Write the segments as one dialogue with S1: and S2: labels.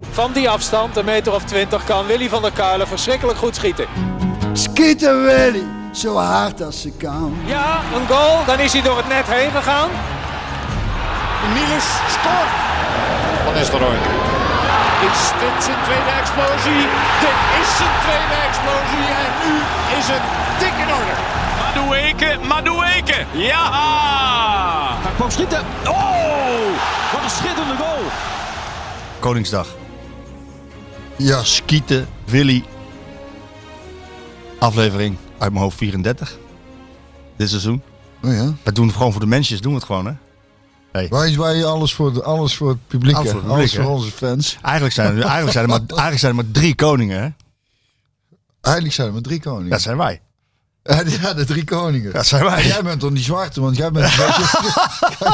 S1: Van die afstand, een meter of twintig, kan Willy van der Kuilen verschrikkelijk goed schieten.
S2: Schieten Willy, zo hard als ze kan.
S1: Ja, een goal. Dan is hij door het net heen gegaan.
S3: Niels scoort.
S4: Van Nistelrooy.
S3: Is dit zijn tweede explosie? Dit is zijn tweede explosie. En nu is het dik in orde.
S5: Madueke, Madueke. Ja!
S6: Hij kwam schieten. Oh! Wat een schitterende goal.
S4: Koningsdag. Ja, skieten, Willy. Aflevering uit mijn hoofd 34. Dit seizoen.
S7: Oh ja.
S4: We doen het gewoon voor de mensjes, doen we het gewoon hè.
S7: Wij, wij alles voor, de, alles voor het publiek.
S4: Alles
S7: Alles
S4: voor
S7: voor,
S4: het
S7: alles
S4: publiek,
S7: voor
S4: hè?
S7: onze fans.
S4: Eigenlijk zijn er, eigenlijk zijn er, maar, eigenlijk zijn er maar drie koningen hè.
S7: Eigenlijk zijn er maar drie koningen.
S4: Dat zijn wij.
S7: Ja, de drie koningen.
S4: Dat zijn wij.
S7: En jij bent toch niet zwarte, want jij bent... jij,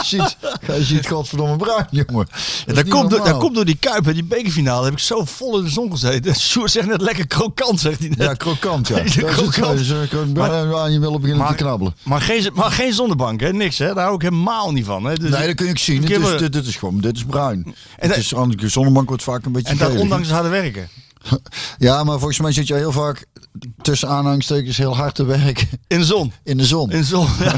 S7: ziet, jij ziet godverdomme bruin, jongen. Dat, is
S4: Dat
S7: niet
S4: komt, door, dat
S7: normaal.
S4: komt door die Kuip en die bekerfinale. Heb ik zo vol in de zon gezeten. Sjoerd zegt net lekker krokant, zegt hij net.
S7: Ja, krokant, ja.
S4: Ja,
S7: Dat is het,
S4: krokant.
S7: dus, eh, kan- waar- waar je wil op beginnen te knabbelen.
S4: Maar geen, maar geen zonnebank, hè? Niks, hè? Daar hou ik helemaal niet van. Hè? Dus-
S7: Nee, dat kun je ook zien. Dit
S4: Kunnen we-
S7: is, dit, dit is gewoon, dit is bruin.
S4: dat-
S7: het is, aan de zonnebank wordt vaak een beetje
S4: en dat
S7: gelig.
S4: ondanks het harde werken.
S7: Ja, maar volgens mij zit je heel vaak tussen aanhangstekens heel hard te werken
S4: In de zon.
S7: in de zon.
S4: In de zon, ja.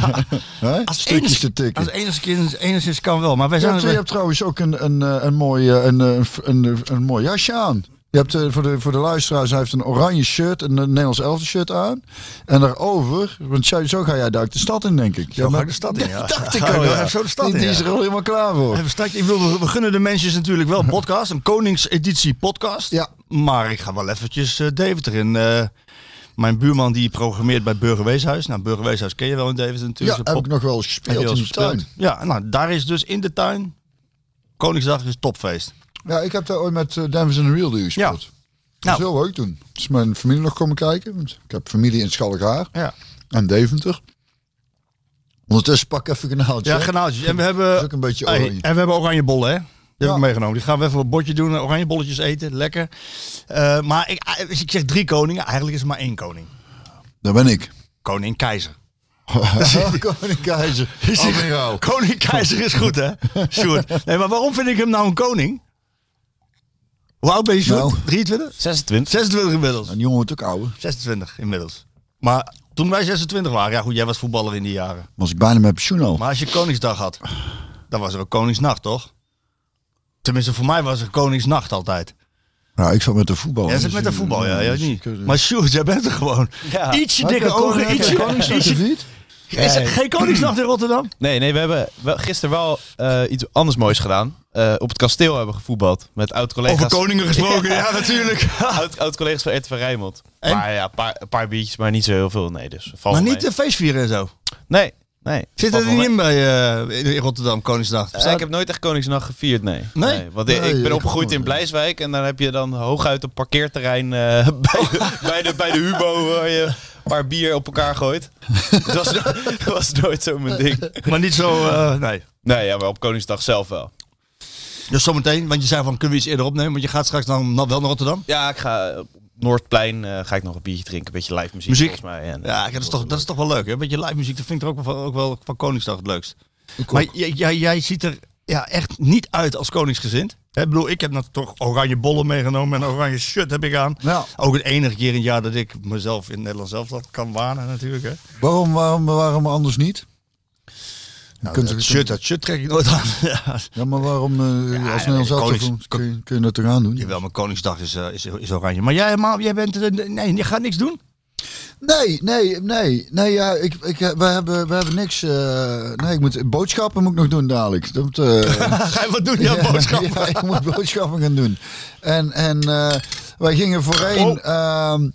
S7: Hè? Stukjes
S4: enigszins-
S7: te tikken.
S4: Als enigszins, enigszins kan wel. Maar wij
S7: Je
S4: zijn...
S7: hebt, je hebt trouwens ook een, een, eh, een, mooi, eh, een, eh, een, een, een mooi jasje aan. Je hebt eh, voor de, voor de luisteraars, hij heeft een oranje shirt en een eh, Nederlands elfte shirt aan. En daarover, want zo, zo ga jij daar de stad in, denk ik.
S4: Zo ga
S7: maar-
S4: ik de stad in, ja.
S7: Dat dacht ik
S4: Ga ik
S7: al,
S4: wel
S7: ja.
S4: even zo de stad
S7: Die-
S4: in,
S7: Die
S4: ja.
S7: is er al helemaal klaar voor.
S4: Even straks, ik bedoel, we- we gunnen de mensen natuurlijk wel een podcast. Een koningseditie podcast.
S7: Ja.
S4: Maar ik ga wel eventjes eh, Deventer in. eh, mijn buurman die programmeert bij Burger Weeshuis. Nou, Burger Weeshuis ken je wel in Deventer
S7: Ja,
S4: natuurlijk. Zo'n
S7: heb
S4: pod-
S7: ik nog wel eens
S4: heb
S7: gespeeld
S4: je
S7: in
S4: wel
S7: de
S4: eens
S7: tuin.
S4: gespeeld? Ja, nou, daar is dus in de tuin. Koningsdag is topfeest.
S7: Ja, ik heb daar ooit met eh, Dames in the Real Deal gespeeld.
S4: Ja.
S7: Dat is
S4: Nou.
S7: heel leuk toen. Is mijn familie nog komen kijken. Want ik heb familie in Schalkhaar
S4: Ja.
S7: en Deventer. Ondertussen pak ik even een haaltje.
S4: Ja,
S7: hè.
S4: genaaltjes. En we hebben.
S7: Is ook een beetje
S4: Hey,
S7: oranje.
S4: en we hebben oranje bollen, hè? Die
S7: Ja.
S4: heb ik meegenomen. Die gaan we even op het bordje doen. Oranje bolletjes eten. Lekker. Eh, maar ik, eh, dus ik zeg drie koningen. Eigenlijk is er maar één koning.
S7: Daar ben ik.
S4: Koning Keizer.
S7: Oh, Koning Keizer. Admiraal.
S4: Koning Keizer is goed, hè? Sjoerd. Nee, maar waarom vind ik hem nou een koning? Hoe oud ben je, Sjoerd?
S7: Nou.
S4: 23?
S5: 26.
S4: 26 inmiddels.
S7: Een jongen wordt ook ouder.
S4: 26 inmiddels. Maar toen wij 26 waren, ja goed, jij was voetballer in die jaren.
S7: Was ik bijna met pensioen al.
S4: Maar als je Koningsdag had, dan was er ook Koningsnacht, toch? Tenminste, voor mij was er Koningsnacht altijd.
S7: Nou, ik zat met de voetbal.
S4: Ja, zit met de voetbal, ja, ja niet. Maar Sjoerd, jij bent er gewoon.
S5: Ja.
S4: Ietsje dikke ogen, ietsje... ietsje- Is er geen Koningsnacht in Rotterdam?
S5: Nee, nee, we hebben wel, gisteren wel eh, iets anders moois gedaan. Eh, op het kasteel hebben we gevoetbald. Met
S4: Over
S5: oud-collega's
S4: koningen gesproken, ja Oh, natuurlijk.
S5: oud, oud-collega's van RTV Rijnmond.
S4: En?
S5: Maar ja, een paar, een paar biertjes, maar niet zo heel veel. Nee, dus valt
S4: Maar
S5: wel
S4: niet de feestvieren en zo.
S5: mee. Nee, nee.
S4: Zit
S5: valt
S4: er
S5: wel
S4: niet
S5: mee.
S4: in bij eh, in Rotterdam, Koningsnacht?
S5: Eh, ik heb nooit echt Koningsnacht gevierd, nee.
S4: Nee?
S5: want
S7: Nee,
S5: ik- ik ben
S7: ik
S5: opgegroeid
S7: ook
S5: in
S7: niet.
S5: Blijswijk en daar heb je dan hooguit een parkeerterrein eh, bij, de, bij, de, bij de Hubo eh, waar je een paar bier op elkaar gooit. Dat was, no- was nooit zo mijn ding.
S4: Maar niet zo, eh, nee.
S5: Nee, ja, maar op Koningsdag zelf wel.
S4: Dus zometeen, want je zei van, kunnen we iets eerder opnemen? Want je gaat straks dan na- wel naar Rotterdam.
S5: Ja, ik ga eh, op Noordplein eh, ga ik nog een biertje drinken, een beetje live muziek,
S4: Muziek?
S5: volgens mij. En, eh,
S4: Ja, dat is toch, dat is toch wel leuk, hè? Beetje live muziek, dat vind ik er ook wel, ook wel van Koningsdag het leukst.
S7: Ik
S4: Maar
S7: ook.
S4: jij, jij, jij ziet er ja, echt niet uit als koningsgezind. Hè, Ik bedoel, ik heb nou toch oranje bollen meegenomen en een oranje shirt heb ik aan.
S7: Ja.
S4: Ook het enige keer in het jaar dat ik mezelf in Nederland zelf dat kan wanen natuurlijk. Hè.
S7: Waarom, waarom, waarom anders niet?
S4: Nou,
S7: kunt
S4: dat,
S7: er-
S4: shirt, dat shirt trek ik nooit aan. Ja.
S7: Ja, maar waarom eh,
S4: Ja,
S7: als Nederlands
S4: de
S7: elftal
S4: konings-
S7: kun, kun, je- kun je dat eraan doen?
S4: Jawel, maar Koningsdag is, eh, is, is oranje. Maar jij, helemaal, jij bent, eh, nee, je gaat niks doen.
S7: Nee, nee, nee. Nee, ja, ik, ik, eh, we, hebben, we hebben niks. eh, nee, ik moet boodschappen moet ik nog doen dadelijk. Dat, moet, eh,
S4: Ga je wat doen, jouw boodschap?
S7: Ja, ik moet boodschappen gaan doen. En, en eh, wij gingen voorheen.
S4: Oh.
S7: ehm,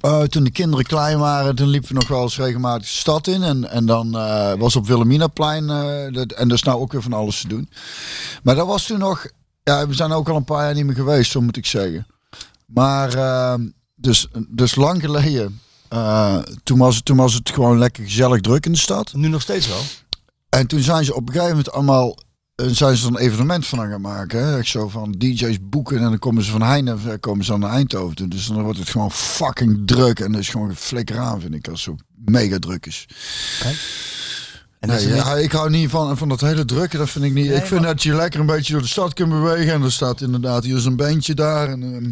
S7: eh, toen de kinderen klein waren, toen liepen we nog wel eens regelmatig de stad in. En, en dan eh, was op Wilhelminaplein. eh, dat, en dat is nou ook weer van alles te doen. Maar dat was toen nog. Ja, we zijn ook al een paar jaar niet meer geweest, zo moet ik zeggen. Maar ehm, dus, dus lang geleden. eh, toen, was het, toen was het gewoon lekker gezellig druk in de stad.
S4: Nu nog steeds wel.
S7: En toen zijn ze op een gegeven moment allemaal. eh, Zijn ze er een evenement van aan gaan maken? Hè? Echt zo van DJ's boeken en dan komen ze van Heijn en komen ze dan naar Eindhoven. toe. Dus dan wordt het gewoon fucking druk en dat is gewoon een flikker aan, vind ik, als het zo mega druk is.
S5: En dat
S7: Nee,
S5: is niet-
S7: ja, ik hou niet van, van dat hele drukke, dat vind ik niet. ik vind dat je lekker een beetje door de stad kunt bewegen. En er staat inderdaad, hier is een bandje daar en, ehm,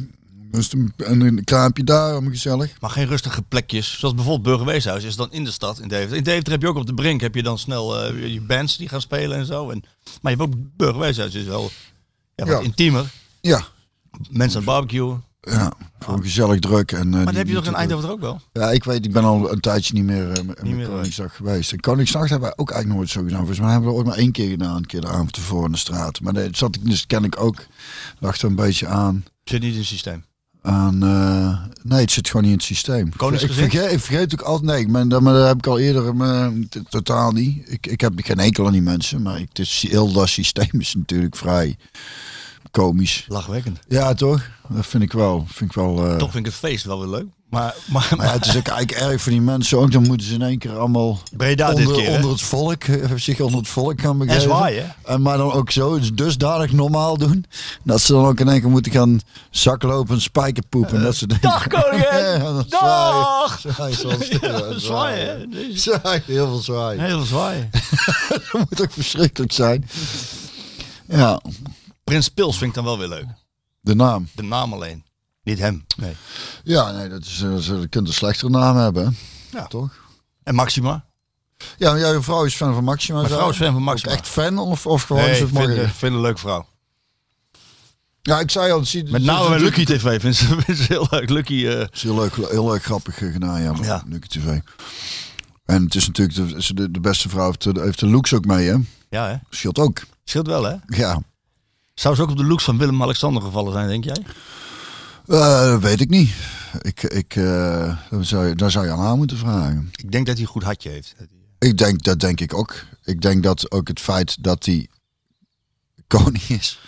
S7: dus een, en een kraampje daar, om gezellig.
S4: Maar geen rustige plekjes. Zoals bijvoorbeeld Burgerweeshuis is dan in de stad in Deventer. In Deventer heb je ook op de brink heb je dan snel eh, je bands die gaan spelen en zo. En, maar je hebt ook Burgerweeshuis is wel ja, wat
S7: Ja.
S4: intiemer.
S7: Ja,
S4: Mensen aan het barbecuen.
S7: ja gewoon gezellig druk. En,
S4: Ah.
S7: eh,
S4: Maar dat heb je toch in Eindhoven ook wel?
S7: Ja, ik weet, ik ben al een tijdje niet meer eh, met- met
S4: Niet meer,
S7: Koningsdag geweest. En Koningsnacht hebben wij ook eigenlijk nooit zo gedaan. Volgens mij hebben we dat ooit maar één keer gedaan, een keer de avond ervoor in de straat. Maar dat zat ik dus ken ik ook, dacht er een beetje aan.
S4: Zit niet in het systeem.
S7: aan eh, nee, het zit gewoon niet in het systeem.
S4: Koningsgezin?
S7: Ik vergeet, ik vergeet ook altijd, nee, ik ben, dat, maar dat heb ik al eerder eh, t- totaal niet. Ik, ik heb geen enkel aan die mensen, maar ik, het is, heel dat systeem is natuurlijk vrij komisch.
S4: Lachwekkend.
S7: Ja, toch? Dat vind ik wel. Vind ik wel eh,
S4: Toch vind ik het feest wel weer leuk. Maar, maar,
S7: Maar ja, het is ook eigenlijk erg voor die mensen ook. Dan moeten ze in één keer allemaal
S4: Breda
S7: onder,
S4: dit keer. hè?
S7: onder het volk, eh, zich onder het volk gaan begeven.
S4: zwaaien.
S7: En maar dan ook zo dus dusdanig normaal doen. Dat ze dan ook in één keer moeten gaan zaklopen en spijkerpoepen. en dat ze denken,
S4: dag, koningin!
S7: Ja, dan
S4: Dag!
S7: Zwaaien, zwaaien, zwaaien,
S4: Ja, zwaaien,
S7: zwaaien.
S4: hè? Dit is
S7: Zwaaien, heel veel zwaaien.
S4: Heel zwaai.
S7: Dat moet ook verschrikkelijk zijn. Ja,
S4: Prins Pils vind ik dan wel weer leuk.
S7: de naam.
S4: De naam alleen. Niet hem. Nee.
S7: Ja, nee, dat is, eh, ze kunt een slechtere naam hebben. hè?
S4: Ja.
S7: Toch?
S4: En Maxima?
S7: Ja, maar jouw vrouw is fan van Maxima.
S4: Mijn
S7: zei
S4: vrouw
S7: je?
S4: is fan van Maxima.
S7: Ook echt fan of, of gewoon
S4: Nee,
S7: is
S4: ik
S7: het
S4: vind,
S7: makkelijk?
S4: eh, vind een leuk vrouw.
S7: Ja, ik zei al, het zie,
S4: Met name bij Lucky TV vind ze, vind ze heel leuk. Lucky, eh,
S7: Het is heel leuk, heel leuk grappig eh, gedaan, ja,
S4: Ja.
S7: ja. Nuke TV. En het is natuurlijk de, ze- de, de beste vrouw, heeft, de- heeft de looks ook mee, hè?
S4: ja hè?
S7: Scheelt ook.
S4: Scheelt wel hè?
S7: Ja,
S4: Zou ze ook op de looks van Willem-Alexander gevallen zijn, denk jij?
S7: Eh, weet ik niet. Ik, ik, eh, dat zou je, daar zou je aan haar moeten vragen.
S4: Ik denk dat hij een goed hartje heeft.
S7: Ik denk, dat denk ik ook. Ik denk dat ook het feit dat hij koning is.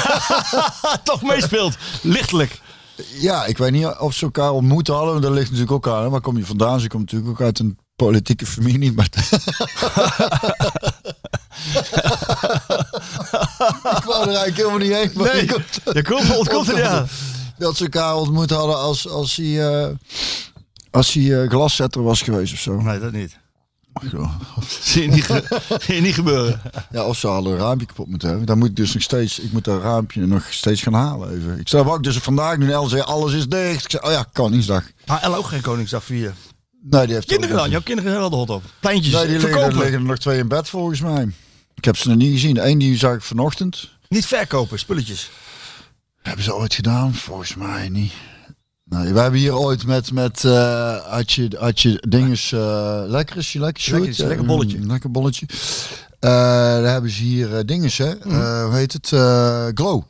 S4: Toch meespeelt. Lichtelijk.
S7: Ja, ik weet niet of ze elkaar ontmoet hadden. want Dat ligt natuurlijk ook aan. hè. Waar kom je vandaan? Ze komt natuurlijk ook uit een politieke familie. Maar ik wou er eigenlijk helemaal niet heen. Maar
S4: Nee.
S7: ik kom-
S4: Je komt, ontkomt het, ja.
S7: dat ze elkaar ontmoet hadden als, als hij, eh, als hij eh, glaszetter was geweest of zo. Nou,
S4: Nee, dat niet. Zie je niet, ge- zie je niet gebeuren.
S7: Ja, of ze hadden een raampje kapot moeten hebben. Dan moet ik dus nog steeds, ik moet dat raampje nog steeds gaan halen even. Ik zou ook dus vandaag nu El zei, alles is dicht. Ik zei, oh ja, Koningsdag.
S4: Maar Elle ook geen Koningsdag vieren.
S7: Nee, die heeft
S4: Kinderen
S7: ook-
S4: dan? Jouw kinderen zijn wel de hot op. Pleintjes,
S7: Nee, die liggen, er
S4: verkopen.
S7: liggen er nog twee in bed volgens mij. Ik heb ze nog niet gezien. Eén die zag ik vanochtend.
S4: Niet verkopen, spulletjes.
S7: Hebben ze ooit gedaan? Volgens mij niet. Nee, we hebben hier ooit met, met eh had je, had je dinges, eh lekker is je lekker shoot.
S4: Lekker is je, lekker bolletje.
S7: Mm, lekker bolletje. Eh, daar hebben ze hier eh, dinges, hè?
S4: Mhm.
S7: Eh, hoe heet het? Eh, Glow.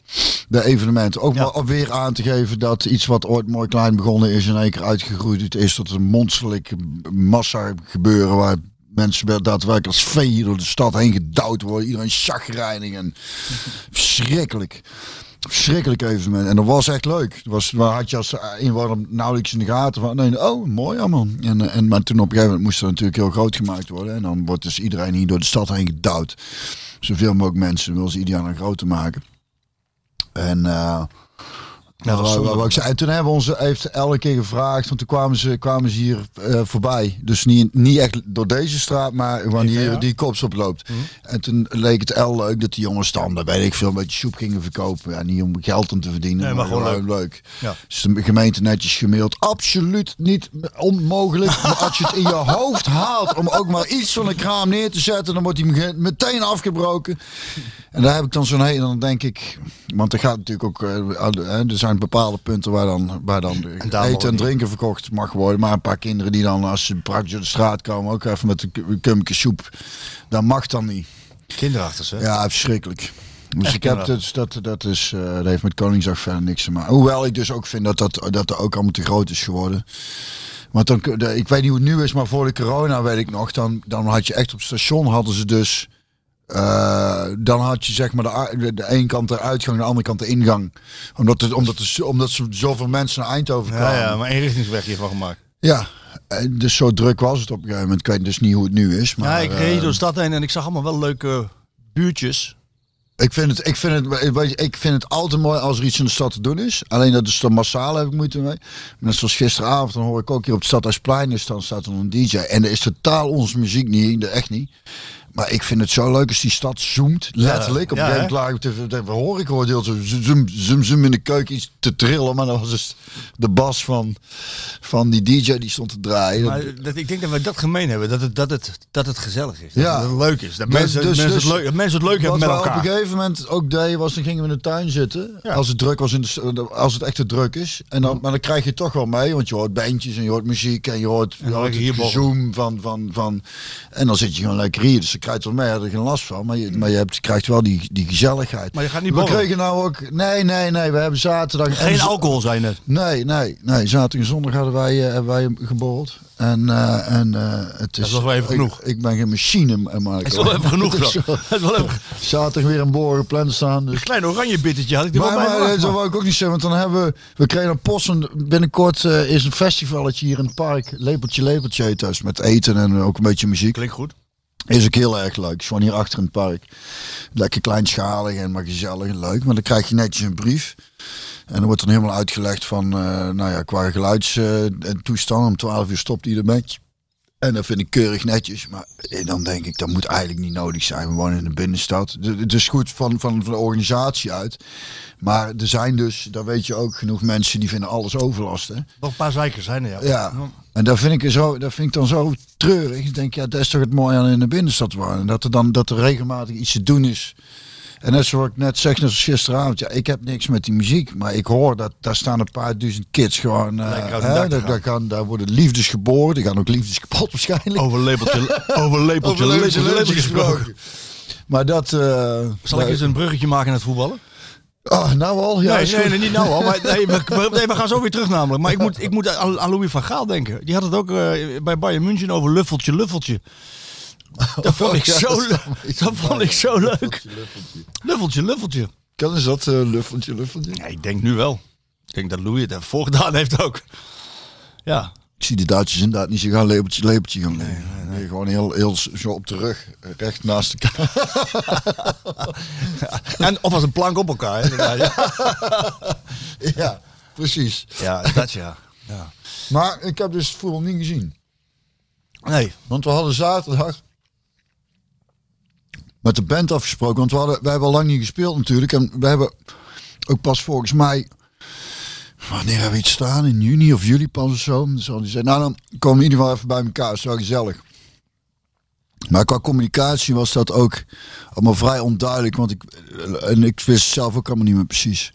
S7: De evenement. Ook
S4: Ja.
S7: maar om weer aan te geven dat iets wat ooit mooi klein begonnen is en één keer uitgegroeid het is tot een monsterlijk massa gebeuren waar mensen wel daadwerkelijk als vee hier door de stad heen gedouwd worden. Iedereen chagrijnig en verschrikkelijk. Verschrikkelijk evenement. En dat was echt leuk. Dat was, waar had je als inwoner nauwelijks in de gaten van. Nee, oh, mooi allemaal. En, eh, en, maar toen op een gegeven moment moest dat natuurlijk heel groot gemaakt worden. En dan wordt dus iedereen hier door de stad heen gedouwd. Zoveel mogelijk mensen wil ze ieder jaar nog groter maken. En, eh,
S4: Ja, dat
S7: waar-
S4: was
S7: waar- waar
S4: zonde.
S7: ik zei, en toen hebben we onze, heeft elke keer gevraagd, want toen kwamen ze, kwamen ze hier eh, voorbij. Dus niet, niet echt door deze straat, maar gewoon hier die kops oploopt.
S4: Mhm.
S7: En toen leek het El leuk dat die jongens dan, daar weet ik veel, een beetje soep gingen verkopen. En niet om geld om te verdienen,
S4: Nee,
S7: maar,
S4: maar gewoon
S7: gewoon leuk.
S4: Ja.
S7: Dus de gemeente netjes gemaild. Absoluut niet onmogelijk. Maar als je het in je hoofd haalt om ook maar iets van een kraam neer te zetten, dan wordt die me- meteen afgebroken. En daar heb ik dan zo'n hele, dan denk ik, want er gaat natuurlijk ook, eh, aan de- hè, er zijn bepaalde punten waar dan, waar dan de
S4: daar
S7: eten en
S4: mag
S7: drinken verkocht mag worden. Maar een paar kinderen die dan als ze praktisch op de straat komen, ook even met een k- een kumpje soep, dat mag dan niet.
S4: Kinderachtig, hè?
S7: Ja, verschrikkelijk. Dus ik heb
S4: inderdaad.
S7: dus dat, dat, is, eh, dat heeft met Koningsdag verder niks te maken. Hoewel ik dus ook vind dat dat, dat, dat ook allemaal te groot is geworden. Want dan, kun- de- ik weet niet hoe het nu is, maar voor de corona weet ik nog, dan, dan had je echt op het station hadden ze dus. eh, dan had je zeg maar de, a- de, de ene kant de uitgang, de andere kant de ingang. Omdat, het, omdat, er zo- omdat ze zoveel mensen naar Eindhoven kwamen.
S4: Ja, ja, maar inrichtingsweg hiervan gemaakt.
S7: Ja, eh, dus zo druk was het op een gegeven moment. Ik weet dus niet hoe het nu is. Maar,
S4: ja, ik reed
S7: eh,
S4: door de stad heen en ik zag allemaal wel leuke buurtjes.
S7: Ik vind, het, ik, vind het, weet je, ik vind het altijd mooi als er iets in de stad te doen is. Alleen dat is dan massaal, heb ik moeite mee. Net zoals gisteravond, dan hoor ik ook hier op het Stadhuisplein is, dan staat er een DJ. En er is totaal onze muziek niet, echt niet. Maar ik vind het zo leuk als die stad zoomt, letterlijk. op
S4: ja,
S7: een
S4: hè?
S7: gegeven moment laag ik op de- de- eh, hoor ik hoor heel zo zoom, zoom, zoom in de keuken iets te trillen. Maar dat was dus de bas van, van die DJ die stond te draaien. Dat-
S4: Maar eh, dat, ik denk dat we dat gemeen hebben, dat het, dat het, dat het gezellig is. Dat
S7: Ja.
S4: het leuk is. Dat
S7: Dus-
S4: mensen,
S7: dus-
S4: mensen,
S7: dus-
S4: het leuk, dat mensen het leuk hebben met
S7: Wat we
S4: elkaar.
S7: op een gegeven moment ook deden was, dan gingen we in de tuin zitten. Als het druk was, in de, s- als het echt te druk is. En
S4: Mm.
S7: dan, maar dan krijg je toch wel mee, want je hoort bandjes en je hoort muziek en je hoort, je hoort
S4: lekker
S7: het
S4: hier
S7: gezoem van, van, van... En dan zit je gewoon lekker hier, dus dan krijg je wel mee, je had er geen last van. Maar je, maar je hebt, krijgt wel die, die gezelligheid.
S4: Mm. Maar je gaat niet
S7: We
S4: borrelen.
S7: kregen nou ook... Nee, nee, nee, we hebben zaterdag... en
S4: Geen
S7: z-
S4: alcohol zijn net.
S7: Nee, nee, nee. Zaterdag en zondag hadden wij, eh, hebben wij geborreld. En, eh, en eh, het is...
S4: was wel even
S7: ik-
S4: genoeg.
S7: Ik, ben geen machine, eh, Marco.
S4: Dat is wel even genoeg
S7: Het is
S4: dan.
S7: wel-
S4: Dat is wel even-
S7: Zaterdag weer een boor gepland staan. Dus.
S4: Een klein oranje bittertje had ik er wel
S7: Maar,
S4: bij
S7: maar
S4: verwacht,
S7: eh, dat
S4: man.
S7: wou ik ook niet zeggen, want dan hebben we... We kregen een post en binnenkort eh, is een festivaletje hier in het park. Lepeltje, lepeltje heet dus, met eten en ook een beetje muziek.
S4: Klinkt goed.
S7: Is ook heel erg leuk. Is Gewoon hier achter in het park. Lekker kleinschalig en maar gezellig en leuk. Maar dan krijg je netjes een brief. En dan wordt dan helemaal uitgelegd van, eh, nou ja, qua geluidstoestand. om 12 uur stopt hij ermee. En dat vind ik keurig netjes. Maar eh, dan denk ik, dat moet eigenlijk niet nodig zijn. We wonen in de binnenstad. D- Het is goed van, van, van de organisatie uit. Maar er zijn dus, daar weet je ook, genoeg mensen die vinden alles overlast. Hè?
S4: Nog een paar zeikers zijn er, ja.
S7: Ja. En dat vind ik, zo, dat vind ik dan zo treurig. Ik denk, ja, dat is toch het mooie aan in de binnenstad wonen. Dat er dan dat er regelmatig iets te doen is. En net zoals ik net zeg, net zoals gisteravond. Ja, ik heb niks met die muziek. Maar ik hoor dat daar staan een paar duizend kids gewoon. eh,
S4: Lekker uit de
S7: hè,
S4: dak te
S7: daar,
S4: gaan.
S7: daar, gaan, daar worden liefdes geboren. Die gaan ook liefdes kapot waarschijnlijk.
S4: Over lepeltje, over lepeltje,
S7: Over
S4: lepeltje,
S7: lepeltje
S4: lepeltje gesproken.
S7: Maar dat. eh,
S4: Zal ik
S7: nee.
S4: eens een bruggetje maken naar het voetballen?
S7: Ah, nou al? Ja,
S4: nee,
S7: is
S4: nee,
S7: goed.
S4: nee, niet nou al. Maar, nee, we, we- nee, we gaan zo weer terug namelijk. Maar ik moet, ik moet aan, aan Louis van Gaal denken. Die had het ook eh, bij Bayern München over luffeltje, luffeltje. Dat vond ik
S7: Oh, ja,
S4: zo,
S7: dat is
S4: le-
S7: dan weer
S4: dat vond ik zo leuk. Luffeltje, luffeltje.
S7: Kan eens dat eh, luffeltje, luffeltje?
S4: Ja, ik denk nu wel. Ik denk dat Louis het ervoor gedaan heeft ook. Ja,
S7: Ik zie de Duitsers inderdaad niet zo gaan lepeltje, lepeltje gaan leggen. Nee, gewoon heel, heel s- zo op de rug, eh, recht naast elkaar.
S4: en, of als een plank op elkaar. hè. Ja,
S7: ja, precies.
S4: ja, dat ja. ja.
S7: Maar ik heb dus het voetbal niet gezien.
S4: Nee,
S7: Want we hadden zaterdag met de band afgesproken. Want we, hadden, we hebben al lang niet gespeeld natuurlijk. En we hebben ook pas volgens mij... Wanneer hebben we iets staan? In juni of juli pas of zo. Dus hadden die nou dan komen we in ieder geval even bij elkaar. Is wel gezellig. Maar qua communicatie was dat ook allemaal vrij onduidelijk. Want ik, en ik wist het zelf ook allemaal niet meer precies.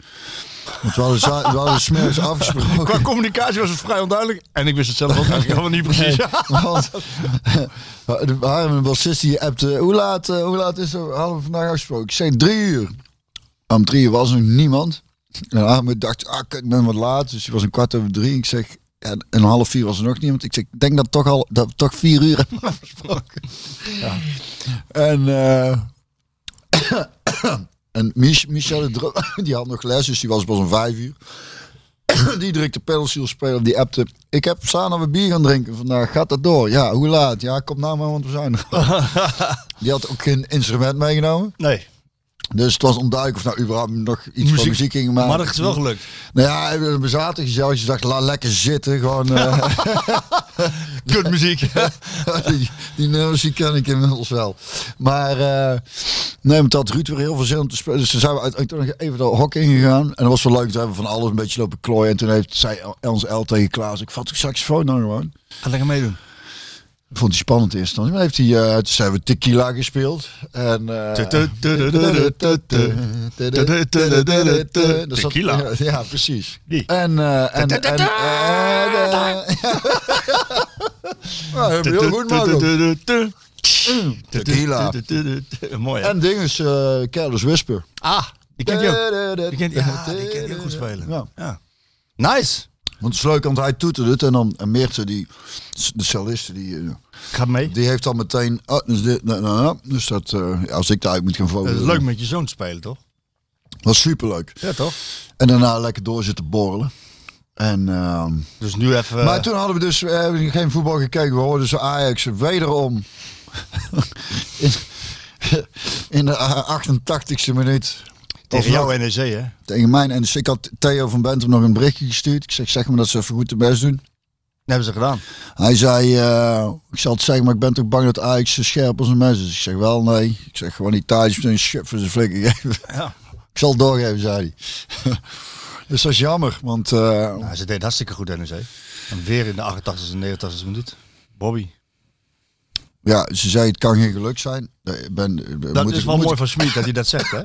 S7: Want we hadden, za- we hadden 's middags afgesproken.
S4: qua communicatie was het vrij onduidelijk. En ik wist het zelf ook eigenlijk helemaal niet precies.
S7: Want er waren een bassist die appte, hoe laat, eh, hoe laat is er, hadden we vandaag afgesproken? Ik zei drie uur. Om drie uur was er niemand. En Ahmed dacht, ah, kijk, ik ben wat laat, dus hij was een kwart over drie. Ik zeg, ja, en een half vier was er nog niemand. Ik zeg, ik denk dat, toch al, dat we toch vier uur hebben afgesproken. En, eh, en Mich- Michel, de Dro- die had nog les, dus die was pas om vijf uur die drukte pedalsiel speler die appte. Ik heb samen we bier gaan drinken vandaag. Gaat dat door? Ja, hoe laat? Ja, kom nou maar, want we zijn er. Die had ook geen instrument meegenomen.
S4: Nee,
S7: Dus het was onduidelijk of nou überhaupt nog iets van muziek ging maken.
S4: maar dat is wel gelukt.
S7: Nou ja, we zaten gezellig. Dus ik dacht, laat lekker zitten. Gewoon, eh,
S4: Kutmuziek.
S7: die, die nummers die ken ik inmiddels wel. Maar eh nee, maar dat had Ruud weer heel veel zin om te spelen. Dus toen zijn we uiteindelijk nog even dat hok ingegaan. En dat was wel leuk. Toen hebben we van alles een beetje lopen klooien. En toen heeft zij ons L tegen Klaas. Ik vat de saxofoon nou gewoon.
S4: Ga lekker meedoen.
S7: Vond hij spannend in eerste instantie. Maar heeft hij, eh toen zijn we tequila gespeeld. En, eh, Dat zat-
S4: Tequila?
S7: Ja, precies.
S4: Die.
S7: En, eh, en, en, en, eh, ja, heel goed, Marco. Tequila.
S4: Mooi. hè?
S7: En ding is eh Careless Whisper.
S4: Ah, die kent je ook. Die kent, ja, die kent heel goed spelen.
S7: Ja.
S4: Ja. Nice.
S7: Want het is leuk, want hij toetert het en dan en Meerte, die, de celliste, die, eh,
S4: Ga mee.
S7: die heeft dan meteen... ah, dus, dit, nou, nou, nou. dus dat, eh, ja, als ik daaruit moet gaan
S4: Dat
S7: vogelen.
S4: is Eh, leuk met je zoon te spelen, toch?
S7: was superleuk.
S4: Ja, toch?
S7: En daarna lekker door zitten borrelen. En, ehm,
S4: Dus nu even...
S7: maar toen hadden we dus we hebben geen voetbal gekeken. We hoorden ze Ajax wederom. in, in de eh, 88ste minuut.
S4: Tegen
S7: Alsnog
S4: jouw NEC, hè?
S7: Tegen mijn. En dus ik had Theo van Bentum nog een berichtje gestuurd. Ik zeg, zeg maar dat ze even goed de best doen.
S4: Dat hebben ze gedaan.
S7: Hij zei, eh, ik zal het zeggen, maar ik ben toch bang dat Ajax zo scherp als een mes is. Ik zeg, wel nee. Ik zeg, gewoon die thuis een shit voor zijn flikker geven.
S4: Ja.
S7: Ik zal het doorgeven, zei hij. dus dat is jammer, want... eh,
S4: Nou, ze deden hartstikke goed, NEC. En weer in de 88 en 89 minuut. Bobby.
S7: Ja, ze zei het kan geen geluk zijn. Nee, Ik ben, eh,
S4: Dat
S7: moet
S4: is
S7: ik,
S4: wel
S7: moet,
S4: mooi van Smit dat hij dat zegt, hè?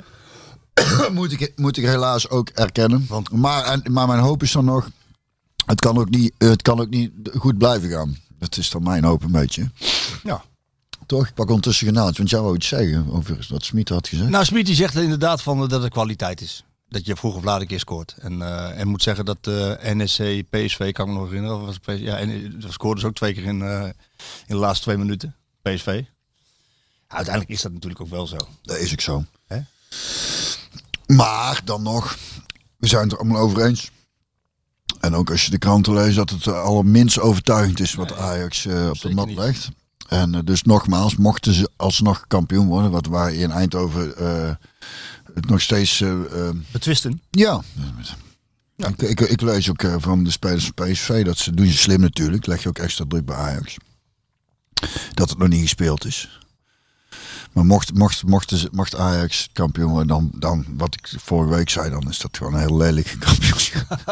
S7: moet, ik, moet ik helaas ook erkennen.
S4: Want-
S7: maar, en, maar mijn hoop is dan nog, het kan ook niet, het kan ook niet goed blijven gaan. Dat is dan mijn hoop een beetje.
S4: Ja.
S7: Toch? Ik pak ondertussen genaamd, want jij wou iets zeggen over wat Smit had gezegd.
S4: Nou, Smit die zegt inderdaad van, eh, dat het kwaliteit is. Dat je vroeg of laat een keer scoort. En, eh, en moet zeggen dat eh NSC, PSV, kan ik me nog herinneren. Of was het PSV? Ja, en dat scoorde ze ook twee keer in, eh, in de laatste twee minuten. PSV. Ja, uiteindelijk is dat natuurlijk ook wel zo.
S7: dat is ook zo.
S4: Hè?
S7: Maar dan nog, we zijn het er allemaal over eens. En ook als je de kranten leest, dat het eh, allerminst overtuigend is wat Ajax eh, op de
S4: zeker
S7: mat
S4: niet.
S7: legt. En eh, dus nogmaals, mochten ze alsnog kampioen worden, wat waar in Eindhoven eh, het nog steeds eh, eh,
S4: Betwisten.
S7: ja. Ik, ik, ik lees ook eh, van de spelers van PSV dat ze doen ze slim natuurlijk. Leg je ook extra druk bij Ajax. Dat het nog niet gespeeld is. Maar mocht, mocht, mocht, de- mocht Ajax kampioen worden, dan, dan wat ik vorige week zei, dan is dat gewoon een heel lelijke kampioenschap.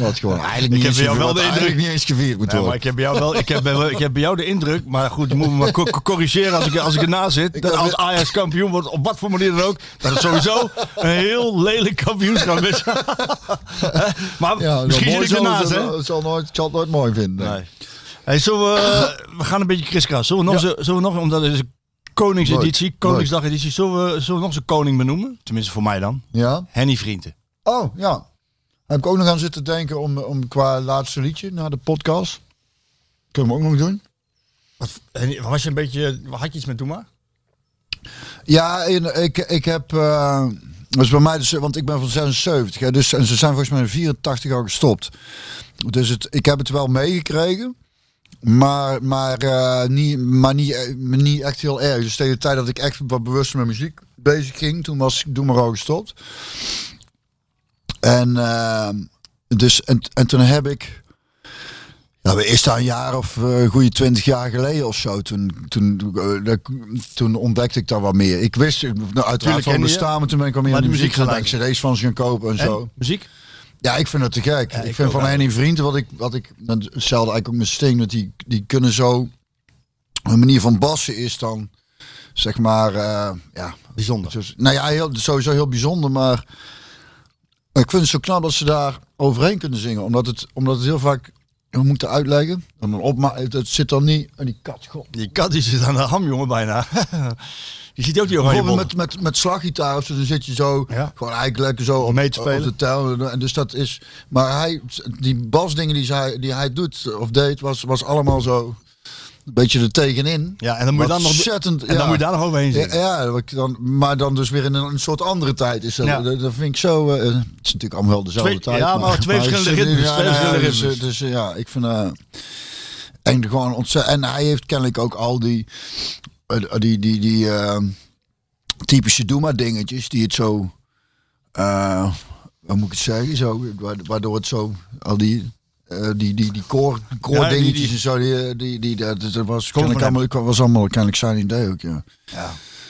S7: wat gewoon eigenlijk niet,
S4: heb
S7: eens,
S4: bij
S7: gevierd-
S4: jou wel
S7: wat
S4: de
S7: eigenlijk
S4: indruk-
S7: niet eens gevierd moet
S4: Ja, maar
S7: worden.
S4: ik heb, bij jou wel, ik, heb bij, wel- ik heb bij jou de indruk, maar goed, je moet me maar co- co- corrigeren als ik, als ik erna zit. Dat
S7: heb-
S4: als Ajax kampioen wordt, op wat voor manier dan ook, dat het sowieso een heel lelijk kampioenschap is. maar
S7: ja,
S4: misschien zit
S7: mooi
S4: ik
S7: zal
S4: ernaast,
S7: het-
S4: hè?
S7: het zal nooit, ik zal het nooit mooi vinden.
S4: Nee. Hey, zullen we, we gaan een beetje kriskras. Zullen we nog, zo, zullen we nog omdat het is een koningseditie,
S7: Leuk.
S4: koningsdageditie, zullen we, zullen we nog zo'n koning benoemen? Tenminste voor mij dan.
S7: Ja?
S4: Henny Vrienden.
S7: Oh, ja. Heb ik ook nog aan zitten denken om, om qua laatste liedje naar de podcast. Kunnen we ook nog doen?
S4: Henny, was je een beetje, had je iets met Doema?
S7: Ja, en ik, ik heb... eh, dat is bij mij, dus, want ik ben van 76. Hè, dus, en ze zijn volgens mij in 84 al gestopt. Dus het, ik heb het wel meegekregen. Maar, maar, eh, niet, maar niet, eh, niet echt heel erg. Dus tegen de tijd dat ik echt wat bewuster met muziek bezig ging, toen was ik Doe maar al gestopt. En, ehm, dus, en, en toen heb ik. Nou, is dat een jaar of eh goede twintig jaar geleden of zo? Toen, toen, eh, dat- toen ontdekte ik daar wat meer. Ik wist eh, nou, uiteraard
S4: ken
S7: van
S4: je.
S7: bestaan, maar toen ben ik al meer
S4: Maar
S7: in de
S4: die
S7: muziek
S4: muziek
S7: gaan. Ik
S4: gaan
S7: cd's van ze gaan kopen en, zo.
S4: Muziek?
S7: Ja, ik vind dat te gek. ik,
S4: ik
S7: vind
S4: ook
S7: van Henny Vrienden, wat ik, wat ik, dat is hetzelfde eigenlijk ook met Sting, dat die, die kunnen zo, hun manier van bassen is dan, zeg maar, eh, ja.
S4: Bijzonder.
S7: Dus, nou ja, heel, sowieso heel bijzonder, maar ik vind het zo knap dat ze daar overheen kunnen zingen. Omdat het, omdat het heel vaak, we moeten uitleggen, en dan opma het zit dan niet, en die kat, god.
S4: Die kat die zit aan de ham, jongen, bijna. je ziet ook die oranje
S7: Bijvoorbeeld
S4: bollen.
S7: met, met, met slaggitaar of zo, dan zit je zo,
S4: Ja.
S7: gewoon eigenlijk lekker zo op,
S4: Mee te spelen.
S7: op de tel. En dus dat is, maar hij, die basdingen die hij, die hij doet of deed, was, was allemaal zo een beetje er tegenin.
S4: Ja, en dan moet je, dan nog,
S7: Ontzettend,
S4: en
S7: ja.
S4: dan moet je daar nog
S7: Ja,
S4: overheen zitten.
S7: ja, wat ik dan, maar dan dus weer in een, een soort andere tijd. Is dat,
S4: Ja.
S7: dat, dat vind ik zo. eh, het is natuurlijk allemaal wel dezelfde
S4: Twee-
S7: tijd.
S4: ja, maar twee verschillende
S7: het zit
S4: ritmes, twee
S7: nou ja,
S4: verschillende
S7: dus,
S4: ritmes.
S7: eh, Dus, eh, ja, ik vind. eh, en gewoon ontzettend. En hij heeft kennelijk ook al die. eh, die, die, die eh, typische doe maar dingetjes die het zo. eh, hoe moet ik het zeggen? Zo, wa- waardoor het zo. Al die. eh, die, die, die koor, koor
S4: die-
S7: dingetjes
S4: die-
S7: en zo, die, eh, die, die, dat, dat was,
S4: van
S7: kennelijk
S4: hem.
S7: allemaal, was allemaal kennelijk zijn idee ook, ja.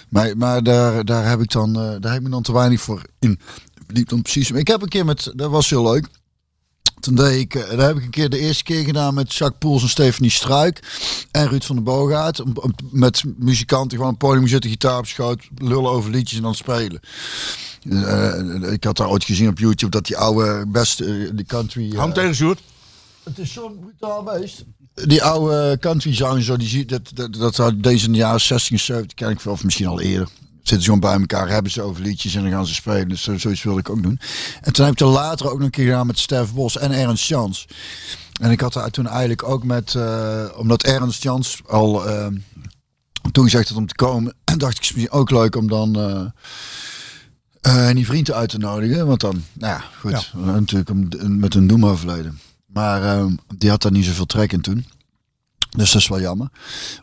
S7: Maar, maar daar, daar heb ik dan, eh, daar heb ik me dan te weinig voor in verdiept om precies. Ik heb een keer met, dat was heel leuk. Toen deed ik, eh, daar heb ik een keer de eerste keer gedaan met Jacques Poels en Stephanie Struik en Ruud van der Boogaard. Om- om- Met muzikanten gewoon op het podium zitten, gitaar op schoot, lullen over liedjes en dan spelen. Eh, ik had daar ooit gezien op YouTube dat die oude beste, eh, de country... eh,
S4: Ham tegen Sjoerd.
S7: het is zo'n brutaal beest. Die oude country zang, zo, die ziet dat, dat, dat had deze in de jaren 60 en 70, ken ik veel, of misschien al eerder. Zitten ze gewoon bij elkaar, hebben ze over liedjes en dan gaan ze spelen. Dus zo- zoiets wilde ik ook doen. En toen heb ik er later ook nog een keer gedaan met Stef Bos en Ernst Jans. En ik had daar toen eigenlijk ook met, eh, omdat Ernst Jans al eh, toen gezegd had om te komen, dacht ik, is misschien ook leuk om dan... eh, eh, en die vrienden uit te nodigen. Want dan, nou ja, goed. eh, Natuurlijk om- een- met een doema verleden. Maar ehm, die had daar niet zoveel trek in toen. Dus dat is wel jammer.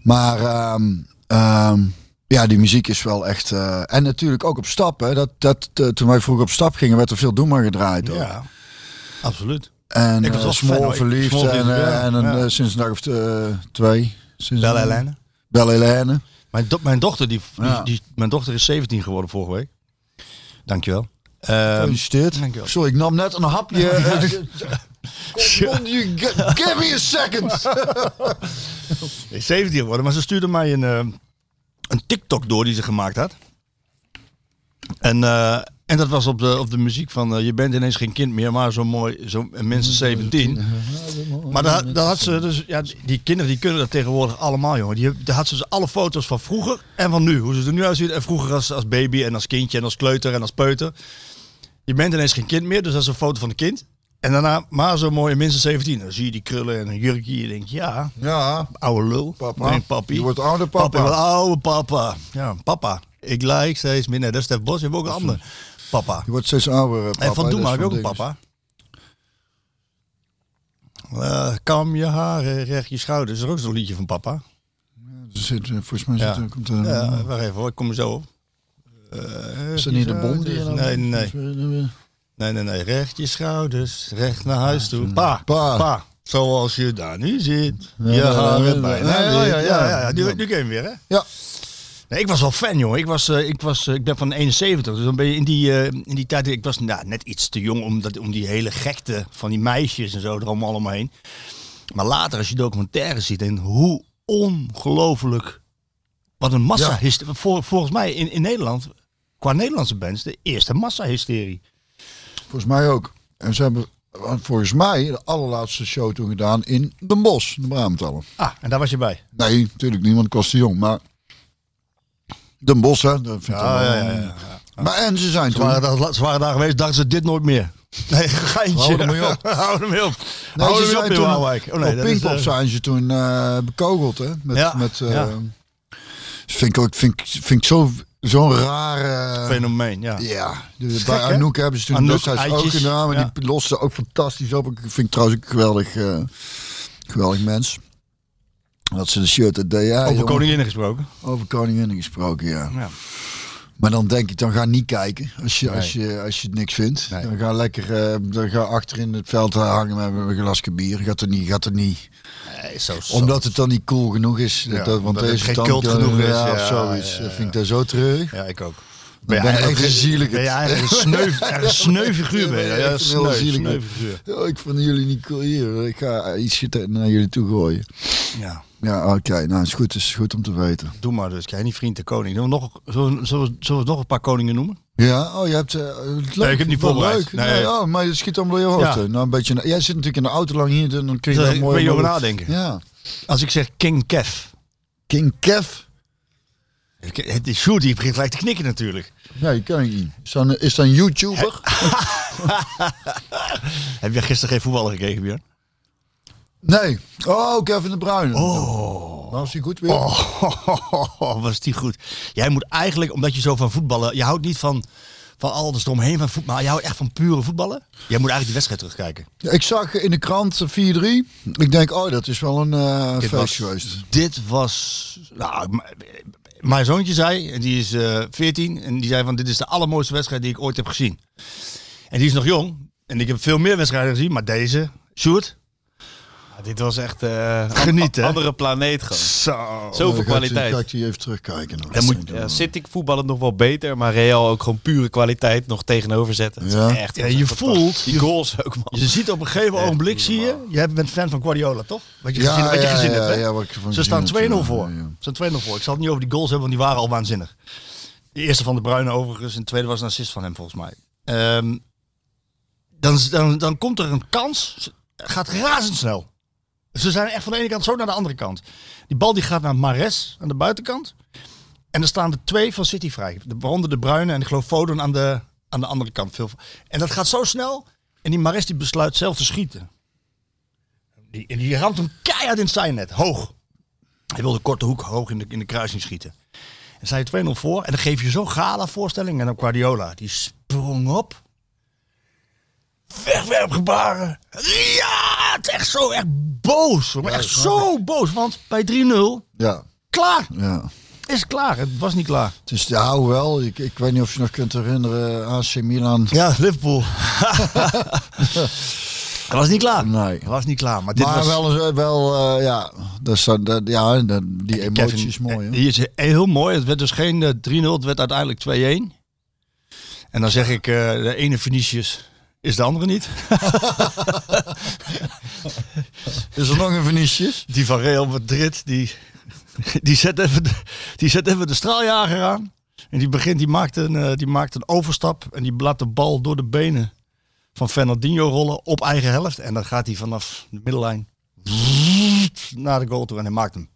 S7: Maar ehm, ehm, Ja, die muziek is wel echt. eh, en natuurlijk ook op stap. Hè. Dat, dat, eh, toen wij vroeger op stap gingen, werd er veel Doema gedraaid. Hoor.
S4: Ja, absoluut.
S7: En
S4: Ik
S7: ik
S4: was
S7: was
S4: wel fan, hoor.
S7: verliefd.
S4: Small
S7: en
S4: Verliefd,
S7: eh,
S4: ja.
S7: en een,
S4: Ja.
S7: eh, sinds een dag of eh, twee. Sinds
S4: Belle Helene.
S7: Belle Hélène.
S4: Mijn, do- mijn, dochter, die, die-
S7: Ja.
S4: die- mijn dochter is 17 geworden vorige week. Dankjewel. Ehm,
S7: Gefeliciteerd.
S4: dankjewel.
S7: Sorry, ik nam net een hapje. eh, Kom, kom, you g- give me a second.
S4: is 17 geworden, maar ze stuurde mij een, eh, een TikTok door die ze gemaakt had. En, eh, en dat was op de, op de muziek van eh, Je bent ineens geen kind meer, maar zo mooi, zo, en mensen 17. Maar daar, daar had ze dus, ja, die kinderen die kunnen dat tegenwoordig allemaal, jongen. Die, heb- daar had ze dus alle foto's van vroeger en van nu. Hoe ze er nu uitziet en vroeger als, als baby en als kindje en als kleuter en als peuter. Je bent ineens geen kind meer, dus dat is een foto van een kind. En daarna maar zo mooi en minstens 17. Dan zie je die krullen en een jurkje. Je denkt, ja,
S7: Ja,
S4: oude lul.
S7: Papa.
S4: Nee, papi.
S7: Je wordt ouder, papa.
S4: je wordt oude papa. Ja, papa. Ik lijk steeds minder. Dat is Stef Bos. Je hebt ook een ander. Papa.
S7: je wordt steeds ouder. eh, Papa,
S4: en van
S7: hè,
S4: Doe
S7: dat
S4: maar
S7: is
S4: heb je ook een
S7: dinges.
S4: papa. Eh, kam je haren, recht je schouders. Is er ook zo'n liedje van papa?
S7: Er zit, eh, volgens mij
S4: Ja.
S7: zit, er- komt er.
S4: Ja, wacht even hoor. Ik kom er zo op.
S7: Mm.
S4: Eh,
S7: is dat niet de bom die je dan- eh,
S4: Nee, nee. Nee, nee, nee. Recht je schouders. Recht naar huis toe. Pa.
S7: Pa.
S4: Pa. Zoals je daar nu zit. Je
S7: ja,
S4: haren
S7: ja, ja,
S4: bijna.
S7: ja,
S4: recht.
S7: ja, ja.
S4: Nu, nu ken je hem weer, hè?
S7: Ja.
S4: Nee, ik was wel fan, joh. Ik, was, eh, ik, was, eh, ik ben van 71, dus dan ben je in die, eh, in die tijd... Ik was nou, net iets te jong om, dat, om die hele gekte van die meisjes en zo er allemaal omheen. Maar later, als je documentaires ziet en hoe ongelooflijk... Wat een massa-hysterie. Vol- volgens mij in, in Nederland, qua Nederlandse bands, de eerste massa-hysterie.
S7: Volgens mij ook. En ze hebben eh, volgens mij de allerlaatste show toen gedaan in Den Bosch, de Braamtallen.
S4: Ah, en daar was je bij.
S7: Nee, natuurlijk niet, want ik was te jong. Maar Den Bosch, hè? Dat vind ik
S4: Ja,
S7: dan wel-
S4: ja, ja, ja.
S7: Maar en ze zijn
S4: Ze,
S7: toen...
S4: waren daar, ze waren daar geweest, dachten ze dit nooit meer. Nee, geintje.
S7: Hou er mee op.
S4: Hou er mee op.
S7: Nee,
S4: Hou
S7: ze
S4: er mee
S7: zijn
S4: op, in
S7: toen
S4: Waalwijk. Oh, nee,
S7: op
S4: dat is,
S7: Pinkpop
S4: eh,
S7: zijn ze toen eh, bekogeld, hè? Met,
S4: Ja,
S7: met, eh,
S4: ja.
S7: Vind ik ook vind ik, vind ik zo, zo'n rare...
S4: Fenomeen, ja.
S7: ja, dus
S4: Gek,
S7: bij
S4: hè?
S7: Anouk hebben ze toen
S4: Anouk,
S7: destijds ook
S4: Eitjes,
S7: gedaan. Maar
S4: ja.
S7: die losten ook fantastisch op. Ik vind ik trouwens ook een geweldig, eh, geweldig mens. Dat ze de shirt dat deed. Ja,
S4: Over
S7: jongen.
S4: koninginnen gesproken.
S7: Over koninginnen gesproken, ja.
S4: Ja.
S7: Maar dan denk ik, dan ga niet kijken als je, als je, als je het niks vindt.
S4: Nee.
S7: Dan ga lekker eh, dan ga achter in het veld eh, hangen met een glasje bier. Gaat er niet, gaat er niet.
S4: zo,
S7: Omdat het dan niet cool genoeg is. dat- dat, want
S4: omdat
S7: deze
S4: het geen
S7: dan-
S4: cult
S7: ja,
S4: genoeg is,
S7: Ja, of
S4: ja,
S7: zoiets.
S4: ja,
S7: Dat
S4: ja.
S7: vind ik daar zo terug.
S4: Ja, ik ook.
S7: ben je echt een zielig-
S4: Ben je eigenlijk een sneu, echt een sneu figuur? Ben je?
S7: Ja,
S4: Ja,
S7: echt een
S4: sneu,
S7: heel zielig-
S4: sneu figuur.
S7: Ja, ik vond jullie niet cool hier. Ik ga iets naar jullie toe gooien.
S4: Ja,
S7: Ja, oké. nou, is goed. Is goed om te weten.
S4: doe maar dus. Jij niet vriend de koning. Zullen we nog, zullen we, zullen we- zullen we nog een paar koningen noemen?
S7: Ja, oh, je hebt... eh, leuk,
S4: Nee, ik heb niet
S7: Wel
S4: voorbereid.
S7: Leuk.
S4: Nee.
S7: Nee. oh, maar je schiet allemaal door je hoofd.
S4: Ja.
S7: heen. Nou, een beetje, jij zit natuurlijk in de auto lang hier, dan kun je
S4: Zal
S7: daar
S4: ik-
S7: mooi...
S4: ben je over
S7: mooi-
S4: nadenken?
S7: Ja.
S4: Als ik zeg King Kev.
S7: King Kev.
S4: Ik- Het is Sjoerd, die begint gelijk te knikken natuurlijk.
S7: Nee, die ken ik niet. Is dat een, is dat een YouTuber?
S4: Heb jij gisteren geen voetballer gekeken, Björn?
S7: Nee. Oh, Kevin de Bruyne. Oh. Was hij goed weer?
S4: Oh, was die goed. Jij moet eigenlijk, omdat je zo van voetballen... Je houdt niet van, van alles eromheen van voetbal. Maar je houdt echt van pure voetballen. Jij moet eigenlijk die wedstrijd terugkijken.
S7: Ja, Ik zag in de krant eh, 4-3. Ik denk, oh, dat is wel een eh feest geweest.
S4: Dit was. Nou, m- mijn zoontje zei, en die is eh 14, en die zei van dit is de allermooiste wedstrijd die ik ooit heb gezien. En die is nog jong, en ik heb veel meer wedstrijden gezien, maar deze, Sjoerd,
S5: Ja, Ah, dit was echt eh
S4: Geniet, hè?
S5: een andere planeet gewoon.
S4: zo.
S7: Dan ga
S5: Zoveel
S7: ik Eh, die-
S5: kwaliteit.
S7: Ga ik die even terugkijken. nog.
S4: Dan moet-
S5: Ja, City voetballen nog wel beter, maar Real ook gewoon pure kwaliteit nog tegenover zetten. Het is
S7: Ja.
S5: Echt,
S4: Ja, je voelt,
S5: Die goals ook, man.
S4: Je ziet op een gegeven ogenblik, zie je, je bent fan van Guardiola, toch? Wat je
S7: Ja,
S4: gezien, wat je
S7: ja,
S4: gezien
S7: ja,
S4: hebt, hè?
S7: ja, wat ik ervan
S4: Ze
S7: gezien
S4: staan 2-0
S7: heb, ja,
S4: voor.
S7: ja, ja.
S4: Ze staan 2-0 voor. Ik zal het niet over die goals hebben, want die waren al waanzinnig. De eerste van de Bruyne overigens, en de tweede was een assist van hem volgens mij. Ehm, dan, dan, dan komt er een kans, Ze- gaat razendsnel. Ze zijn echt van de ene kant zo naar de andere kant. Die bal die gaat naar Mares aan de buitenkant. En er staan er twee van City vrij. De, waaronder de Bruine en ik geloof Foden aan de, aan de andere kant. Veel- En dat gaat zo snel. En die Mares die besluit zelf te schieten. Die, en die ramt hem keihard in het zijnet. Hoog. Hij wil de korte hoek hoog in de, in de kruising schieten. En sta je 2-0 voor. En dan geef je zo'n gala voorstelling. En dan Guardiola. Die sprong op. Wegwerpgebaren. Ja! Het is echt zo echt boos. hoor. Maar echt zo boos. Want bij 3-0.
S7: Ja,
S4: Klaar.
S7: ja.
S4: is klaar. Het was niet klaar.
S7: Dus ja, hoewel, ik, ik weet niet of je nog kunt herinneren, AC Milan.
S4: Ja, Liverpool. het was niet klaar.
S7: Nee.
S4: Het was niet klaar. Maar dit
S7: maar
S4: was
S7: wel, wel eh, ja, dus, dat- dat- ja, dat- die
S4: Kevin,
S7: emotie is mooi.
S4: eh,
S7: Hè?
S4: Die is heel mooi. Het werd dus geen eh, 3-0, het werd uiteindelijk 2-1. En dan zeg ik, eh, de ene Venetius is de andere niet.
S7: Is er nog een verniesje?
S4: Die van Real Madrid, die, die, zet even de, die zet even de straaljager aan. En die begint, die maakt een, eh, die maakt een overstap. En die laat de bal door de benen van Fernandinho rollen op eigen helft. En dan gaat hij vanaf de middenlijn naar de goal toe. En hij maakt hem.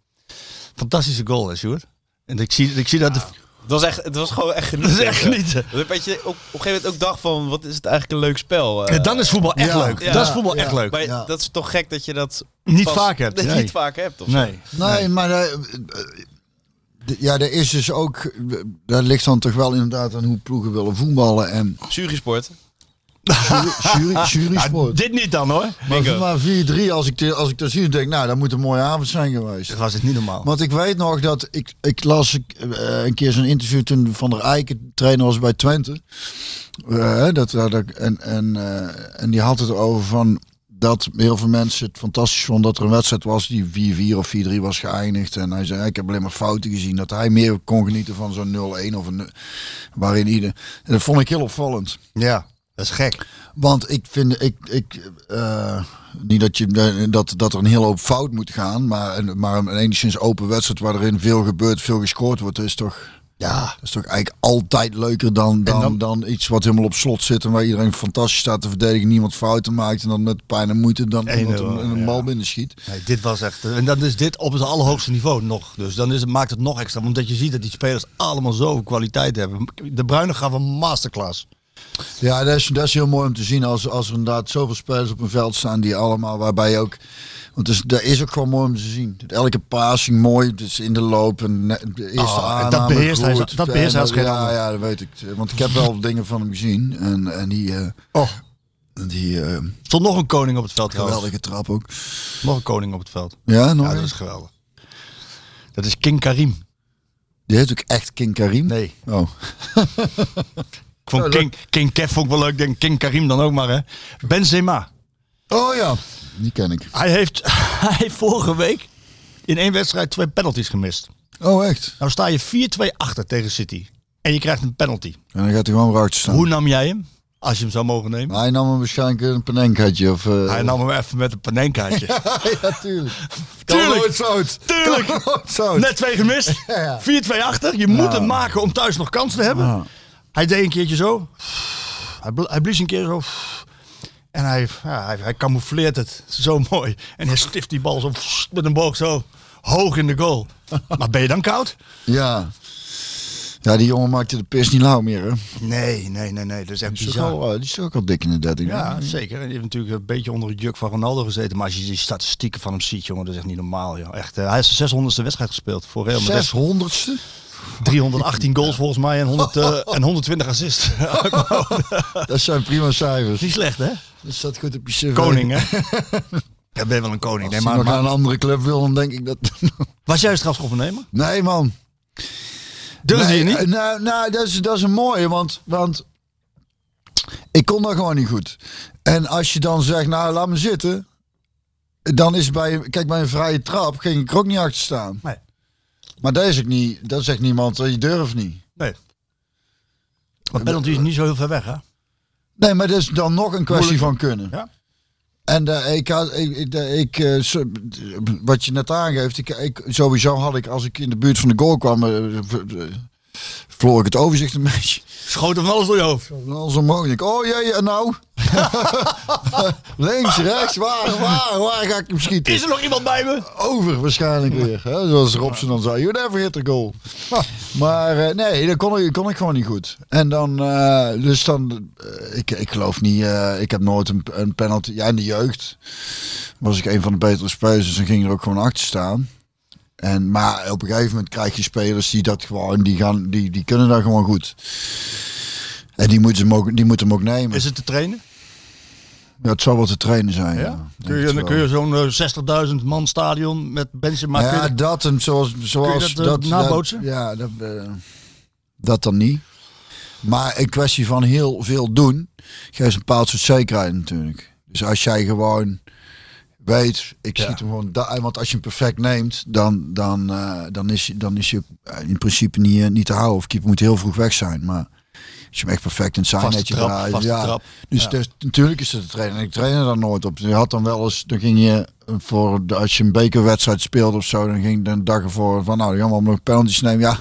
S4: Fantastische goal, hè, Sjoerd? En ik zie, ik zie dat... de-
S5: Het was, echt, het was gewoon echt
S4: dat
S5: genieten.
S4: is echt genieten.
S5: Dat ik je op, op een gegeven moment ook dacht van, wat is het eigenlijk een leuk spel. eh.
S4: Ja, dan is voetbal echt
S7: ja,
S4: leuk.
S5: ja,
S4: dat is voetbal
S7: ja.
S4: echt leuk.
S5: maar
S7: ja.
S5: dat is toch gek dat je dat
S4: niet
S5: pas-
S4: vaak hebt.
S5: dat je
S4: nee.
S5: niet vaak hebt. Of zo.
S4: nee.
S7: Nee, maar eh, eh, d- ja, er is dus ook, daar ligt dan toch wel inderdaad aan hoe ploegen willen voetballen en
S5: Jurysport.
S7: jury, jury,
S4: Ja,
S7: jurysport.
S4: dit niet dan hoor.
S7: Maar,
S5: Bingo.
S7: maar 4-3, als ik, de- als ik dat zie, denk ik, nou, dat moet een mooie avond zijn geweest.
S4: Dat was het niet normaal.
S7: Want ik weet nog dat ik, ik las ik, eh, een keer zo'n interview toen Van der Eycken trainer was bij Twente. Eh, dat, dat, ik- en, en, eh, en die had het erover van dat heel veel mensen het fantastisch vonden dat er een wedstrijd was die 4-4 of 4-3 was geëindigd. En hij zei, ik heb alleen maar fouten gezien. Dat hij meer kon genieten van zo'n 0-1 of een... Waarin ieder... En dat vond ik heel opvallend.
S4: ja, dat is gek.
S7: Want ik vind, ik, ik, eh, niet dat, je, dat, dat er een hele hoop fout moet gaan, maar, een- maar een enigszins open wedstrijd waarin veel gebeurt, veel gescoord wordt, is toch,
S4: Ja.
S7: is toch eigenlijk altijd leuker dan, dan, dan,
S4: dan-
S7: iets wat helemaal op slot zit en waar iedereen fantastisch staat te verdedigen, niemand fouten maakt en dan met pijn en moeite dan iemand
S4: 1-0,
S7: een, een
S4: ja.
S7: bal binnen schiet.
S4: Nee, dit was echt. eh, En dan is dit op het allerhoogste niveau nog. Dus dan is het, maakt het nog extra. Omdat je ziet dat die spelers allemaal zoveel kwaliteit hebben. De Bruyne gaf een masterclass.
S7: Ja, dat is, dat is heel mooi om te zien als, als er inderdaad zoveel spelers op een veld staan die allemaal waarbij je ook. Want dus, dat is ook gewoon mooi om te zien. Elke passing mooi, dus in de loop en ne- de eerste
S4: Oh, en
S7: aanname
S4: dat beheerst hij-
S7: goed.
S4: dat beheerst hij als
S7: En
S4: geen
S7: ja,
S4: ander.
S7: ja, dat weet ik. Want ik heb wel dingen van hem gezien en, en die, eh,
S4: Oh.
S7: die eh,
S4: Er stond nog een koning op het veld. trouwens.
S7: geweldige trap ook.
S4: Nog een koning op het veld.
S7: Ja, nog
S4: Ja, dat
S7: een?
S4: is geweldig. Dat is King Karim.
S7: Die heet ook echt King Karim.
S4: Nee.
S7: Oh.
S4: Ik vond King, King Kev vond ik wel leuk. Ik Denk King Karim dan ook maar, hè? Benzema.
S7: oh ja, die ken ik.
S4: Hij heeft, hij heeft vorige week in één wedstrijd twee penalties gemist.
S7: Oh echt?
S4: Nou sta je 4-2 achter tegen City. En je krijgt een penalty.
S7: En dan gaat hij gewoon eruit staan.
S4: Hoe nam jij hem? Als je hem zou mogen nemen.
S7: Hij nam hem waarschijnlijk een panenkaatje of. Nou, eh,
S4: Hij nam hem even met een panenkaartje.
S7: ja, tuurlijk.
S4: Tuurlijk.
S7: Kan nooit zout.
S4: Tuurlijk.
S7: Kan nooit zout.
S4: Oh, Net twee gemist. 4-2 achter. Je moet hem maken om thuis nog kans te hebben. Hij deed een keertje zo. Hij, bl- hij blies een keer zo. En hij, ja, hij, hij camoufleert het zo mooi. En hij stift die bal zo met een boog zo hoog in de goal. Maar ben je dan koud?
S7: Ja. Ja, die jongen maakte de pis niet lauw meer, hè?
S4: Nee, nee, nee, nee. Dat is echt
S7: Die is,
S4: bizar.
S7: ook al, eh, die is ook al dik in de 13.
S4: Ja, zeker. En die heeft natuurlijk een beetje onder het juk van Ronaldo gezeten. Maar als je die statistieken van hem ziet, jongen, dat is echt niet normaal. Joh. Echt, eh, hij is de 600ste wedstrijd gespeeld voor Real Madrid.
S7: 600ste?
S4: 318 goals volgens mij en, 100, eh, en 120 assists.
S7: Dat zijn prima cijfers.
S4: niet slecht, hè?
S7: Dat staat goed op je cv.
S4: Koning, hè? Ja, ben je wel een koning.
S7: Als hij
S4: Nee, maar,
S7: nog naar
S4: maar-
S7: een andere club wil, dan denk ik dat...
S4: was jij een strafschopvernemer?
S7: nee, man.
S4: Durfde
S7: nee,
S4: je niet?
S7: eh, Nou, nou dat, is, dat is een mooie, want, want ik kon dat gewoon niet goed. En als je dan zegt, nou, laat me zitten... Dan is bij, kijk, bij een vrije trap ging ik er ook niet achter staan.
S4: Nee.
S7: Maar dat is ook niet, dat zegt niemand, eh, je durft niet.
S4: Nee. Maar penalty is niet zo heel ver weg, hè?
S7: Nee, maar dat is dan nog een kwestie van kunnen.
S4: Ja.
S7: En eh, ik, had- ik, ik, eh, ik, eh, zo- wat je net aangeeft, ik, ik, sowieso had ik als ik in de buurt van de goal kwam, eh, v- eh, verloor ik het overzicht een beetje.
S4: Schoot hem alles door je hoofd.
S7: En Alles omhoog. Ik, oh jee, en nou? Links, rechts, waar, waar, waar ga ik hem schieten?
S4: Is er nog iemand bij me?
S7: over waarschijnlijk weer. Hè? Zoals Robson dan zei, you never hit a goal. Maar eh, nee, dat kon ik, kon ik gewoon niet goed. En dan, eh, dus dan, eh, ik, ik geloof niet, eh, ik heb nooit een, een penalty. Ja, in de jeugd was ik een van de betere spelers, dus dan ging er ook gewoon achter staan. En, maar op een gegeven moment krijg je spelers die dat gewoon, die, gaan, die, die kunnen daar gewoon goed. En die moeten hem ook, die moeten hem ook nemen.
S4: Is het te trainen?
S7: Ja, het zou wel te trainen zijn. Ja?
S4: Kun je, dan kun je zo'n eh, 60.000 man stadion met Benzema...
S7: ja,
S4: kun je-
S7: dat en zoals, zoals
S4: dat, eh, nabootsen?
S7: ja, dat, eh, dat dan niet. Maar een kwestie van heel veel doen geeft een bepaald soort zekerheid natuurlijk. Dus als jij gewoon weet, ik
S4: Ja.
S7: schiet hem gewoon daar. Want als je hem perfect neemt, dan, dan, eh, dan, is, je- dan is je eh, in principe niet, eh, niet te houden. Of keeper moet heel vroeg weg zijn. Maar als je hem echt perfect in het zijn
S4: Vaste
S7: netje
S4: trap,
S7: draait,
S4: vaste
S7: ja.
S4: trap.
S7: Dus
S4: Ja.
S7: het is- natuurlijk is het te trainen. En ik train er dan nooit op. Je had dan wel eens, dan ging je eh, voor, de- als je een bekerwedstrijd speelde of zo, dan ging de dag ervoor van, nou, dan gaan we allemaal nog penalties nemen. Ja,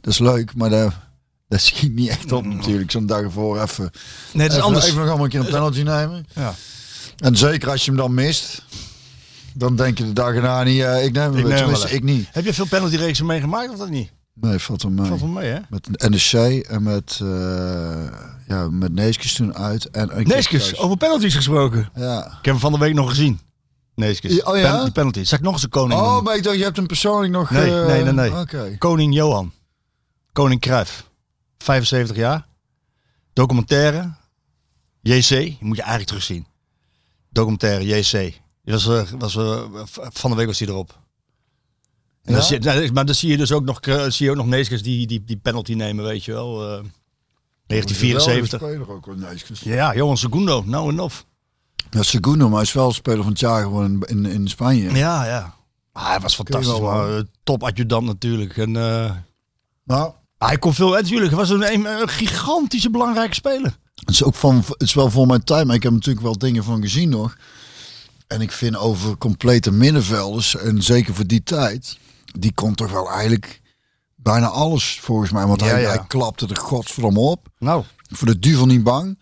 S7: dat is leuk, maar dat, dat schiet niet echt
S4: Mm.
S7: op natuurlijk. Zo'n dag ervoor even,
S4: Nee, het is
S7: even,
S4: anders.
S7: even nog allemaal een keer een penalty nemen.
S4: Ja.
S7: En zeker als je hem dan mist, dan denk je de dag erna niet, eh, ik neem hem
S4: neem
S7: weer.
S4: hem
S7: Tenminste,
S4: wel.
S7: ik niet.
S4: Heb je veel penaltyreeksen meegemaakt of dat niet?
S7: Nee, valt hem mee.
S4: Valt wel mee, hè?
S7: Met NEC en met, eh ja, met Neeskens toen uit. En een keer
S4: Neeskens, Oh.
S7: thuis.
S4: over penalties gesproken.
S7: Ja.
S4: Ik heb hem van de week nog gezien. Neeskens.
S7: Ja, oh ja?
S4: Pen- die penalty. Zag ik nog eens een koning
S7: Oh,
S4: noemen.
S7: maar ik dacht, je hebt hem persoonlijk nog...
S4: Nee,
S7: eh,
S4: nee, nee, nee.
S7: Oké.
S4: Koning Johan. Koning Cruijff. 75 jaar. Documentaire. JC. Die moet je eigenlijk terugzien. Documentaire JC. Die was, eh, was, eh, v- van de week was hij erop. En
S7: Ja?
S4: dan zie, nou, maar dan zie je dus ook nog, eh, zie je ook nog Neeskens die, die, die penalty nemen, weet je wel. eh, 1974.
S7: Geweldige speler ook, hoor, Neeskens.
S4: Ja, Johan Segundo. Nou en of.
S7: Ja, Segundo, maar hij is wel speler van het jaar gewoon in, in Spanje.
S4: Ja, ja. Ah, hij was fantastisch.
S7: wel,
S4: maar,
S7: hoor.
S4: eh, top adjudant natuurlijk. En, eh,
S7: Nou,
S4: Ah, hij kon veel. En natuurlijk, hij was een, een, een gigantische belangrijke speler.
S7: het is ook van... Het is wel voor mijn tijd, maar ik heb natuurlijk wel dingen van gezien nog. En ik vind over complete middenvelders, en zeker voor die tijd... Die kon toch wel eigenlijk bijna alles, volgens mij. Want
S4: Ja,
S7: hij,
S4: ja.
S7: hij klapte er godsverdomme op.
S4: Nou.
S7: Voor de duivel niet bang.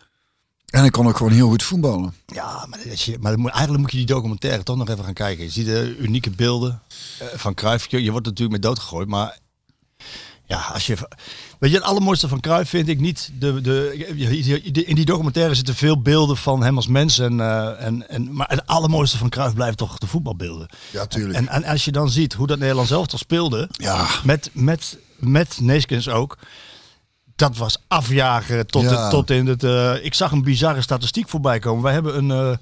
S7: En hij kon ook gewoon heel goed voetballen.
S4: Ja, maar, dat je, maar dat moet- eigenlijk moet je die documentaire toch nog even gaan kijken. Je ziet de unieke beelden eh, van Cruijff. Je, je wordt er natuurlijk mee doodgegooid, maar... Ja, als je... Weet je, het allermooiste van Cruijff vind ik niet de... de je- je- je- in die documentaire zitten veel beelden van hem als mens. En, eh, en, en, maar het allermooiste van Cruijff blijft toch de voetbalbeelden.
S7: Ja, tuurlijk.
S4: En, en als je dan ziet hoe dat Nederland zelf toch speelde...
S7: ja.
S4: Met, met, met Neeskens ook. Dat was afjagen tot,
S7: Ja.
S4: het- tot in het... eh, ik zag een bizarre statistiek voorbij komen. Wij hebben een, eh,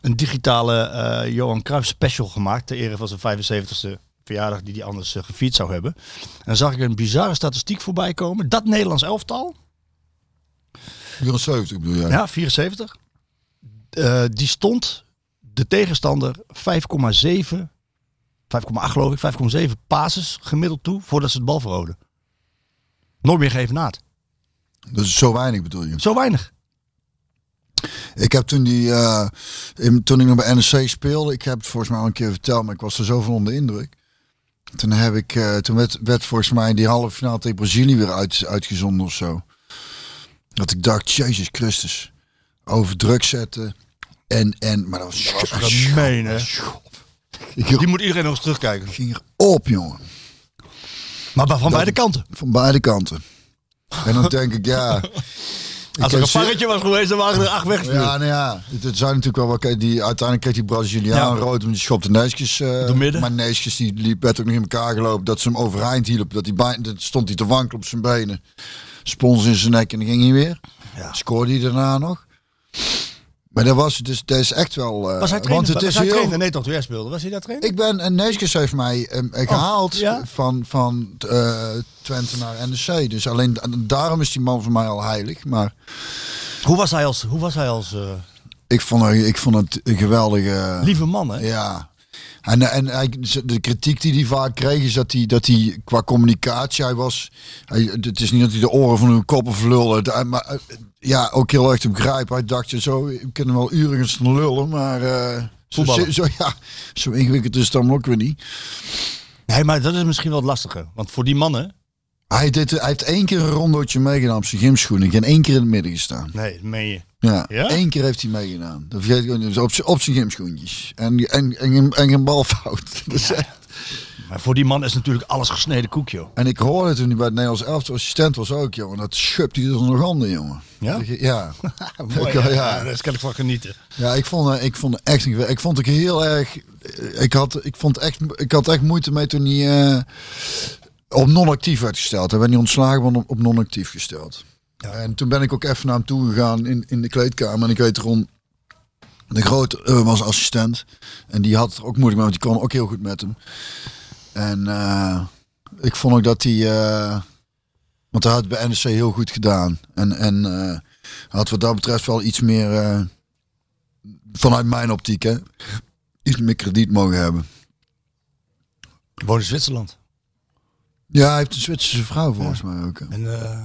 S4: een digitale eh, Johan Cruijff special gemaakt. Ter ere van zijn 75ste verjaardag die hij anders eh, gevierd zou hebben. En dan zag ik een bizarre statistiek voorbij komen. Dat Nederlands elftal,
S7: 74 bedoel jij?
S4: ja, 74. eh, die stond de tegenstander 5,7... 5,8 geloof ik, 5,7 passes gemiddeld toe voordat ze het bal verhouden. Nooit meer geven naad.
S7: Dat is zo weinig bedoel je.
S4: Zo weinig.
S7: Ik heb toen die, eh, in- toen ik nog bij NEC speelde, ik heb het volgens mij al een keer verteld, maar ik was er zo van onder de indruk. Toen, heb ik, eh, toen werd, werd volgens mij die halve finale tegen Brazilië weer uit, uitgezonden of zo. Dat ik dacht, Jezus Christus, over druk zetten. En, en, maar dat was, dat
S4: Ah, Gemeen, hè? Die moet iedereen nog eens terugkijken.
S7: ging er op, jongen.
S4: Maar van beide kanten.
S7: Van beide kanten. En dan denk ik, ja.
S4: Als
S7: Ik
S4: er
S7: heb
S4: een
S7: ze-
S4: varretje was geweest, dan waren er acht weggestuurd.
S7: Ja, nou ja, het, het zijn natuurlijk wel wat. kijk, Die, uiteindelijk kreeg die Braziliaan
S4: Ja.
S7: rood, om die schopte neusjes. eh,
S4: Door midden.
S7: Maar neusjes die liep, werd ook nog in elkaar gelopen. Dat ze hem overeind hielp. Dat, die bij, dat stond hij te wankelen op zijn benen. Spons in zijn nek en dan ging hij weer.
S4: Ja.
S7: Scoorde hij daarna nog. Maar dat was dus, dat is echt wel. eh,
S4: Was hij
S7: want
S4: trainer?
S7: het
S4: was
S7: is
S4: hij
S7: heel.
S4: trainer? Nee, toch, toen jij speelde. Was hij daar trainer?
S7: Ik ben, en Neeskens heeft mij eh, gehaald
S4: Oh, ja?
S7: van, van eh, Twente naar NEC. Dus alleen da- daarom is die man voor mij al heilig. Maar
S4: Hoe was hij als... Hoe was hij als eh,
S7: ik vond, hem- ik vond het een geweldige...
S4: lieve man, hè?
S7: Ja. En, en hij, de kritiek die hij vaak kreeg is dat hij, dat hij qua communicatie, hij was, hij, het is niet dat hij de oren van hun koppen verlulde, Hij- maar eh, ja, ook heel erg te begrijpen. Hij dacht, je zo, we kunnen wel uren gaan staan lullen, maar eh, zo,
S4: Voetballen.
S7: zo, ja, zo ingewikkeld is het dan ook weer niet.
S4: Nee, maar dat is misschien wel het lastige. Want voor die mannen...
S7: Hij, deed, hij heeft één keer een rondootje meegedaan op zijn gymschoenen en één keer in het midden gestaan.
S4: Nee, dat meen je.
S7: Ja,
S4: Ja?
S7: één keer heeft hij meegedaan. Dat vergeet ik ook niet. Dus op zijn- op zijn gymschoentjes en, en, en, en geen balfout. Dat is echt-
S4: Maar voor die man is natuurlijk alles gesneden koek, joh.
S7: En ik hoorde toen hij bij het Nederlands elftal assistent was ook, jongen. Dat schupt hij er nog onder, jongen.
S4: Ja?
S7: Dat je- Ja.
S4: Mooi,
S7: Ik, ja.
S4: hè? Ja, Daar kan ik van genieten.
S7: Ja, ik vond, eh, ik vond het echt... niet- Ik vond het heel erg... eh, Ik had, ik vond echt, ik had echt moeite mee toen hij eh, op non-actief werd gesteld. Hij werd niet ontslagen, maar op non-actief gesteld. En toen ben ik ook even naar hem toe gegaan in, in de kleedkamer. En ik weet erom... De Groot eh, was assistent. En die had het ook moeilijk, maar die kwam ook heel goed met hem. En eh, ik vond ook dat hij... eh, want hij had het bij NEC heel goed gedaan. En, en eh, had wat dat betreft wel iets meer... eh, vanuit mijn optiek, hè. Iets meer krediet mogen hebben.
S4: Woon in Zwitserland.
S7: Ja, hij heeft een Zwitserse vrouw volgens mij ook. hè.
S4: En eh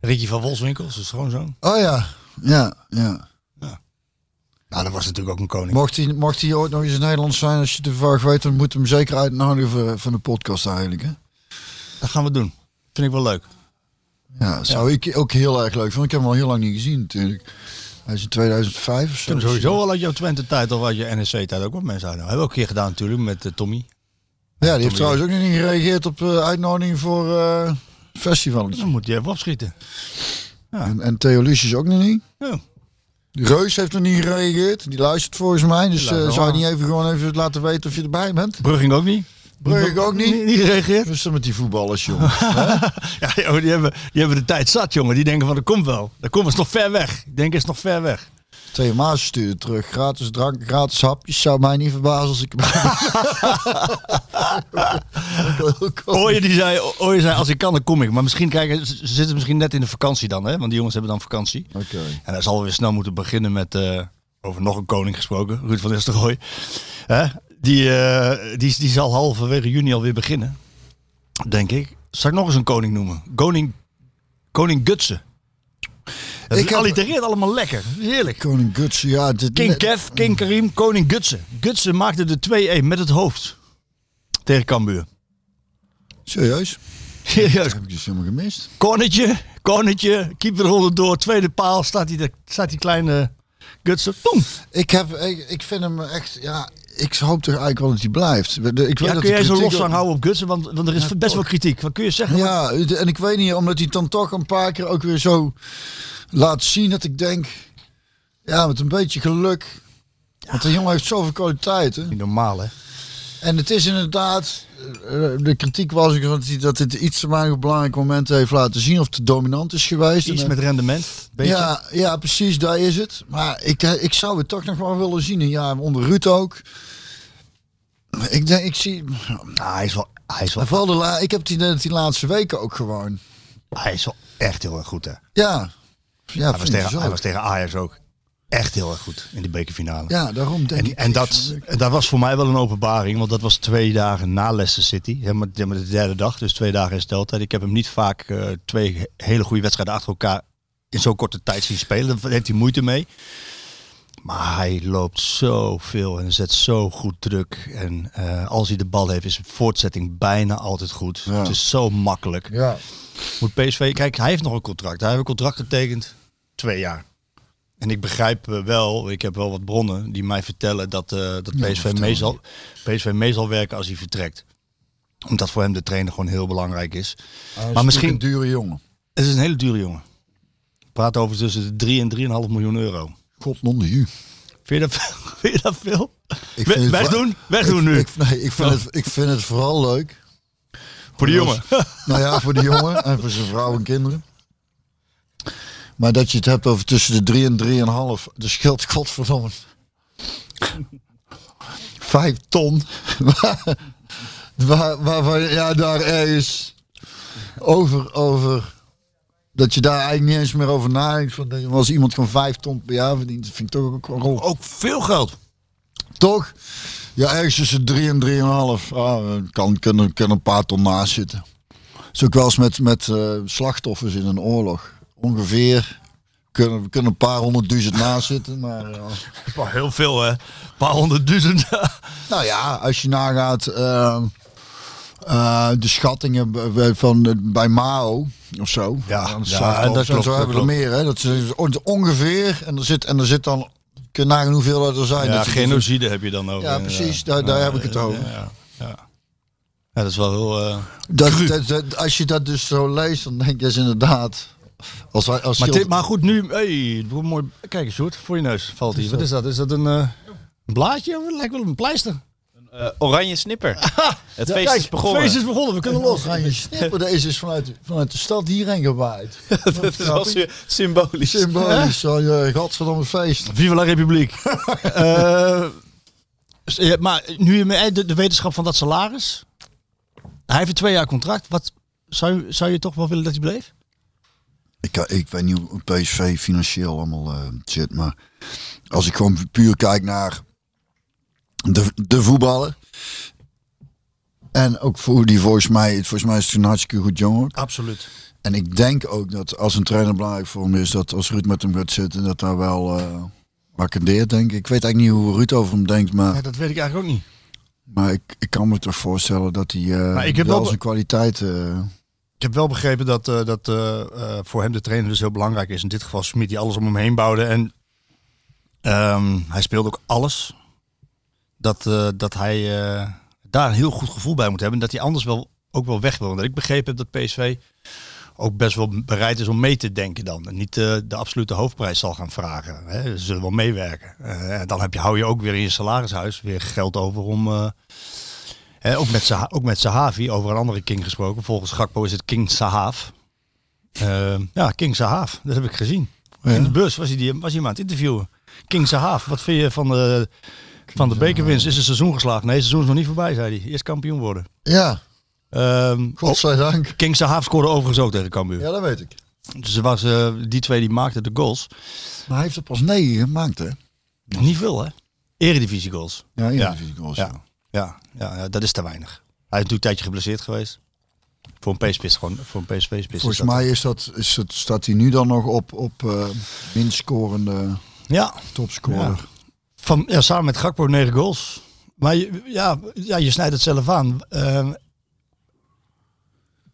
S4: Ricky van Wolfswinkel, zijn schoonzoon.
S7: Oh ja, ja, ja.
S4: Nou, dat was natuurlijk ook een koning.
S7: Mocht hij, mocht hij ooit nog eens in Nederland zijn, als je de vraag weet, dan moet hem zeker uitnodigen voor- van de podcast eigenlijk. Hè?
S4: dat gaan we doen. Vind ik wel leuk.
S7: Ja, dat zou ik ook heel erg leuk vinden. Ik heb hem al heel lang niet gezien natuurlijk. Hij is in 2005 of
S4: Ik
S7: zo.
S4: heb sowieso al uit jouw Twente-tijd of uit je NSC-tijd ook wat mensen uit. Hebben we ook een keer gedaan natuurlijk met eh, Tommy.
S7: Ja, die heeft trouwens ook nog niet gereageerd op eh uitnodiging voor eh, festivals.
S4: Dan moet je even opschieten.
S7: En, en Theo Lucius ook nog niet.
S4: Ja.
S7: Reus heeft nog niet gereageerd. Die luistert volgens mij. Dus eh,
S4: luistert
S7: zou je
S4: wel.
S7: niet even gewoon even laten weten of je erbij bent?
S4: Brugging ook niet.
S7: Brugge ook niet.
S4: Niet gereageerd.
S7: Dus dan met die voetballers, jongen.
S4: Ja, joh, die, hebben, die hebben de tijd zat, jongen. Die denken van, dat komt wel. Dat komt is nog ver weg. Ik denk, is nog ver weg.
S7: Twee Maas stuurde terug. Gratis drank, gratis hapjes. Zou mij niet verbazen als ik
S4: Ooie, die zei, Ooie zei, als ik kan, dan kom ik. Maar misschien, kijk, ze ze zitten misschien net in de vakantie dan, hè? Want die jongens hebben dan vakantie.
S7: Oké.
S4: En dan zal we weer snel moeten beginnen met, eh, over nog een koning gesproken, Ruud van Nistelrooy. Hè? Die, eh, die, die zal halverwege juni alweer beginnen, denk ik. Zal ik nog eens een koning noemen? Koning, koning Gutsen. Dat
S7: Ik
S4: ik
S7: heb-
S4: allitereert allemaal lekker. Heerlijk.
S7: Koning Guts, ja. Dit
S4: King Kev, King Karim, Koning Gutsen. Gutsen maakte de 2-1 met het hoofd tegen Cambuur.
S7: Serieus?
S4: Serieus,
S7: Dat heb ik dus helemaal gemist.
S4: Kornetje, Kornetje, keeper eronder door, tweede paal, staat die, de- staat die kleine Gutsen. Boom.
S7: Ik, heb, ik, ik vind hem echt, ja, ik hoop toch eigenlijk wel dat hij blijft. Ik weet
S4: Ja,
S7: dat
S4: kun
S7: de
S4: jij zo
S7: kritiek
S4: los
S7: op-
S4: aan houden op Gutsen, want, want er is best wel kritiek. Wat kun je zeggen?
S7: Ja, de- en ik weet niet, omdat hij het dan toch een paar keer ook weer zo laat zien dat ik denk, ja, met een beetje geluk. Want de jongen heeft zoveel kwaliteiten.
S4: Niet normaal, hè?
S7: En het is inderdaad, eh, de kritiek was ook dat hij dat het iets te weinig belangrijke momenten heeft laten zien of te dominant is geweest. En,
S4: Iets
S7: eh,
S4: met rendement. Beetje.
S7: nou- Ja, ja, precies, daar is het. Maar ik, eh, ik zou het toch nog wel willen zien. Een jaar onder Ruud ook. Ik denk, ik zie.
S4: Nou, hij, is wel, hij, is wel,
S7: En Vooral de la, ik heb het idee dat die laatste weken ook gewoon.
S4: hij is wel echt heel erg goed, hè?
S7: Ja. Ja,
S4: Hij was,
S7: vind ik
S4: tegen,
S7: zo.
S4: hij was tegen Ajax ook echt heel erg goed in die bekerfinale.
S7: ja daarom denk
S4: En,
S7: ik.
S4: en dat, dat was voor mij wel een openbaring, want dat was twee dagen na Leicester City. Hè, maar, ja, maar de derde dag, dus twee dagen hersteltijd. Ik heb hem niet vaak eh, twee he- hele goede wedstrijden achter elkaar in zo'n korte tijd zien spelen. Daar heeft hij moeite mee. Maar hij loopt zoveel en zet zo goed druk. En eh, als hij de bal heeft, is de voortzetting bijna altijd goed. Het is zo makkelijk.
S7: Ja.
S4: Moet PSV, kijk, hij heeft nog een contract. Hij heeft een contract getekend, twee jaar. En ik begrijp eh, wel, ik heb wel wat bronnen die mij vertellen dat, eh, dat PSV, mee zal, PSV mee zal werken als hij vertrekt. Omdat voor hem de trainer gewoon heel belangrijk is. maar misschien,
S7: Een dure jongen.
S4: het is een hele dure jongen. Ik praat over tussen de 3 en 3,5 miljoen euro.
S7: God, non de ju.
S4: Vind je dat, veel? vind je dat veel?
S7: Ik
S4: We-
S7: vind het
S4: wegdoen,
S7: wel-
S4: wegdoen
S7: ik-
S4: nu.
S7: Ik, nee, ik, vind
S4: Ja.
S7: het, ik vind het vooral leuk.
S4: Voor die jongen.
S7: Nou ja, voor de jongen en voor zijn vrouw en kinderen. Maar dat je het hebt over tussen de 3 en 3,5, dat scheelt godverdomme. Vijf ton. Waar- waar- Waarvan ja, daar ergens over, over. Dat je daar eigenlijk niet eens meer over nadenkt. Van, dat je- Als iemand gewoon vijf ton per jaar verdient, dat vind ik toch ook wel rol.
S4: Ook veel geld.
S7: Toch? Ja, ergens tussen 3 en 3,5. Ah, kan, kunnen, kunnen een paar ton naast zitten. Is ook wel eens met, met eh, slachtoffers in een oorlog. Ongeveer kunnen, kunnen een paar honderdduizend naast zitten. Maar, eh, ja.
S4: Maar heel veel, hè? Een paar honderdduizend.
S7: nou ja, als je nagaat eh, eh, de schattingen b- b- van, eh, bij Mao of zo.
S4: Ja,
S7: Aan de
S4: ja,
S7: slachtoffers
S4: dat
S7: en
S4: klopt,
S7: zo
S4: dat
S7: hebben we er
S4: klopt.
S7: meer. Hè? Dat is on- ongeveer. En er zit, en er zit dan... Kun je nagaan hoeveel er zijn.
S4: Ja,
S7: Dat je- dus-
S4: genocide heb je dan ook.
S7: Ja, precies. Daar, daar heb ik het over.
S4: Ja, ja. ja, dat is wel heel... eh,
S7: Dat, dat- dat- als je dat dus zo leest, dan denk je dus inderdaad. Als, hij- als
S4: Maar,
S7: Schild-
S4: dit- maar goed, nu. Hey, doe een mooi. Kijk eens, Sjoerd, voor je neus valt hier. Wat is dat? Is dat een, eh, een blaadje? Het lijkt wel een pleister.
S5: Een Eh, oranje snipper. het feest is begonnen.
S7: Het feest is begonnen, we kunnen los. Gaan je snippen. Deze is vanuit, vanuit de stad hierheen gewaaid.
S5: dat is wel sy- symbolisch.
S7: Symbolisch, zo, je godverdomme feest.
S4: Viva la Republiek. Eh, s- ja, maar nu je me- eh, de, de wetenschap van dat salaris. Hij heeft een twee jaar contract. Wat, zou, je- zou je toch wel willen dat hij bleef?
S7: Ik, kan- ik weet niet hoe PSV financieel allemaal eh, zit, maar als ik gewoon puur kijk naar de, de voetballer. En ook voor hoe die volgens mij, volgens mij is het een hartstikke goed jongen.
S4: Absoluut.
S7: En ik denk ook dat als een trainer belangrijk voor hem is, dat als Ruud met hem gaat zitten, dat daar wel eh accendeert, denk ik. Ik weet eigenlijk niet hoe Ruud over hem denkt, maar,
S4: dat weet ik eigenlijk ook niet.
S7: maar ik, ik kan me toch voorstellen dat hij eh,
S4: Maar ik heb wel
S7: wel
S4: be-
S7: zijn kwaliteit... eh,
S4: Ik heb wel begrepen dat, eh, dat eh, eh, voor hem de trainer dus heel belangrijk is. In dit geval Smit die alles om hem heen bouwde. En ehm, hij speelde ook alles. Dat, eh, dat hij eh, daar een heel goed gevoel bij moet hebben. En dat hij anders wel, ook wel weg wil. Omdat ik begrepen heb dat PSV ook best wel bereid is om mee te denken dan. En niet eh, de absolute hoofdprijs zal gaan vragen. Hè. Ze zullen wel meewerken. Eh, en dan heb je, hou je ook weer in je salarishuis weer geld over om... eh, Hè, ook, met Saha- ook met Sahavi, over een andere King gesproken. Volgens Gakpo is het King Sahaaf. Ehm, ja, King Sahaaf, dat heb ik gezien. In de bus was hij, die, was hij hem aan het interviewen. King Sahaaf, wat vind je van de, van de bekerwinst? Is het seizoen geslaagd? Nee, het seizoen is nog niet voorbij, zei hij. Eerst kampioen worden.
S7: ja,
S4: Ehm,
S7: godzijdank.
S4: King Sahaaf scoorde overigens ook tegen Cambuur.
S7: Ja, dat weet ik.
S4: Dus er was, eh, die twee die maakten de goals.
S7: Maar hij heeft er pas negen gemaakt, hè?
S4: Niet veel, hè? Eredivisie goals.
S7: Ja,
S4: Ja.
S7: ja. goals.
S4: Ja. Ja, ja, ja, dat is te weinig. Hij is natuurlijk een tijdje geblesseerd geweest. Voor een PSV gewoon, voor een PSV-spits.
S7: Volgens mij is dat, is het, staat hij nu dan nog op, op eh minst scorende
S4: Ja,
S7: topscorer.
S4: Van, ja, samen met Gakpo negen goals. Maar je, ja, ja, je snijdt het zelf aan. Eh,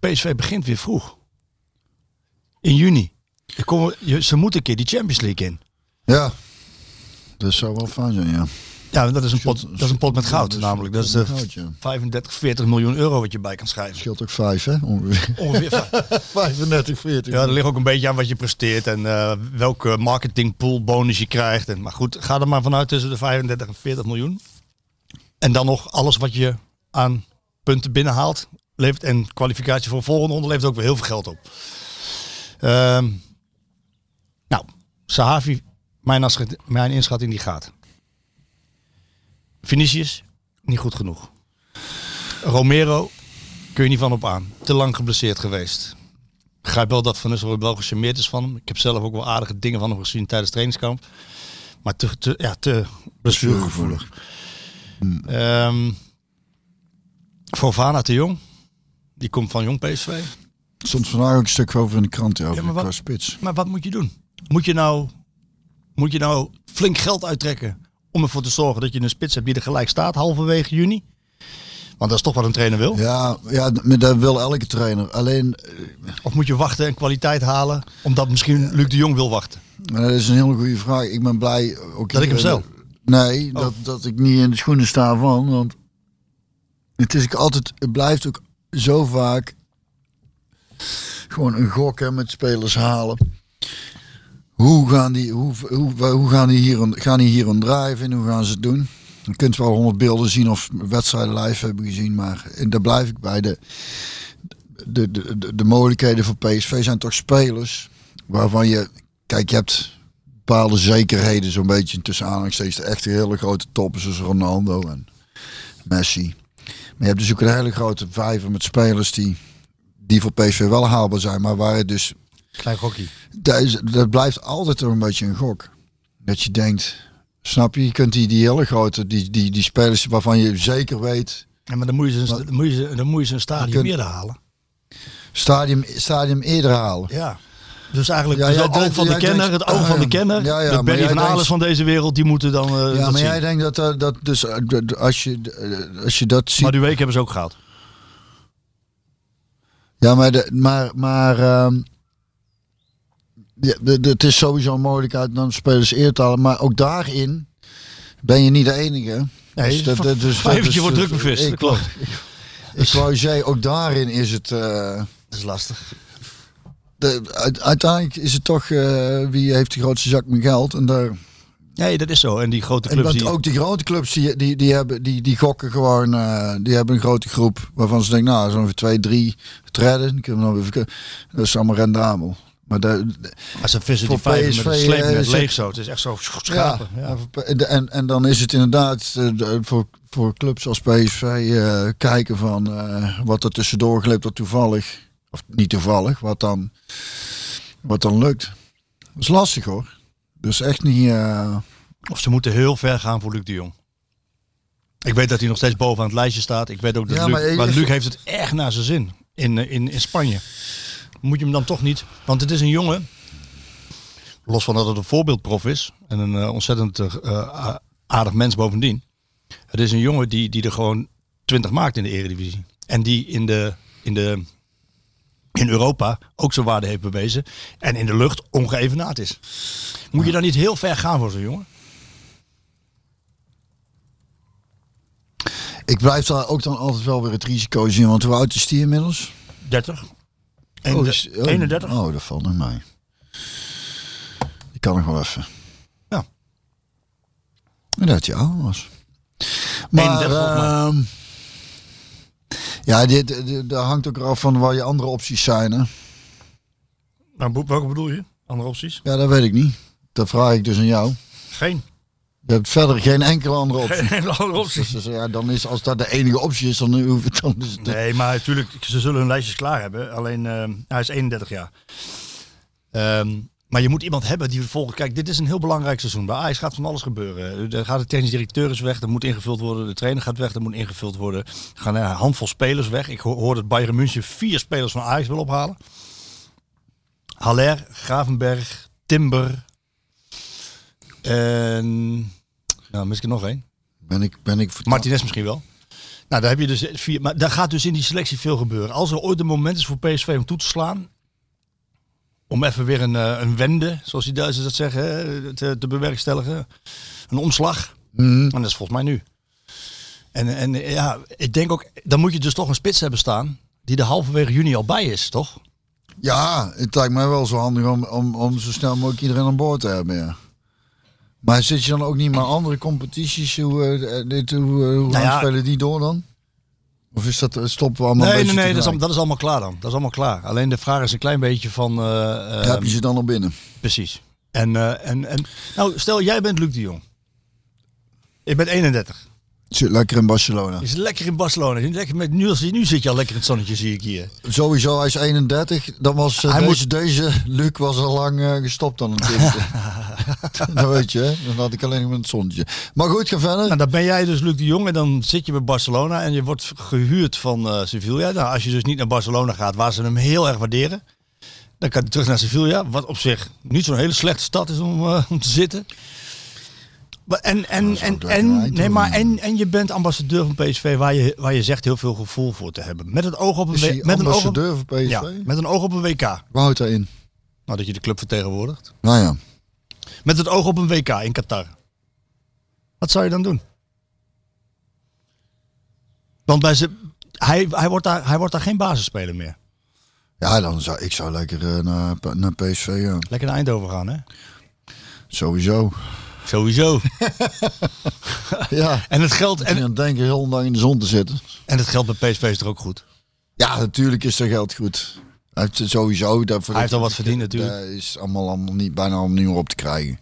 S4: PSV begint weer vroeg. In juni. Er komen- je- ze moeten een keer die Champions League in.
S7: Ja. Dat zou wel fijn zijn, ja.
S4: Ja, dat is een pot,
S7: Shot-
S4: dat is een pot met
S7: ja,
S4: goud
S7: dus
S4: namelijk. Dat is
S7: pot
S4: de
S7: met goud, ja.
S4: 35, 40 miljoen euro wat je bij kan schrijven.
S7: Scheelt ook vijf, hè? Ongeveer.
S4: Ongeveer.
S7: 35, 40.
S4: Ja, dat ligt ook een beetje aan wat je presteert en eh, welke marketingpool bonus je krijgt. En, maar goed, ga er maar vanuit tussen de 35 en 40 miljoen. En dan nog alles wat je aan punten binnenhaalt. Levert en kwalificatie voor volgende ronde levert ook weer heel veel geld op. Ehm, nou, Sahavi, mijn, inschat- mijn inschatting die gaat. Vinicius, niet goed genoeg. Romero, kun je niet van op aan. Te lang geblesseerd geweest begrijp wel dat Van Nistelrooy wel gecharmeerd is van hem. Ik heb zelf ook wel aardige dingen van hem gezien tijdens trainingskamp. Maar te, te, ja, te blessuregevoelig. Ehm Fofana te jong. Die komt van jong PSV.
S7: Soms vandaag ook een stuk over in de krant ja, over
S4: maar wat-
S7: qua spits.
S4: Maar wat moet je doen? Moet je nou, moet je nou flink geld uittrekken om ervoor te zorgen dat je een spits hebt die er gelijk staat halverwege juni? Want dat is toch wat een trainer wil.
S7: Ja, ja, maar dat wil elke trainer. Alleen, eh,
S4: Of moet je wachten en kwaliteit halen omdat misschien Luc de Jong wil wachten?
S7: maar dat is een hele goede vraag. Ik ben blij... Ook
S4: Dat ik hem
S7: eh,
S4: stel. Oh.
S7: Nee, dat, dat ik niet in de schoenen sta van. Want het, is ook altijd, het blijft ook zo vaak gewoon een gok hè, met spelers halen. Hoe gaan die, hoe, hoe, hoe gaan die hier een, gaan die hier een drive in? Hoe gaan ze het doen? Je kunt wel honderd beelden zien of wedstrijden live hebben gezien. Maar en daar blijf ik bij. De, de, de, de, de mogelijkheden voor PSV zijn toch spelers waarvan je... Kijk, je hebt bepaalde zekerheden, zo'n beetje tussen aanhalingstekens. De echte hele grote toppers, zoals Ronaldo en Messi. Maar je hebt dus ook een hele grote vijver met spelers die, die voor PSV wel haalbaar zijn. Maar waar het dus,
S4: Klein gokkie.
S7: dat, is- dat blijft altijd toch een beetje een gok. Dat je denkt, snap je, je kunt die, die hele grote, die, die, die spelers waarvan je zeker weet...
S4: Ja, maar dan moet je ze,
S7: Maar-
S4: dan moet je ze, dan moet je ze een stadium
S7: Dan kun-
S4: eerder halen.
S7: Stadium, stadium eerder halen.
S4: Ja. Dus eigenlijk
S7: Ja,
S4: is
S7: jij
S4: het oog
S7: denkt-
S4: van de
S7: jij
S4: kenner,
S7: denkt-
S4: het oog van de kenner,
S7: Ja, ja,
S4: de
S7: maar
S4: Berry
S7: jij
S4: van
S7: denkt-
S4: Alles van deze wereld, die moeten dan eh
S7: Ja,
S4: dat
S7: maar
S4: zien.
S7: jij denkt dat, dat, dat dus, eh, d- d- als, je, eh, als je dat ziet...
S4: Maar die week hebben ze ook gehad.
S7: Ja, maar, de, maar, maar ehm, ja, de, de- het is sowieso een mogelijkheid om spelers eer te halen. Maar ook daarin ben je niet de enige. Dus
S4: Nee, vijvertje wordt druk bevist, dat
S7: eh, Ik,
S4: klopt.
S7: ik wou zeggen, ook daarin is het... eh,
S4: Dat is lastig.
S7: de, uit- uiteindelijk is het toch eh, wie heeft de grootste zak met geld. En daar,
S4: Nee, dat is zo. En die grote
S7: En
S4: clubs
S7: want
S4: die...
S7: ook die grote clubs die, die, die, hebben, die, die gokken gewoon, eh, die hebben een grote groep waarvan ze denken, nou, zo'n twee, drie treden, die kunnen we dan weer verkopen. Dat is allemaal rendabel. Maar de, de-
S4: Maar ze vissen die
S7: voor
S4: vijf met een
S7: PSV, eh,
S4: sleepnet
S7: is
S4: leeg
S7: het-
S4: zo. Het is echt zo schapen.
S7: ja, de- en, en dan is het inderdaad eh, de- voor, voor clubs als PSV eh, kijken van eh, wat er tussendoor glipt, wat toevallig, of niet toevallig, wat dan, wat dan lukt. Dat is lastig hoor. Dus echt niet. eh,
S4: Of ze moeten heel ver gaan voor Luc de Jong. Ik weet dat hij nog steeds bovenaan het lijstje staat. Ik weet ook dat
S7: Ja,
S4: Luc...
S7: maar
S4: Maar,
S7: je-
S4: Luc heeft het echt naar zijn zin in, eh, in, in Spanje. Moet je hem dan toch niet... Want het is een jongen... Los van dat het een voorbeeldprof is. En een eh, ontzettend eh, eh, aardig mens bovendien. Het is een jongen die, die er gewoon 20 maakt in de eredivisie. En die in, de, in, de, in Europa ook zijn waarde heeft bewezen. En in de lucht ongeëvenaard is. Moet je dan niet heel ver gaan voor zo'n jongen?
S7: ik blijf daar ook dan altijd wel weer het risico zien, want hoe oud is die inmiddels?
S4: 30.
S7: Oh,
S4: Eén-
S7: is- oh,
S4: 31.
S7: Oh, dat valt nog mee. Die kan nog wel even.
S4: Ja.
S7: En dat je oud was. Maar,
S4: 31 volgens
S7: ehm,
S4: mij.
S7: ja, dit, dit, dat hangt ook af van waar je andere opties zijn. Hè?
S4: Nou, boek, welke bedoel je? Andere opties?
S7: Ja, dat weet ik niet. Dat vraag ik dus aan jou.
S4: Geen.
S7: Je hebt verder geen enkele andere optie.
S4: Geen andere opties.
S7: Dus, dus, ja, dan is, als dat de enige optie is, dan, hoef het, dan dus is het-
S4: Nee, maar natuurlijk, ze zullen hun lijstjes klaar hebben. Alleen, ehm, hij is 31 jaar. Ehm, maar je moet iemand hebben die volgt. Kijk, dit is een heel belangrijk seizoen. Bij Ajax gaat van alles gebeuren. Er gaat de technisch directeur is weg, dat moet ingevuld worden. De trainer gaat weg, dat moet ingevuld worden. Er gaan een handvol spelers weg. Ik ho- hoor dat Bayern München vier spelers van Ajax wil ophalen. Haller, Gravenberg, Timber. En... Nou, misschien nog één.
S7: ben ik, ben ik vertaald.
S4: Martinez misschien wel. Nou, daar heb je dus vier. Maar daar gaat dus in die selectie veel gebeuren. Als er ooit een moment is voor PSV om toe te slaan. Om even weer een, eh, een wende, zoals die Duitsers dat zeggen, hè, te, te bewerkstelligen. Een omslag.
S7: Hmm?
S4: En dat is volgens mij nu. En, en ja, ik denk ook, dan moet je dus toch een spits hebben staan. Die er halverwege juni al bij is, toch?
S7: Ja, het lijkt mij wel zo handig om, om, om zo snel mogelijk iedereen aan boord te hebben. Ja. Maar zit je dan ook niet met andere competities? Hoe, eh, dit, hoe, eh, hoe lang
S4: Nou ja.
S7: spelen die door dan? Of is dat, stoppen we allemaal een
S4: nee, nee,
S7: beetje
S4: nee, dat is, al-
S7: tegelijk?
S4: dat is allemaal klaar dan. Dat is allemaal klaar. Alleen de vraag is een klein beetje van. eh, eh,
S7: heb je ze dan al binnen?
S4: Precies. En, eh, en, en nou, stel jij bent Luc de Jong. Ik ben 31.
S7: Zit lekker in Barcelona.
S4: Je zit lekker in Barcelona. Je zit lekker met, nu, nu zit je al lekker in het zonnetje, zie ik hier.
S7: Sowieso, hij is 31. Dan was, eh,
S4: Hij
S7: deze,
S4: moet-
S7: deze Luc was al lang eh, gestopt dan natuurlijk. dat weet je, hè? Dan had ik alleen nog met het zonnetje. Maar goed, ga verder.
S4: Nou, dan ben jij dus Luc de Jong en dan zit je bij Barcelona en je wordt gehuurd van eh, Sevilla. Nou, als je dus niet naar Barcelona gaat, waar ze hem heel erg waarderen, dan kan je terug naar Sevilla. Wat op zich niet zo'n hele slechte stad is om, eh, om te zitten. Maar en, en,
S7: is ook
S4: en,
S7: lekker in
S4: en,
S7: Eindhoven.
S4: nee, maar en, en je bent ambassadeur van PSV, waar je, waar je zegt heel veel gevoel voor te hebben. Met het oog op een,
S7: Is
S4: w-
S7: hij
S4: met een, oog op,
S7: ambassadeur voor PSV?
S4: ja, met een oog op een WK.
S7: Waar houdt hij in?
S4: Nou, dat je de club vertegenwoordigt.
S7: Nou ja.
S4: Met het oog op een WK in Qatar. Wat zou je dan doen? Want bij ze, hij, hij, wordt daar, hij wordt daar geen basisspeler meer.
S7: Ja, dan zou ik zou lekker eh, naar, P- naar PSV gaan.
S4: Lekker naar Eindhoven gaan, hè?
S7: Sowieso.
S4: Sowieso.
S7: Ja.
S4: En het geldt,
S7: En
S4: en,
S7: dan denk je heel lang in de zon te zitten.
S4: en het geldt bij PSV is er ook goed.
S7: Ja, natuurlijk is dat geld goed. Hij heeft het sowieso. Dat,
S4: Hij heeft al wat verdiend natuurlijk.
S7: Dat is allemaal, allemaal niet, bijna allemaal niet meer op te krijgen.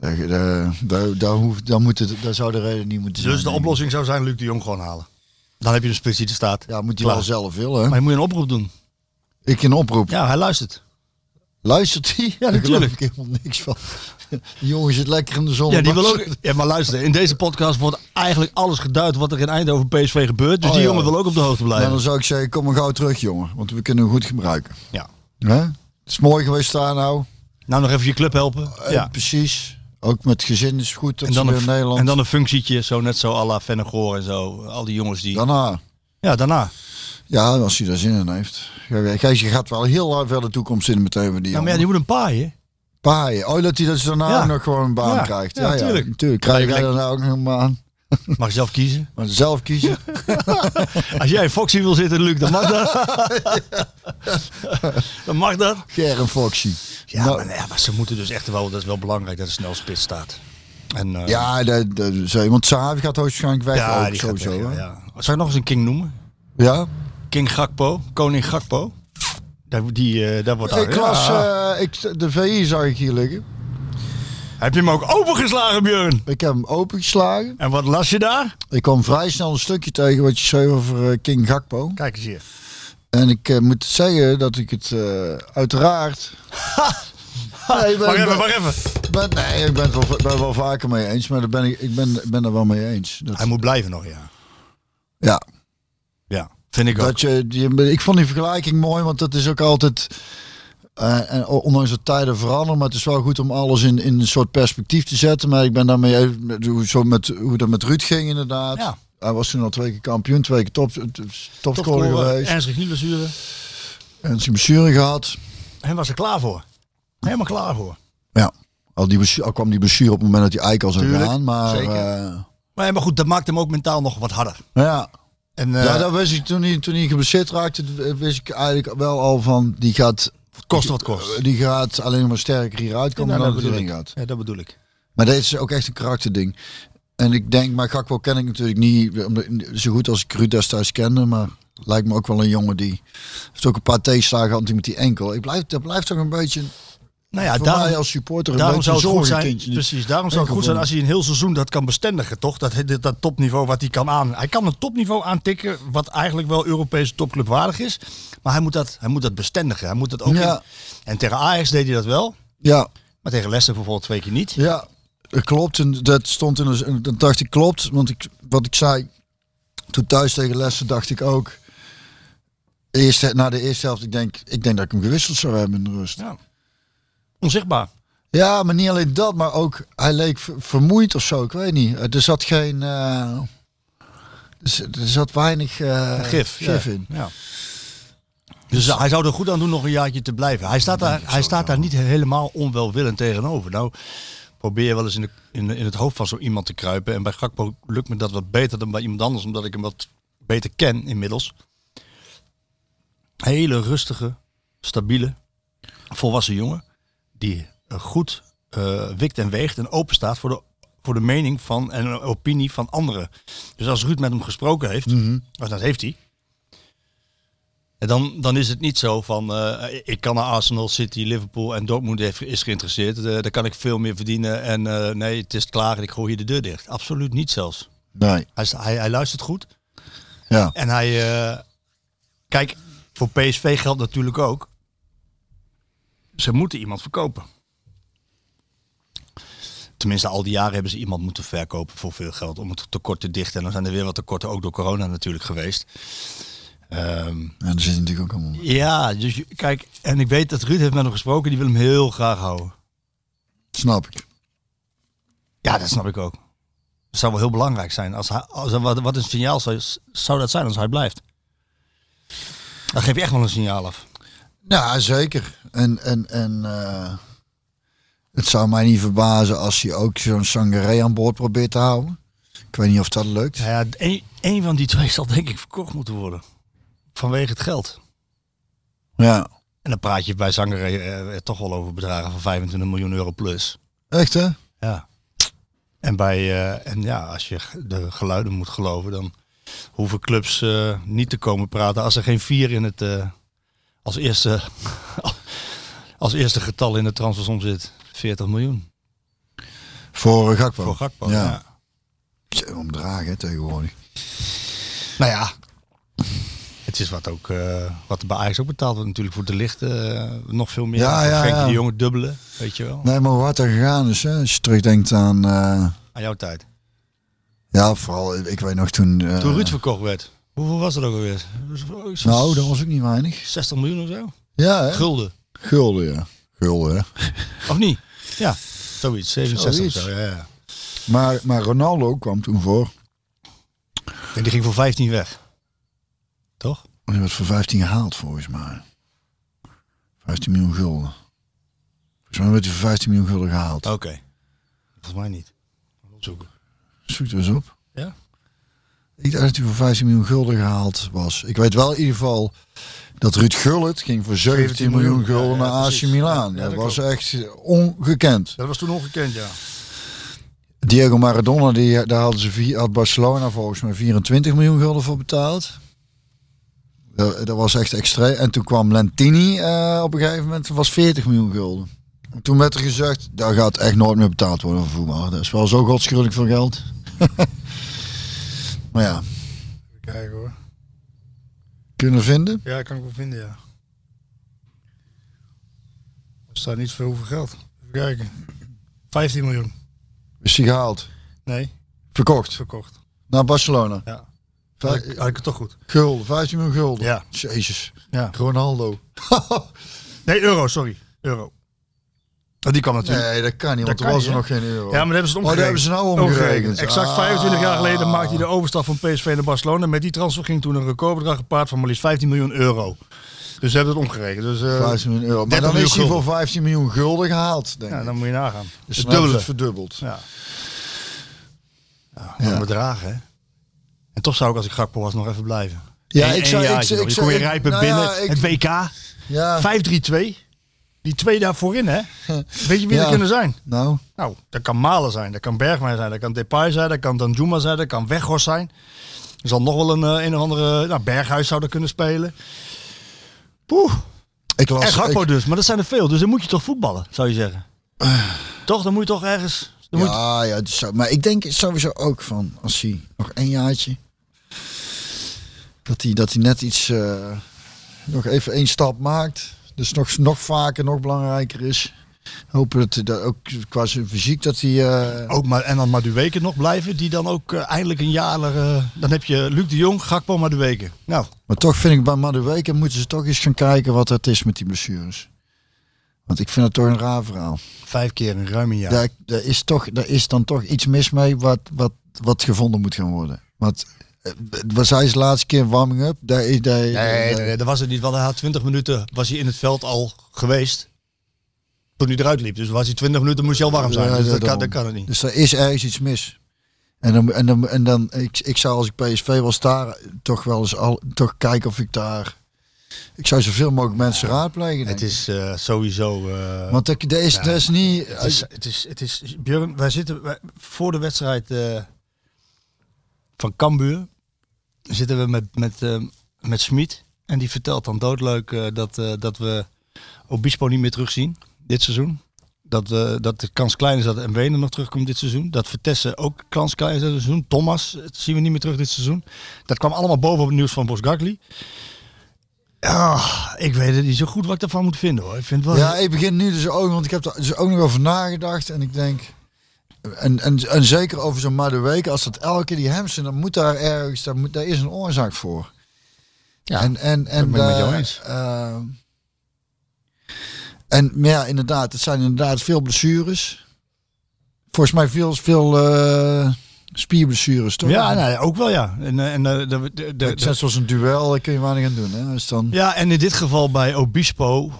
S7: Daar, daar, daar, daar hoeft, daar, moet het, daar zou de reden niet moeten zijn.
S4: Dus de
S7: denk ik.
S4: oplossing zou zijn Luc de Jong gewoon halen. Dan heb je een spits die er staat.
S7: Ja, moet hij
S4: Klaar.
S7: wel zelf willen. Hè?
S4: Maar je moet een oproep doen.
S7: Ik een oproep.
S4: Ja, hij luistert.
S7: Luistert hij? Ja,
S4: natuurlijk.
S7: ik helemaal niks van. Die jongen zit lekker in de zon.
S4: Ja, die wil ook, ja, maar luister, in deze podcast wordt eigenlijk alles geduid wat er in Eindhoven PSV gebeurt. Dus
S7: Oh,
S4: die
S7: ja.
S4: jongen wil ook op de hoogte
S7: Nou,
S4: blijven.
S7: dan zou ik zeggen, kom maar gauw terug, jongen. Want we kunnen hem goed gebruiken.
S4: Ja.
S7: Hè? Het is mooi geweest daar nou.
S4: Nou, nog even je club helpen.
S7: Eh,
S4: ja.
S7: Precies. Ook met gezin is goed dat
S4: En dan,
S7: ze weer in
S4: een,
S7: Nederland.
S4: en dan een functietje, zo net zo à la Vennegoor en zo. Al die jongens die...
S7: Daarna.
S4: Ja, daarna. Nou,
S7: Ja, als hij daar zin in heeft. Ja, Gijs, je gaat wel heel hard ver de toekomst in meteen met die
S4: Nou, maar
S7: jongen.
S4: ja, die moet een paaien.
S7: Paaien. Oh, dat hij dat ze daarna
S4: Ja.
S7: ook nog gewoon een baan
S4: Ja.
S7: krijgt.
S4: Ja,
S7: Ja, ja,
S4: tuurlijk.
S7: natuurlijk. Krijg jij daarna ook nog een baan?
S4: Mag je zelf kiezen.
S7: Maar zelf kiezen.
S4: Als jij in Foxy wil zitten, Luc, dan mag dat. dan mag dat.
S7: Kern Foxy.
S4: Ja,
S7: Nou,
S4: maar, nee, maar ze moeten dus echt wel, dat is wel belangrijk dat er snel spits staat. En, eh,
S7: ja de, de, zo, want Sahavi gaat hoogstwaarschijnlijk weg.
S4: ja,
S7: ook
S4: die gaat
S7: sowieso.
S4: weg,
S7: hè?
S4: ja,
S7: ja.
S4: ja. Zou ik nog eens een king noemen? King Gakpo, koning Gakpo. Daar, die, eh, daar wordt
S7: Ik
S4: daar-
S7: las,
S4: Ja.
S7: eh, ik, de VI zag ik hier liggen.
S4: Heb je hem ook opengeslagen, Björn?
S7: Ik heb hem opengeslagen.
S4: En wat las je daar?
S7: Ik kwam vrij snel een stukje tegen wat je zei over eh, King Gakpo.
S4: Kijk eens hier.
S7: En ik eh, moet zeggen dat ik het eh, uiteraard... nee, ik ben- ik
S4: Wacht
S7: ben-
S4: even, wacht even.
S7: ben- nee, ik ben het wel, ben wel vaker mee eens, maar daar ben ik, ik ben, ben er wel mee eens. Dat,
S4: Hij moet blijven nog, ja.
S7: ja,
S4: Ja, vind ik ook.
S7: Dat je, die- ik vond die vergelijking mooi, want dat is ook altijd. eh, en ondanks dat tijden veranderen, maar het is wel goed om alles in, in een soort perspectief te zetten. Maar ik ben daarmee even, met- hoe- zo met, hoe dat met Ruud ging inderdaad.
S4: Ja.
S7: Hij was toen al twee keer kampioen, twee keer top, topscorer geweest. En
S4: Ernstig niet besturen.
S7: zijn blessure gehad.
S4: Hij was er klaar voor. Helemaal klaar voor.
S7: Ja, al, die blessure- al kwam die blessure op het moment dat hij eikel zou
S4: Tuurlijk,
S7: gaan. Maar
S4: zeker.
S7: eh, nou
S4: Maar, ja, maar goed, dat maakt hem ook mentaal nog wat harder.
S7: ja,
S4: En, eh,
S7: ja, dat wist ik toen hij, toen hij geblesseerd raakte, eh, wist ik eigenlijk wel al van die gaat.
S4: kost wat kost.
S7: Die gaat alleen maar sterker hieruit komen
S4: Ja,
S7: dan
S4: dat
S7: dat hij
S4: bedoel
S7: erin
S4: ik.
S7: gaat.
S4: ja, dat bedoel ik.
S7: Maar dit is ook echt een karakterding. En ik denk, maar Gakpo ken ik natuurlijk niet omdat- zo goed als ik Ruud destijds kende. Maar lijkt me ook wel een jongen die heeft ook een paar tegenslagen gehad natuurlijk met die enkel. Ik blijf, dat blijft toch een beetje,
S4: Nou ja,
S7: voor
S4: daarom,
S7: mij als supporter, een
S4: daarom
S7: beetje
S4: zou het goed
S7: zorgen
S4: zijn. Precies, daarom zou het goed zijn als hij een heel seizoen dat kan bestendigen, toch? Dat, dat, dat topniveau wat hij kan aan. Hij kan een topniveau aantikken, wat eigenlijk wel Europese topclub waardig is. Maar hij moet dat, hij moet dat bestendigen. Hij moet dat ook.
S7: Ja.
S4: in- en tegen Ajax deed hij dat wel.
S7: Ja,
S4: Maar tegen Leicester bijvoorbeeld twee keer niet.
S7: Ja, dat klopt. En dat stond in een. Dat dacht ik klopt. Want ik, wat ik zei toen thuis tegen Lessen, dacht ik ook. Eerst, na de eerste helft, ik denk, ik denk dat ik hem gewisseld zou hebben in de rust.
S4: Ja. Onzichtbaar.
S7: Ja, maar niet alleen dat, maar ook hij leek ver- vermoeid of zo. Ik weet niet. Eh, Er zat geen. eh, er z- er zat weinig eh,
S4: Gif.
S7: gif
S4: ja.
S7: in.
S4: Ja. Dus hij zou er goed aan doen nog een jaartje te blijven. Hij staat daar, hij staat daar niet helemaal onwelwillend tegenover. Nou, probeer je wel eens in, de, in, in het hoofd van zo iemand te kruipen. En bij Gakpo lukt me dat wat beter dan bij iemand anders, omdat ik hem wat beter ken inmiddels. Hele rustige, stabiele, volwassen jongen. Die eh, goed eh, wikt en weegt en open staat voor de, voor de mening van en eh, opinie van anderen. Dus als Ruud met hem gesproken heeft,
S7: Mhm.
S4: of dat heeft hij. En dan, dan is het niet zo van, eh, ik kan naar Arsenal, City, Liverpool en Dortmund heeft, is geïnteresseerd. Eh, daar kan ik veel meer verdienen en eh, nee, het is klaar en ik gooi je de deur dicht. Absoluut niet zelfs.
S7: Nee.
S4: Hij, is- hij, hij luistert goed
S7: Ja.
S4: en hij... eh, kijk, voor PSV geldt natuurlijk ook. Ze moeten iemand verkopen. Tenminste, al die jaren hebben ze iemand moeten verkopen voor veel geld om het tekort te dichten. En dan zijn er weer wat tekorten, ook door corona natuurlijk geweest. Ehm,
S7: En er zit natuurlijk ook allemaal.
S4: ja, dus je- kijk, en ik weet dat Ruud heeft met hem gesproken, die wil hem heel graag houden.
S7: Snap ik.
S4: Ja, dat snap ik ook. Dat zou wel heel belangrijk zijn. Als hij, als, wat, wat een signaal zou, zou dat zijn als hij blijft? Dan geef je echt wel een signaal af.
S7: Ja, Nou, zeker. En, en, en eh, het zou mij niet verbazen als hij ook zo'n Sangaré aan boord probeert te houden. Ik weet niet of dat lukt.
S4: Nou ja, één één van die twee zal denk ik verkocht moeten worden. Vanwege het geld.
S7: Ja.
S4: En dan praat je bij Zangeré eh, toch wel over bedragen van 25 miljoen euro plus.
S7: Echt hè?
S4: Ja. En, bij, eh, en ja, als je g- de geluiden moet geloven, dan hoeven clubs eh, niet te komen praten als er geen vier in het eh, als, eerste, als eerste getal in de transfersom zit. 40 miljoen
S7: Voor eh, Gakpo.
S4: voor Gakpo.
S7: Ja.
S4: Ja.
S7: Tje, Omdragen hè, tegenwoordig.
S4: Nou ja, het is wat ook eh, wat er bij Ajax ook betaald wordt natuurlijk voor de lichten eh, nog veel meer.
S7: Ja,
S4: Voor
S7: ja,
S4: Frenkie
S7: ja.
S4: de Jonge dubbele, weet je wel.
S7: Nee, maar wat er gegaan is, hè, als je terugdenkt aan... eh,
S4: Aan jouw tijd.
S7: ja, vooral, ik weet nog toen... eh,
S4: Toen Ruud verkocht werd. Hoeveel was dat ook alweer?
S7: nou, dat was ook niet weinig.
S4: 60 miljoen of zo?
S7: Ja, hè?
S4: Gulden.
S7: Gulden, ja. Gulden, hè.
S4: Of niet? Ja, zoiets. 67 of
S7: Zoiets.
S4: zo, ja, ja.
S7: Maar, maar Ronaldo kwam toen voor.
S4: En die ging voor 15 weg. Toch?
S7: Hij werd voor 15 gehaald, volgens mij. 15 miljoen gulden. Volgens mij werd hij
S8: Oh.
S7: voor 15 miljoen gulden gehaald.
S4: Oké. Volgens mij niet. Opzoeken.
S7: Zoek het eens op.
S8: Ja?
S7: Ik dacht dat hij voor 15 miljoen gulden gehaald was. Ik weet wel in ieder geval dat Ruud Gullit ging voor 17,
S8: 17 miljoen
S7: miljoen gulden
S8: Ja, ja,
S7: naar AC
S8: precies.
S7: Milan.
S8: Ja, ja,
S7: dat
S8: dat
S7: was echt ongekend.
S8: Dat was toen ongekend, ja.
S7: Diego Maradona, die, daar hadden ze vier, had Barcelona volgens mij 24 miljoen gulden voor betaald. Dat, dat was echt extreem. En toen kwam Lentini eh, op een gegeven moment, was 40 miljoen gulden. En Toen werd er gezegd, daar gaat echt nooit meer betaald worden voor voetbal. Dat is wel zo godschuwelijk veel geld. maar ja,
S8: Kijken hoor.
S7: kunnen vinden.
S8: Ja, kan ik wel vinden, ja. Er staat niet veel hoeveel geld. Even kijken. 15 miljoen.
S7: Is hij gehaald.
S8: Nee,
S7: Verkocht.
S8: verkocht.
S7: Naar Barcelona.
S8: Ja. Had
S7: Vijf,
S8: ik, had ik het toch goed?
S7: gulden, 15 miljoen gulden.
S8: Ja.
S7: Jezus.
S8: Ja.
S7: Ronaldo.
S8: Nee, euro, sorry. Euro. Oh, die kwam natuurlijk.
S7: Nee, dat kan niet, want
S8: Dat
S7: er
S8: kan
S7: was
S8: niet,
S7: er
S8: hè?
S7: nog geen euro.
S4: Ja, maar dat hebben ze het
S7: Oh, dat
S4: omgerekend.
S7: hebben ze nou omgerekend.
S4: Exact
S7: Ah.
S4: 25 jaar geleden maakte hij de overstap van PSV naar Barcelona. Met die transfer ging toen een recordbedrag gepaard van maar liefst 15 miljoen euro. Dus ze hebben het omgerekend. Dus, eh,
S7: 15 miljoen euro. Maar
S4: 30
S7: dan is hij
S4: miljoen
S7: voor 15 miljoen gulden gehaald, denk
S4: ja,
S7: ik.
S4: dan moet je nagaan.
S7: Dus
S8: het
S7: dan hebben
S8: dubbele.
S7: ze het verdubbeld.
S4: Ja.
S8: Ja. bedragen, hè. En toch zou ik als ik Gakpo was nog even blijven.
S7: Ja,
S8: Eén-
S7: ik
S8: één
S7: zou- ik
S8: jaartje
S7: zou-
S8: nog.
S7: ik
S8: Je kon je
S7: zou-
S8: rijpen
S7: nou ja,
S8: binnen.
S7: ik-
S8: het WK.
S7: Ja,
S4: 5-3-2. Die twee daar voorin, hè? Weet je wie
S7: Ja.
S4: dat kunnen zijn?
S7: nou.
S4: Nou, dat kan Malen zijn, dat kan Bergwijn zijn, dat kan Depay zijn, dat kan Danjuma zijn, dat kan Weghorst zijn. Er zal nog wel een, eh, een of andere... Nou, Berghuis zou er kunnen spelen. Poeh,
S7: Ik las,
S4: en Gakpo
S7: ik-
S4: dus. Maar dat zijn er veel, dus dan moet je toch voetballen, zou je zeggen. Eh. toch, dan moet je toch ergens... Dan moet je-
S7: ja, ja, het zou- maar ik denk sowieso ook van, als hij nog één jaartje, dat hij, dat hij net iets, eh, nog even één stap maakt. Dus nog, nog vaker, nog belangrijker is. Hopen dat, hij dat ook qua zijn fysiek, dat hij... eh,
S4: Ook maar, en dan Maduweke nog blijven, die dan ook eh, eindelijk een jaar... eh, dan heb je Luc de Jong, Gakpo, Maduweke. Nou,
S7: Maar toch vind ik bij Maduweke moeten ze toch eens gaan kijken wat het is met die blessures. Want ik vind het toch een raar verhaal.
S4: vijf keer in ruim een jaar.
S7: Daar, daar, is, toch, daar is dan toch iets mis mee wat, wat, wat gevonden moet gaan worden. Want eh, wat zei ze de laatste keer in warming up? Daar, is- daar,
S4: Nee,
S7: daar-
S4: nee, nee, dat was het niet. Want hij had 20 minuten was hij in het veld al geweest. Toen hij eruit liep. Dus was hij 20 minuten moest hij al warm zijn.
S7: Ja,
S4: Dus dat, kan,
S7: daarom.
S4: dat kan het niet.
S7: Dus daar is ergens iets mis. En dan, en dan, en dan ik, ik zou als ik PSV was daar toch wel eens al, toch kijken of ik daar. Ik zou zoveel mogelijk mensen raadplegen.
S4: Het
S7: denk ik.
S4: is eh, sowieso. eh,
S7: Want dat, dat is, dat is niet.
S4: het, is, het, is, het is. Björn, wij zitten wij- voor de wedstrijd eh, van Cambuur. Zitten we met, met, eh, met Smit. En die vertelt dan doodleuk eh, dat, eh, dat we Obispo niet meer terugzien. Dit seizoen. Dat, we dat de kans klein is dat Mwene nog terugkomt dit seizoen. Dat Vitesse ook kans klein is dit seizoen. Thomas eh, zien we niet meer terug dit seizoen. Dat kwam allemaal boven op het nieuws van Bosgagli. Ah, ik weet het niet zo goed wat ik ervan moet vinden hoor. Ik vind het wel
S7: Ja, ik begin nu dus ook, want ik heb er dus ook nog over nagedacht. En ik denk, en, en, en zeker over zo'n Maduweke, als dat elke keer die hamstring, dan moet daar ergens, daar, moet, daar is een oorzaak voor. Ja, en, en, en,
S4: ben ik met
S7: eh,
S4: jou eens.
S7: eh, en maar ja, inderdaad, het zijn inderdaad veel blessures. Volgens mij veel, veel eh, spierblessures, toch?
S4: Ja, nou, nee, ook wel ja. En, eh, en, eh, de, de, de- de-
S7: Het is net zoals een duel, daar kun je weinig aan doen. Hè? Dus dan,
S4: ja, en in dit geval bij Obispo,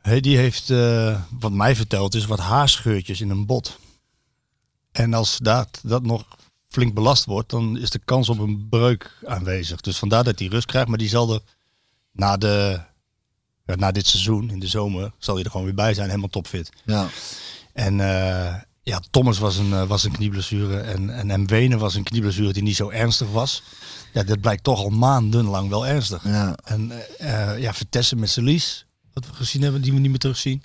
S4: hè, die heeft, eh, wat mij verteld is, wat haarscheurtjes in een bot. En als dat, dat nog flink belast wordt, dan is de kans op een breuk aanwezig. Dus vandaar dat hij rust krijgt, maar die zal er na, de, ja, na dit seizoen, in de zomer, zal hij er gewoon weer bij zijn, helemaal topfit.
S7: ja.
S4: En eh, ja, Thomas was een, eh, was een knieblessure en, en M. Wenen was een knieblessure die niet zo ernstig was. Ja, dat blijkt toch al maandenlang wel ernstig.
S7: ja.
S4: En eh, eh, ja, Vitesse met Celis, wat we gezien hebben, die we niet meer terugzien.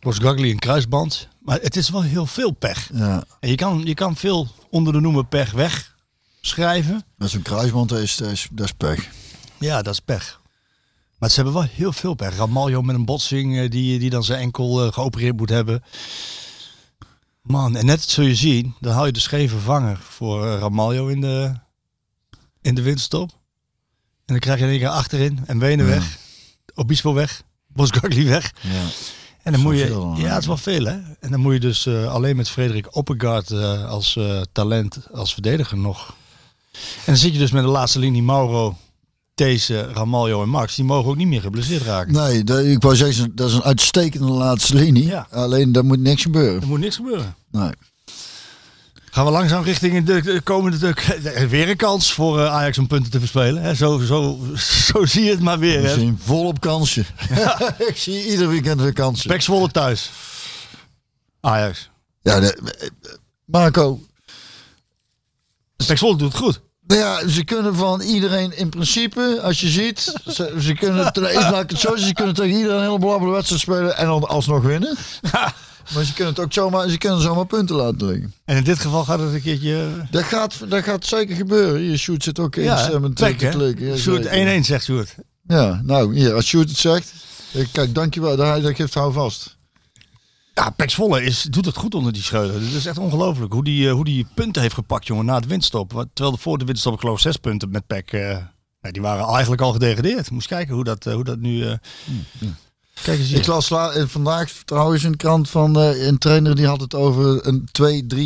S4: Was Gagli een kruisband. Maar het is wel heel veel pech.
S7: ja.
S4: En je kan, je kan veel onder de noemer pech wegschrijven.
S7: Maar zo'n kruisband, dat is, dat is, dat is pech.
S4: Ja, dat is pech. Maar ze hebben wel heel veel pech. Ramaljo met een botsing eh, die, die dan zijn enkel eh, geopereerd moet hebben. Man, en net zul je zien, dan hou je de scheve vanger voor eh, Ramaljo in de, in de winterstop. En dan krijg je in één keer achterin en Wenen weg, Obispo weg, Bosgagli weg.
S7: Ja.
S4: En dan
S7: Zo
S4: moet je,
S7: veel dan, hè?
S4: ja, het is wel veel hè. En dan moet je dus eh, alleen met Frederik Oppegaard eh, als eh, talent, als verdediger nog. En dan zit je dus met de laatste linie Mauro, These, Ramaljo en Max. Die mogen ook niet meer geblesseerd raken.
S7: Nee, dat, ik wou zeggen, dat is een uitstekende laatste linie.
S4: Ja.
S7: Alleen, daar moet niks gebeuren.
S4: Er moet niks gebeuren.
S7: Nee.
S4: Gaan we langzaam richting de, de komende... de- weer een kans voor eh, Ajax om punten te verspelen. Hè? Zo, zo, zo zie je het maar weer.
S7: We
S4: Hè?
S7: zien volop kansen. ik zie ieder weekend weer kansen.
S4: Pek Zwolle thuis. Ajax.
S7: Ja, de- Marco,
S4: Pek Zwolle doet het goed.
S7: Nou ja, ze kunnen van iedereen in principe, als je ziet, ze, ze kunnen, te- ik laat ik het zo, zeggen, ze kunnen tegen iedereen een hele belangrijke wedstrijd spelen en dan alsnog winnen. Maar ze kunnen het ook zomaar, ze kunnen zomaar punten laten liggen.
S4: En in dit geval gaat het een keertje... eh,
S7: Dat gaat, dat gaat zeker gebeuren. Hier, Sjoerd zit ook in
S4: Ja,
S7: stemmen te
S4: Pek,
S7: te
S4: hè?
S7: klikken. Ja,
S4: Sjoerd 1-1,
S7: zeker.
S4: zegt Sjoerd.
S7: Ja, nou, hier, als Sjoerd het zegt, eh, kijk, dankjewel, dat, dat geeft hou vast.
S4: Ja, Pek Zwolle is, doet het goed onder die scheuren. Het is echt ongelooflijk hoe die, eh, hoe die punten heeft gepakt, jongen, na het winststop. Wat- Terwijl de voor de winststop, ik geloof, zes punten met Pek. eh, nou, die waren eigenlijk al gedegradeerd. Moest kijken hoe dat, eh, hoe dat nu... eh, Kijk eens
S7: Ik
S4: hier.
S7: las la- eh, vandaag trouwens een krant van eh, een trainer die had het over een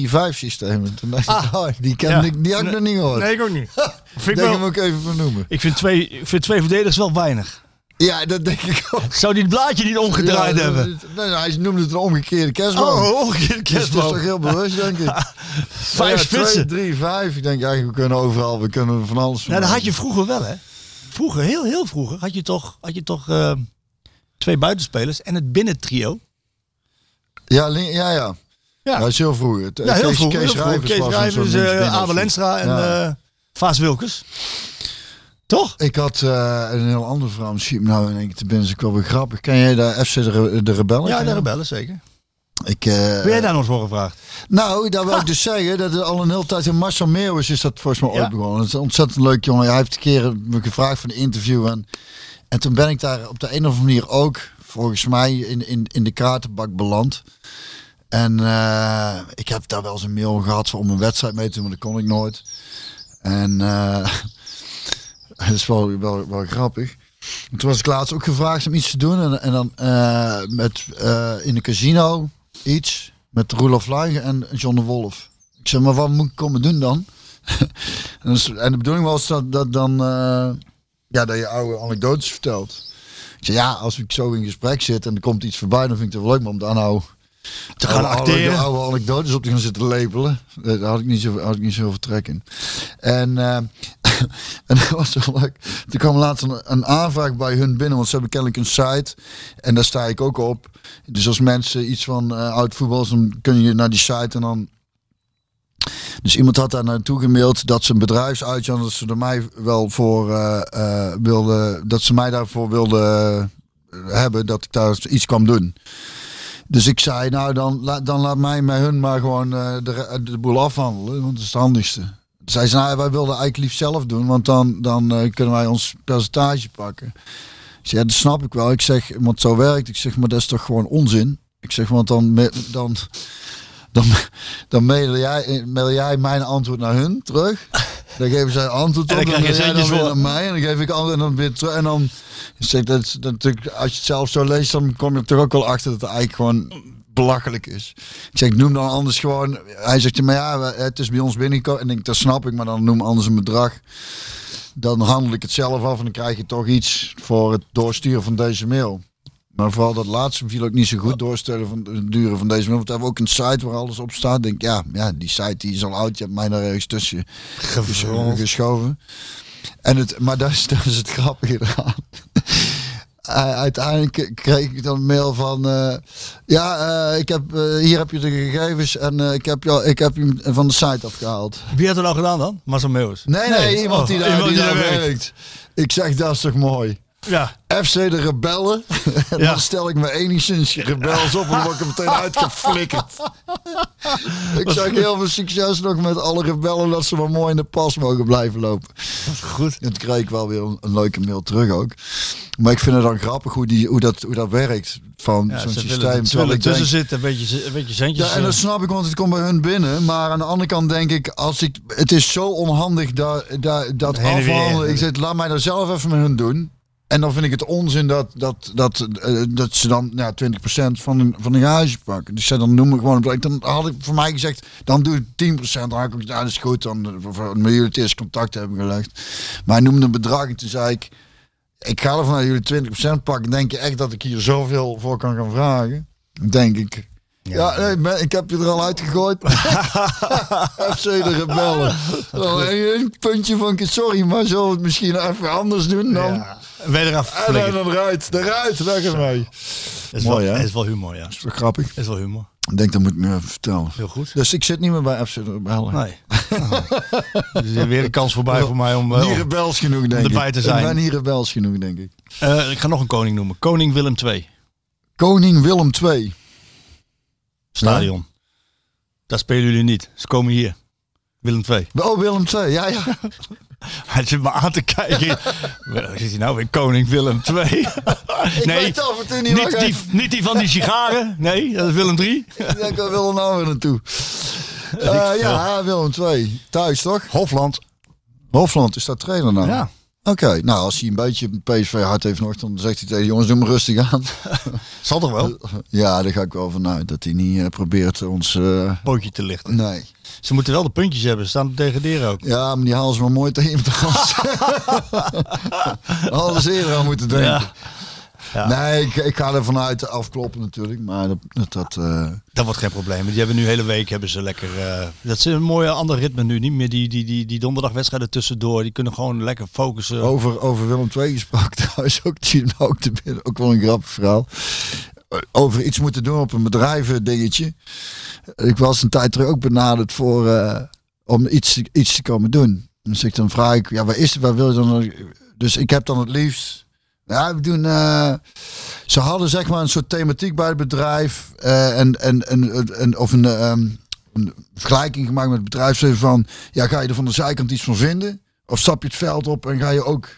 S7: 2-3-5 systeem. En Toen dacht ik, oh, die, ken
S4: Ah. Ja.
S7: ik, die had ik nog niet gehoord.
S4: Nee, ik ook niet. vind ik,
S7: Denk hem
S4: wel,
S7: ook even vernoemen.
S4: ik vind twee, ik vind twee verdedigers wel weinig.
S7: Ja, dat denk ik ook.
S4: Zou die het blaadje niet omgedraaid
S7: Ja,
S4: hebben?
S7: dat- Nee, hij noemde het een omgekeerde kerstboom.
S4: Oh, omgekeerd
S7: Dus het is toch
S4: kerstboom.
S7: heel bewust, denk ik.
S4: Vijf spitsen.
S7: 3, 5. Ik denk eigenlijk, we kunnen overal, we kunnen van alles.
S4: Nou, dat
S7: maken.
S4: had je vroeger wel, hè? Vroeger, heel, heel vroeger, had je toch, had je toch eh, twee buitenspelers en het binnentrio.
S7: Ja, li- ja, ja.
S4: Ja.
S7: Ja, dat is heel vroeg. Het-
S4: Ja, heel
S7: Kees-
S4: vroeg.
S7: Kees
S4: heel vroeg.
S7: Rijvers
S4: Kees
S7: was een
S4: Rijvers,
S7: soort
S4: eh,
S7: linksbinnen of
S4: Abel
S7: zo.
S4: Enstra en
S7: Ja.
S4: eh, Vaas Wilkes. Toch?
S7: Ik had eh, een heel ander verhaal. Misschien nou in één keer te binnen. is ook wel weer grappig. Ken jij de FC de, Re- de Rebellen?
S4: Ja,
S7: Ken
S4: de
S7: je?
S4: rebellen, zeker.
S7: Ik, eh,
S4: Ben jij daar nog voor gevraagd?
S7: Nou, daar wil ik dus zeggen dat er al een hele tijd in Marcel Meeuwis is dat volgens mij
S4: Ja.
S7: ooit begonnen. Het is een ontzettend leuk jongen. Hij heeft een keer me gevraagd voor een interview en, en toen ben ik daar op de een of andere manier ook volgens mij in, in, in de kratenbak beland. En eh, ik heb daar wel eens een mail gehad om een wedstrijd mee te doen, maar dat kon ik nooit. En eh dat is wel, wel, wel grappig. En Toen was ik laatst ook gevraagd om iets te doen. En, en dan eh, met, eh, in de casino iets. Met Roelof Luigen en John de Wolf. Ik zei, maar wat moet ik komen doen dan? en, dan is- en de bedoeling was dat, dat dan... eh, ja, dat je oude anekdotes vertelt. Ik zei, ja, als ik zo in gesprek zit en er komt iets voorbij... dan vind ik het wel leuk, maar om daar nou... Te
S4: gaan acteren.
S7: Oude, oude anekdotes op te gaan zitten lepelen. Eh, Daar had ik niet zo, had ik niet zo trek in. En... eh, En dat was wel leuk. Toen kwam laatst een, een aanvraag bij hun binnen, want ze hebben kennelijk een site. En daar sta ik ook op. Dus als mensen iets van eh, oud voetbal, is, dan kun je naar die site en dan... Dus iemand had daar naartoe gemaild dat ze een bedrijfsuitje hadden, dat ze er mij wel voor eh, eh, wilden, dat ze mij daarvoor wilden eh, hebben, dat ik daar iets kwam doen. Dus ik zei, nou dan, la- dan laat mij met hun maar gewoon eh, de, re- de boel afhandelen, want dat is het handigste. Zij zei, nou, wij wilden eigenlijk liefst zelf doen, want dan, dan eh, kunnen wij ons percentage pakken. Ik zeg, Dus ja, dat snap ik wel. Ik zeg, want zo werkt. Ik zeg, maar dat is toch gewoon onzin. Ik zeg, want dan, me- dan, dan, dan mail, jij, eh, mail jij mijn antwoord naar hun terug. Dan geven zij antwoord
S4: En
S7: op.
S4: dan krijg je
S7: mail jij
S4: centjes
S7: weer
S4: voor.
S7: naar mij. En dan geef ik antwoord en dan weer terug. En dan ik zeg dat, dat, natuurlijk, als je het zelf zo leest, dan kom je er toch ook wel achter dat het eigenlijk gewoon belachelijk is. Ik zeg, noem dan anders gewoon. Hij zegt, maar ja, we- het is bij ons binnengekomen. En ik denk, dat snap ik, maar dan noem anders een bedrag. Dan handel ik het zelf af en dan krijg je toch iets voor het doorsturen van deze mail. Maar vooral dat laatste viel ook niet zo goed doorsturen van het duren van deze mail. Want we hebben ook een site waar alles op staat. Ik Denk, ja, ja, die site die is al oud. Je hebt mij daar ergens tussen geschoven. geschoven. En het, maar dat is, dat is het grappige eraan. Uh, uiteindelijk kreeg ik dan een mail van eh, ja, eh, ik heb, eh, hier heb je de gegevens en eh, ik heb jou, ik heb hem van de site afgehaald.
S4: Wie had dat nou gedaan dan? Marcel Meeuwis.
S7: Nee, nee, iemand die
S4: Oh,
S7: daar, die daar
S4: werkt.
S7: werkt. Ik zeg, dat is toch mooi.
S4: Ja.
S7: FC de Rebellen. en
S4: Ja.
S7: dan stel ik me enigszins rebels op en dan word ik er meteen uitgeflikkerd. ik zeg heel veel succes nog met alle rebellen dat ze maar mooi in de pas mogen blijven lopen. Goed. En toen kreeg ik wel weer een, een leuke mail terug ook. Maar ik vind het dan grappig hoe, die, hoe, dat, hoe dat werkt van
S4: Ja,
S7: zo'n
S4: ze
S7: systeem.
S4: willen, ze
S7: Terwijl
S4: willen
S7: ik denk-
S4: tussen zitten, een beetje, een beetje centjes. eh,
S7: ja, en dat snap ik, want het komt bij hun binnen. Maar aan de andere kant denk ik, als ik, het is zo onhandig dat, dat, dat
S4: Heen en weer.
S7: afhandelen. Ik zeg, laat mij daar zelf even met hun doen. En dan vind ik het onzin dat, dat, dat, eh, dat ze dan ja, 20% van hun, van hun garage pakken. Dus zij dan noemen gewoon een bedrag. Dan had ik voor mij gezegd, dan doe ik 10%. Dan had ik ook, ja, dat is goed. Dan eh, voor- voor met jullie het eerst contact hebben gelegd. Maar hij noemde een bedrag en toen zei ik, ik ga ervan uit dat jullie 20% pakken. Denk je echt dat ik hier zoveel voor kan gaan vragen? Denk ik. Ja, nee, me- ik heb je er al uitgegooid. FC de Rebellen. Dan een Oh, puntje van, keer, sorry, maar zullen we het misschien even anders doen dan?
S9: Ben je eraf
S7: En dan,
S9: flikkerd.
S7: dan eruit, eruit, weg ermee.
S9: Is
S7: Mooi,
S9: wel,
S7: hè?
S9: Is wel humor, ja.
S7: Dat is wel grappig.
S9: Is wel humor.
S7: Ik denk, dat moet ik nu even vertellen.
S9: Heel goed.
S7: Dus ik zit niet meer bij FC de Rebellen.
S9: Nee. Dus er is weer een kans voorbij voor mij om... eh,
S7: Niet
S9: om-
S7: rebels genoeg, denk ik.
S9: erbij te zijn.
S7: Ik ben niet rebels genoeg, denk ik.
S9: Eh, ik ga nog een koning noemen. Koning Willem II.
S7: Koning Willem II.
S9: Stadion. Daar spelen jullie niet. Ze komen hier. Willem II.
S7: Oh, Willem II, ja, ja.
S9: Hij zit me aan te kijken. Wel, Zit hij nou weer koning Willem II?
S7: Ik
S9: Nee,
S7: weet af en toe niet waar
S9: Niet
S7: ik
S9: die, niet die van die sigaren. Nee, dat is Willem III.
S7: Ik denk, waar wil er nou weer naartoe? Eh, ja, Willem II. Thuis, toch?
S9: Hofland.
S7: Hofland is daar trainer nou?
S9: Ja.
S7: Oké, nou als hij een beetje PSV hard heeft nog, dan zegt hij tegen jongens, doe maar rustig aan.
S9: Zal toch wel?
S7: ja, daar ga ik wel vanuit dat hij niet eh, probeert ons... eh,
S9: Pootje te lichten.
S7: nee.
S9: Ze moeten wel de puntjes hebben. Ze staan te degraderen ook.
S7: Ja, maar die halen ze maar mooi tegen hem te gast. Hadden ze eerder aan moeten denken.
S9: Ja.
S7: Nee, ik, ik ga er vanuit afkloppen natuurlijk, maar dat... dat, dat eh,
S9: Dat wordt geen probleem. Die hebben nu de hele week hebben ze lekker. eh, dat is een mooie ander ritme nu. Niet meer die, die, die, die donderdagwedstrijden tussendoor. Die kunnen gewoon lekker focussen.
S7: Over, over Willem II gesproken trouwens, ook, die, ook, te binnen, ook wel een grappig verhaal. Over iets moeten doen op een bedrijven dingetje. Ik was een tijd terug ook benaderd voor, eh, om iets, iets te komen doen. Dus ik dan vraag ik, ja, waar is het, waar wil je dan? Dus ik heb dan het liefst, ja, we doen, eh, ze hadden zeg maar een soort thematiek bij het bedrijf eh, en, en, en, en, of een, ehm, een vergelijking gemaakt met het bedrijfsleven van, ja, ga je er van de zijkant iets van vinden? Of stap je het veld op en ga je ook.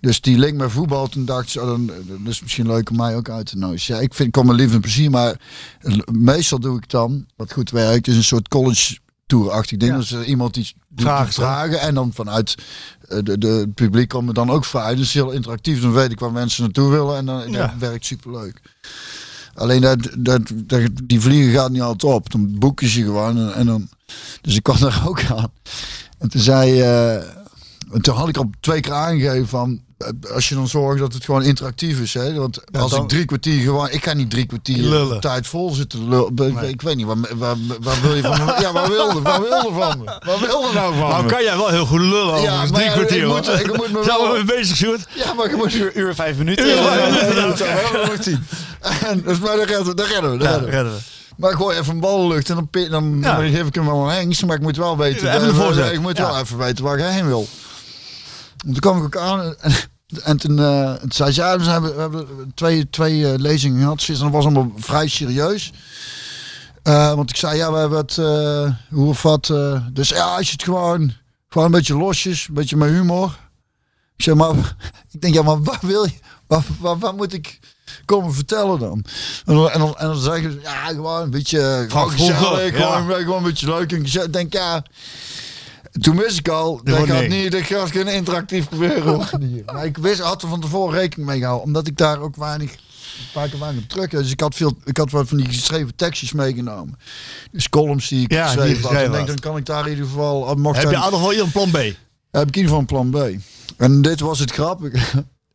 S7: Dus die link met voetbal, toen dacht ze, oh, dan, dat is misschien leuk om mij ook uit te nodigen. Ja, ik vind, ik kom er lief en plezier, maar l- meestal doe ik dan, wat goed werkt, is een soort college tour-achtig ding. Dus er iemand iets doet
S9: Vragen
S7: die vragen en dan vanuit eh, de, de het publiek komen dan ook vragen. Dus heel interactief, dan weet ik waar mensen naartoe willen en dan dat werkt superleuk. Alleen dat, dat, dat, die vliegen gaat niet altijd op. Dan boek je ze gewoon. En, en dan, dus ik kwam daar ook aan. En toen zei... eh, en toen had ik al twee keer aangegeven van... eh, Als je dan zorgt dat het gewoon interactief is. Hè? Want als
S9: dan-
S7: ik drie kwartier gewoon... Ik kan niet drie kwartier
S9: Lullen.
S7: de tijd vol zitten lullen. Ik- Ik weet niet, waar, waar, waar wil je van me? Ja, waar wilde, waar wilde van me? Waar wilde nou van
S9: nou
S7: me?
S9: kan jij wel heel goed lullen
S7: Ja,
S9: over
S7: maar
S9: drie
S7: ja,
S9: kwartier.
S7: ik
S9: hoor.
S7: moet- ik moet me
S9: Zijn we
S7: wel-
S9: mee bezig, Sjoerd?
S7: Ja, maar je moet... Ja,
S5: Uur, uur vijf minuten.
S7: eh, En, dus, maar dat redden we, dat redden we. dat redden we. Maar ik gooi even een bal in de lucht en dan, pi- dan,
S9: Ja.
S7: dan geef ik hem wel een hengst. Maar ik moet wel weten,
S9: Even een voorzet.
S7: ik moet
S9: Ja.
S7: wel even weten waar ik heen wil. En toen kwam ik ook aan en, en toen, eh, toen zei ze, ja, we zijn- we hebben twee, twee eh, lezingen gehad. Ze zei, Dat was allemaal vrij serieus. Eh, want ik zei, ja, we hebben het, eh, hoe of wat. eh, dus ja, als je het gewoon, gewoon een beetje losjes, een beetje met humor. Ik zeg maar, ik denk, ja, maar wat wil je, wat, wat, wat moet ik komen vertellen dan? En dan, en dan, en dan zeggen ze, ja, gewoon een beetje eh, gewoon
S9: vroeger,
S7: gezellig,
S9: ja.
S7: gewoon, gewoon een beetje leuk. En ik zeg- denk, ja, toen wist ik al, dat
S9: wordt
S7: gaat,
S9: niks.
S7: niet, dat gaat geen interactief gebeuren. hoor. maar ik wist, had er van tevoren rekening mee gehouden, omdat ik daar ook weinig, een paar keer weinig op terug had. Dus ik had, veel, ik had wat van die geschreven tekstjes meegenomen. Dus columns die ik
S9: Ja, die je
S7: geschreven had. En ik
S9: geschreven
S7: denk,
S9: had.
S7: dan kan ik daar in ieder geval, al mocht
S9: Heb
S7: hij-
S9: je nog wel hier een plan B?
S7: heb ik in ieder geval een plan B. En dit was het grappig.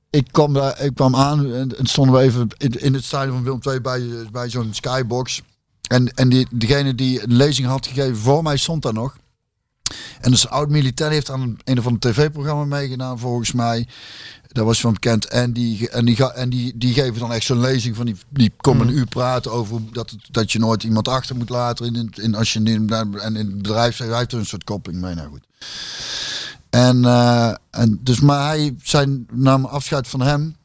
S7: Ik kwam, daar, ik kwam aan en, en stonden we even in, in het stadion van Willem II bij, eh, bij zo'n skybox. En, en die, degene die een lezing had gegeven voor mij stond daar nog. En dus oud-militair heeft aan een of ander tv-programma meegedaan volgens mij. Daar was je van bekend. En die, en die, ga- en die, die geven dan echt zo'n lezing van die, die komen een uur praten over hoe- dat, het- dat je nooit iemand achter moet laten. In, in, in- als je in, en in het bedrijf hij heeft er een soort koppeling mee. Nou goed. En, eh, en dus, maar hij zijn, nam afscheid van hem.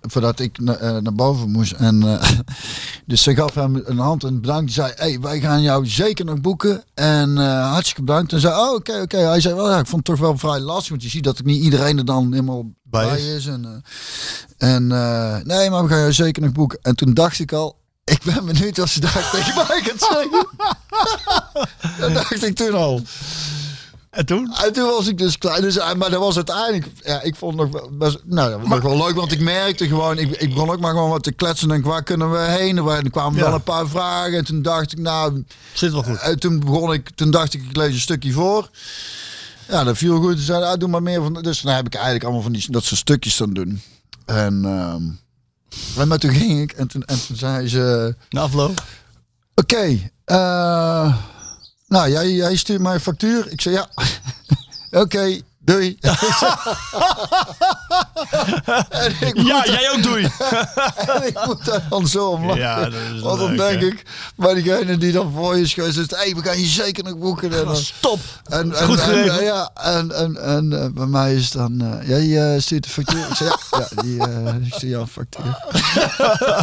S7: Voordat ik na- eh, naar boven moest. En, eh, dus ze gaf hem een hand en bedankt. Die zei: hey, wij gaan jou zeker nog boeken. En eh, hartstikke bedankt. En zei: Oh, oké, oké. Hij zei: wel, ja, Ik vond het toch wel vrij lastig. Want je ziet dat ik niet iedereen er dan helemaal bij,
S9: is.
S7: is. En, eh, en eh, nee, maar we gaan jou zeker nog boeken. En toen dacht ik al: Ik ben benieuwd wat ze daar tegen mij gaat zeggen. dat dacht ik toen al.
S9: En toen?
S7: En toen was ik dus klein. Dus, eh, maar dat was uiteindelijk. Ja, ik vond het nog wel, best, nou, dat was nog wel leuk, want ik merkte gewoon. Ik, ik begon ook maar gewoon wat te kletsen. En waar kunnen we heen? En waar- er kwamen
S9: Ja.
S7: wel een paar vragen. En toen dacht ik, nou.
S9: Zit wel goed.
S7: eh, toen begon ik. Toen dacht ik, ik lees een stukje voor. Ja, dat viel goed. Ze zeiden, ah, doe maar meer van. Dus dan heb ik eigenlijk allemaal van die, dat soort stukjes dan doen. En. ehm en maar toen ging ik en toen, en toen zei ze.
S9: Na afloop.
S7: Oké. eh, nou, jij, jij stuurt mij een factuur. Ik zei ja. Oké, doei. en ik moet,
S5: Ja, jij ook doei.
S7: en ik moet daar dan zo om lachen.
S5: Ja, dat is
S7: Want dan
S5: leuk,
S7: denk
S5: hè?
S7: ik, maar diegene die dan voor je is geweest, zegt, hey, we gaan je zeker nog boeken. En dan-
S5: Stop.
S7: en, en,
S5: Goed
S7: en,
S5: geregeld.
S7: eh, ja, en, en, en eh, bij mij is dan, eh, jij eh, stuurt de factuur. Ik zei, ja, ja die, eh ik stuur jou een factuur.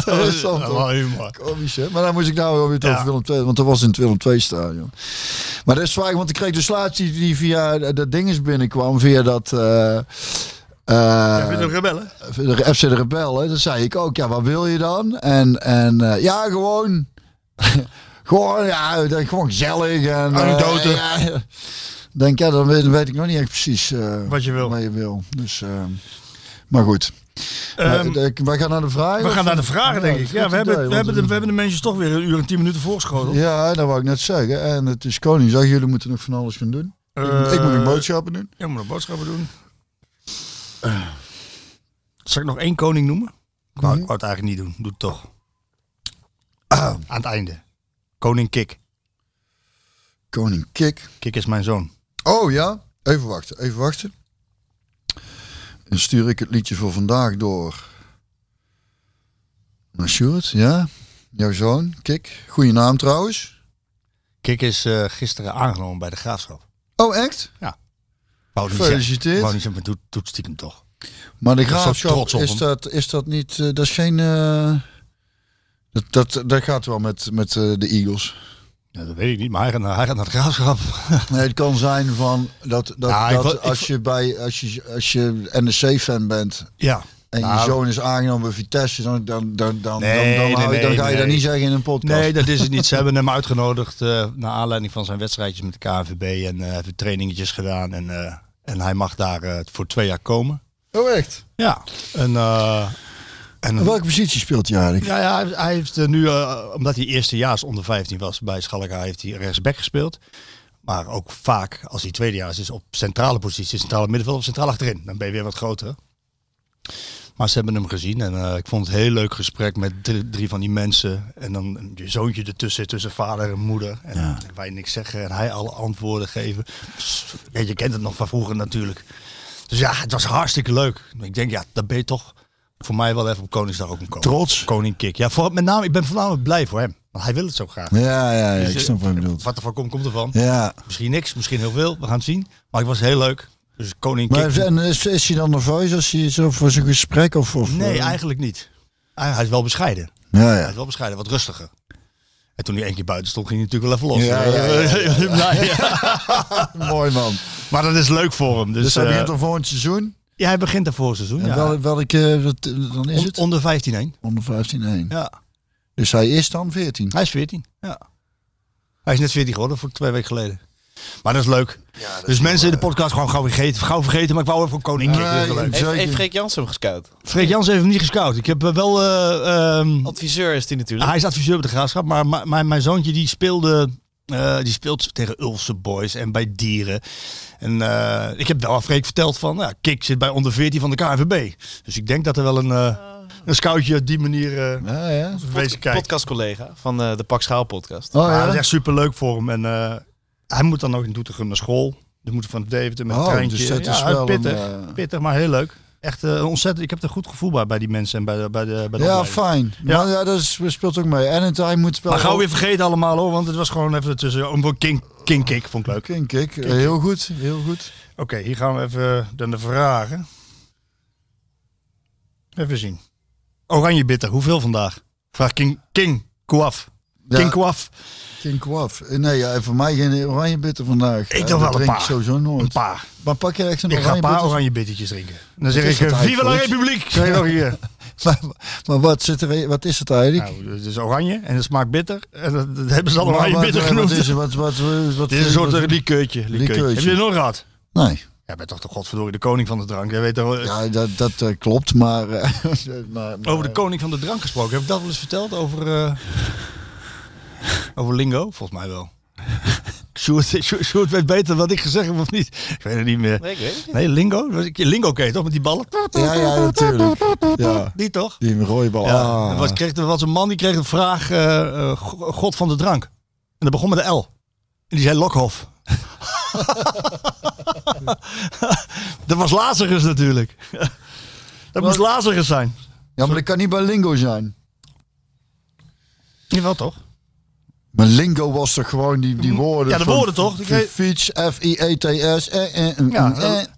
S7: dat is dan toch
S5: Wel humor.
S7: komisch, hè? Maar dan moest ik nou wel weer tot Willem II, want dat was in het Willem II stadion. Maar dat is vaak, want ik kreeg de slaat die, die via eh, dat ding is binnenkwam, via dat... eh, eh,
S5: rebellen?
S7: de FC de Rebel, hè, dat zei ik ook. Ja, wat wil je dan? En, en eh, ja, gewoon. gewoon, ja, ik denk gewoon gezellig. En, eh,
S5: Anekdote.
S7: ja, ja. Denk, ja, dan weet, dan weet ik nog niet echt precies eh,
S9: Wat je wil.
S7: Wat je wil. Dus, eh, maar goed.
S9: Ehm,
S7: Eh, ik- wij gaan naar de vraag.
S9: we
S7: of-
S9: gaan naar de vragen, denk
S7: Ja,
S9: ik.
S7: dat is
S9: Ja,
S7: een
S9: we
S7: goed idee,
S9: hebben, we,
S7: want
S9: hebben de, we hebben de mensen toch weer een uur en tien minuten voorgeschoten.
S7: Ja, dat wou ik net zeggen. En het is Koningsdag. Jullie moeten nog van alles gaan doen. Ik moet- ik moet nog
S9: Eh,
S7: boodschappen doen.
S9: Ja, maar nog boodschappen doen.
S4: Eh.
S9: Zal ik nog één koning noemen?
S4: Ik wou, ik wou het eigenlijk niet doen. Doe het toch. Aan het einde. Koning Kik.
S7: Koning Kik.
S4: Kik is mijn zoon.
S7: Oh ja, even wachten, even wachten. Dan stuur ik het liedje voor vandaag door naar Sjoerd, ja. Jouw zoon, Kik. Goeie naam trouwens.
S4: Kik is eh, gisteren aangenomen bij de graafschap.
S7: Oh, echt?
S4: Wou niet
S7: Gefeliciteerd.
S4: zeggen- wou niet zeggen, maar doet, doet stiekem toch.
S7: Maar de
S4: ben zo
S7: graafschap,
S4: trots op
S7: is
S4: hem.
S7: dat, is dat niet... eh, dat is geen... eh, dat, dat, dat gaat wel met, met eh, de Eagles.
S4: Ja, dat weet ik niet, maar hij gaat naar, hij gaat naar de graafschap.
S7: Nee, het kan zijn van dat, dat,
S4: Ja, Nou, ik
S7: dat
S4: wa- ik
S7: als, je bij, als, je, als je NEC-fan bent
S4: Ja.
S7: en je
S4: Nou.
S7: zoon is aangenomen bij Vitesse, dan, dan, dan, dan,
S4: Nee,
S7: dan, dan, hou je-
S4: nee,
S7: dan
S4: nee,
S7: ga je dat
S4: nee.
S7: niet zeggen in een podcast.
S4: Nee, dat is het niet. Ze hebben hem uitgenodigd eh, naar aanleiding van zijn wedstrijdjes met de KNVB. En eh hebben trainingetjes gedaan. En, eh, en hij mag daar eh, voor twee jaar komen.
S7: Oh, echt?
S4: Ja. En, eh, en
S7: Welke positie speelt hij eigenlijk?
S4: Ja, ja hij, hij heeft eh, nu, eh, omdat hij eerstejaars onder 15 was bij Schalke, heeft hij rechtsback gespeeld. Maar ook vaak, als hij tweedejaars is, op centrale positie, centrale middenveld of centraal achterin. Dan ben je weer wat groter. Maar ze hebben hem gezien en eh, ik vond het een heel leuk gesprek met drie, drie van die mensen. En dan je zoontje ertussen, tussen vader en moeder. En wij niks zeggen en hij alle antwoorden geven. Ja, je kent het nog van vroeger natuurlijk. Dus ja, het was hartstikke leuk. Ik denk, ja, daar ben je toch voor mij wel even op Koningsdag ook een koning.
S7: Trots.
S4: Koning Kik. Ja, voor, met name, ik ben voornamelijk blij voor hem. Want hij wil het zo graag.
S7: Ja, ja, ja, ik
S4: eh,
S7: snap wat je bedoelt.
S4: Wat er van komt, komt ervan.
S7: Ja,
S4: Misschien niks, misschien heel veel. We gaan het zien. Maar het was heel leuk. Dus Koning
S7: maar
S4: Kik.
S7: en is, is hij dan nerveus als hij zo voor zo'n gesprek of... of
S4: Nee,
S7: eh,
S4: eigenlijk niet. Hij hij is wel bescheiden.
S7: Ja,
S4: Hij
S7: ja.
S4: is wel bescheiden, wat rustiger. En toen hij één keer buiten stond, ging hij natuurlijk wel even los.
S7: Ja, ja, ja,
S4: Blij, ja.
S7: Mooi man.
S4: Maar dat is leuk voor hem. Dus,
S7: Dus hij
S4: eh,
S7: begint al volgend seizoen.
S4: ja, hij begint er voor het seizoen.
S7: En
S4: Ja.
S7: wel, welke, wat, eh, dan is
S4: On-
S7: het?
S4: onder 15 heen.
S7: Onder 15 1.
S4: Ja.
S7: Dus hij is dan 14.
S4: Hij is 14. Ja. Hij is net 14 geworden voor twee weken geleden. Maar dat is leuk. dus mensen in de podcast gewoon gauw vergeten. Gauw vergeten maar ik wou even een koning.
S7: Nee,
S4: Kick. Leuk.
S1: Heeft,
S7: Zeker.
S1: heeft Freek Jansen hem gescout?
S4: Freek Jans heeft hem niet gescout. Ik heb eh, wel. eh, ehm,
S1: Adviseur is die natuurlijk.
S4: hij is adviseur op de graafschap. Maar m- mijn, mijn zoontje die speelde. eh, die speelt tegen Ulse Boys en bij Dieren. En eh, ik heb wel aan Freek verteld van. Nou, Kik zit bij onder 14 van de KNVB. Dus ik denk dat er wel een, eh, een scoutje op die manier. eh
S7: Ja, ja.
S4: wezen kijkt.
S1: Podcastcollega van eh, de Pak Schaal podcast.
S7: Oh
S4: Maar
S7: ja?
S4: dat is echt super leuk voor hem. En eh, hij moet dan ook in Doetinchem naar school. De moeten van David met een
S7: Oh,
S4: treintje.
S7: dus dat
S4: Ja,
S7: is wel een,
S4: pittig,
S7: eh,
S4: pittig, maar heel leuk. Echt eh, ontzettend. Ik heb er goed gevoel bij bij die mensen en bij de bij de, bij de
S7: Ja,
S4: opleiding.
S7: fijn. Ja,
S4: Ja.
S7: ja dat is, speelt ook mee. En het, hij moet wel...
S4: Maar gauw weer vergeten allemaal hoor, want het was gewoon even tussen. Om King, King Kick vond ik leuk.
S7: Kink, ik. Eh, Heel goed, heel goed.
S4: Oké, hier gaan we even dan de vragen. Even zien. Oranje bitter, hoeveel vandaag? Vraag King King Kouaf.
S7: Ja.
S4: King Kouaf.
S7: Kink waf. Eh, Nee, ja, voor mij geen oranje bitter vandaag.
S4: Ik
S7: Eh,
S4: toch
S7: dat
S4: wel een
S7: drink ik
S4: paar.
S7: sowieso nooit.
S4: Een paar.
S7: Maar pak je echt een
S4: Ik ga
S7: oranje
S4: een paar
S7: bitter?
S4: oranje bittertjes drinken. En Dan
S7: is
S4: zeg ik,
S7: het
S4: eh, viva la
S7: eigenlijk?
S4: republiek! Zeg je nog hier.
S7: Maar, maar wat, zit er, wat is het eigenlijk?
S4: Nou, het is oranje en het smaakt bitter. En dat, dat hebben ze dan
S7: Maar
S4: oranje
S7: wat-
S4: bitter
S7: wat
S4: genoemd.
S7: is het? Wat, wat, wat, wat-
S4: Dit is een soort
S7: wat-
S4: likeurtje.
S7: Likeurtje.
S4: likeurtje. Heb je het nog gehad?
S7: Nee,
S4: Jij bent toch de godverdorie de koning van de drank. Jij weet toch, eh,
S7: ja, dat, dat eh, klopt, maar, eh, maar, maar-
S4: Over de koning van de drank gesproken. Heb ik dat wel eens verteld over... eh, over lingo? Volgens mij wel. Ik Sjoerd, Sjoerd, Sjoerd weet beter wat ik gezegd heb of niet. Ik weet het niet meer.
S5: Nee, ik weet het niet.
S4: Nee, Lingo? Was ik- Lingo ken je toch, met die ballen?
S7: Ja, ja, natuurlijk. Ja,
S4: Die toch?
S7: die rode bal.
S4: Ja.
S7: Ah.
S4: Er was, kreeg, er was een man die kreeg een vraag, eh, eh, go- God van de drank. En dat begon met een L. En die zei Lokhoff. dat was Lazarus natuurlijk. dat moest Lazarus zijn.
S7: ja, maar dat kan niet bij Lingo zijn.
S4: Jawel toch?
S7: Maar lingo was toch gewoon die, die woorden.
S4: Mhm. Ja, de
S7: van
S4: woorden toch?
S7: f- Fiets, F-I-E-T-S. Eh, eh, eh,
S4: Ja,
S7: eh.
S4: dat-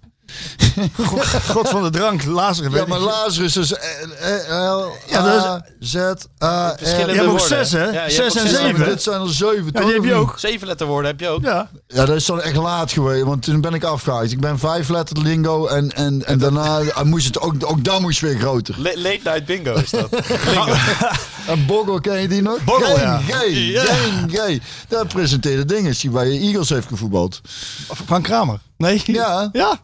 S4: God, God van de drank, Lazarus.
S7: ja,
S4: weet
S7: maar
S4: ik.
S7: Lazarus is eh,
S4: Ja, dat
S7: L-A-Z-A.
S5: Verschillende
S4: hebt ook
S5: woorden.
S4: zes, hè?
S5: je hebt
S4: Zes
S5: ook
S4: en
S5: zes
S4: zeven.
S5: letters.
S7: Dit zijn er zeven,
S4: Ja, die heb je ook.
S5: Zeven letterwoorden heb je ook.
S4: Ja.
S7: Ja, dat is dan echt laat geweest, want toen ben ik afgehaakt. Ik ben vijf letter lingo en, en, en daarna eh, moest het ook, ook daar moest weer groter.
S5: La- Late night bingo is dat. Bingo.
S7: En Boggle, ken je die nog?
S4: Boggle,
S7: geen,
S4: ja.
S7: geen, geen, geen. Dat presenteerde dingen die bij je Eagles heeft gevoetbald.
S4: Frank Kramer. Nee?
S7: Ja.
S4: Ja.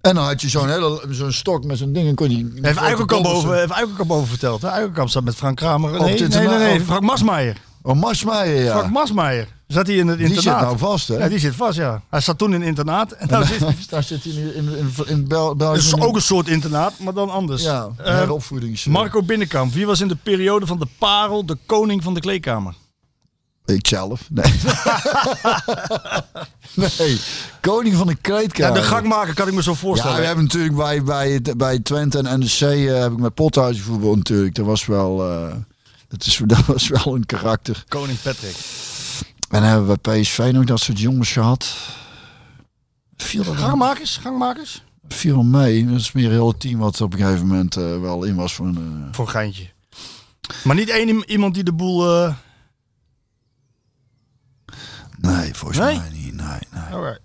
S7: En dan had je zo'n hele zo'n stok met zo'n ding en kon je...
S4: Heeft Eikelkamp boven, heeft Eikelkamp boven verteld. hè? Eikelkamp zat met Frank Kramer. Nee,
S7: Op het
S4: nee, nee,
S7: interna-
S4: nee,
S7: op-
S4: Frank Masmeijer.
S7: Oh, Masmeijer, ja.
S4: Frank Masmeijer. Zat hij in het
S7: die
S4: internaat.
S7: zit nou vast, hè?
S4: Ja, die zit vast, ja. Hij zat toen in het internaat. En nou zit,
S7: Daar zit hij nu in, in, in Bel
S4: dat
S7: België.
S4: is ook een soort internaat, maar dan anders.
S7: Ja,
S4: Eh,
S7: heropvoedings...
S4: Marco Binnenkamp. Wie was in de periode van de parel de koning van de kleedkamer?
S7: Ik zelf, nee. nee, koning van de
S4: Ja,
S7: kleedkamer.
S4: de gangmaker kan ik me zo
S7: Ja,
S4: voorstellen.
S7: we hebben natuurlijk bij, bij, het- bij Twente en NEC eh, heb ik met Pothuis voetbal natuurlijk. Dat was wel, eh, dat, is, dat was wel een karakter.
S4: Koning Patrick.
S7: En dan hebben we bij PSV nog dat soort jongens gehad. Viel er wel-
S4: Gangmakers, gangmakers.
S7: viel er mee. Dat is meer een heel team wat op een gegeven moment eh, wel in was. Van, eh,
S4: Voor een geintje. Maar niet één iem- iemand die de boel... eh,
S7: nee, volgens
S4: Nee?
S7: mij niet. Nee, nee.
S4: Alright.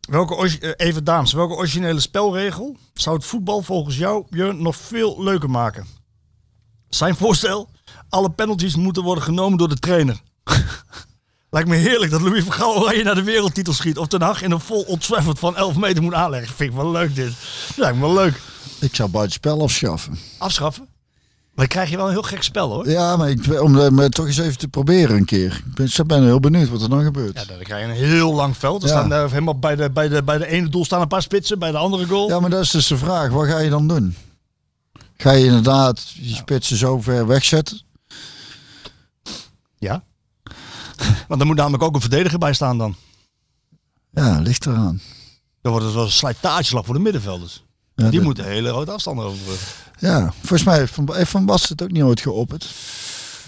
S4: Welke, orgi- eh, even dames, welke originele spelregel zou het voetbal volgens jou, Björn, nog veel leuker maken? Zijn voorstel, alle penalties moeten worden genomen door de trainer. Lijkt me heerlijk dat Louis van Gaal Oranje naar de wereldtitel schiet. Of Den Haag in een vol Old Trafford van 11 meter moet aanleggen. Vind ik wel leuk dit. Lijkt me wel leuk.
S7: Ik zou buitenspel afschaffen.
S4: Afschaffen. Maar dan krijg je wel een heel gek spel hoor.
S7: Ja, maar ik, om eh, maar toch eens even te proberen een keer. Ik ben, ik ben heel benieuwd wat er dan gebeurt.
S4: Ja, dan krijg je een heel lang veld. Er
S7: Ja.
S4: staan eh, helemaal bij, de, bij, de, bij de ene doel staan een paar spitsen, bij de andere goal.
S7: Ja, maar dat is dus de vraag. Wat ga je dan doen? Ga je inderdaad je spitsen zo ver wegzetten?
S4: Ja. Want er moet namelijk ook een verdediger bij staan dan.
S7: Ja, ligt eraan.
S4: Dan wordt het wel een slijtageslag voor de middenvelders.
S7: Ja,
S4: die
S7: dat-
S4: moeten hele grote afstanden overbruggen.
S7: Ja, volgens mij heeft Van, heeft Van Basten het ook niet ooit geopperd.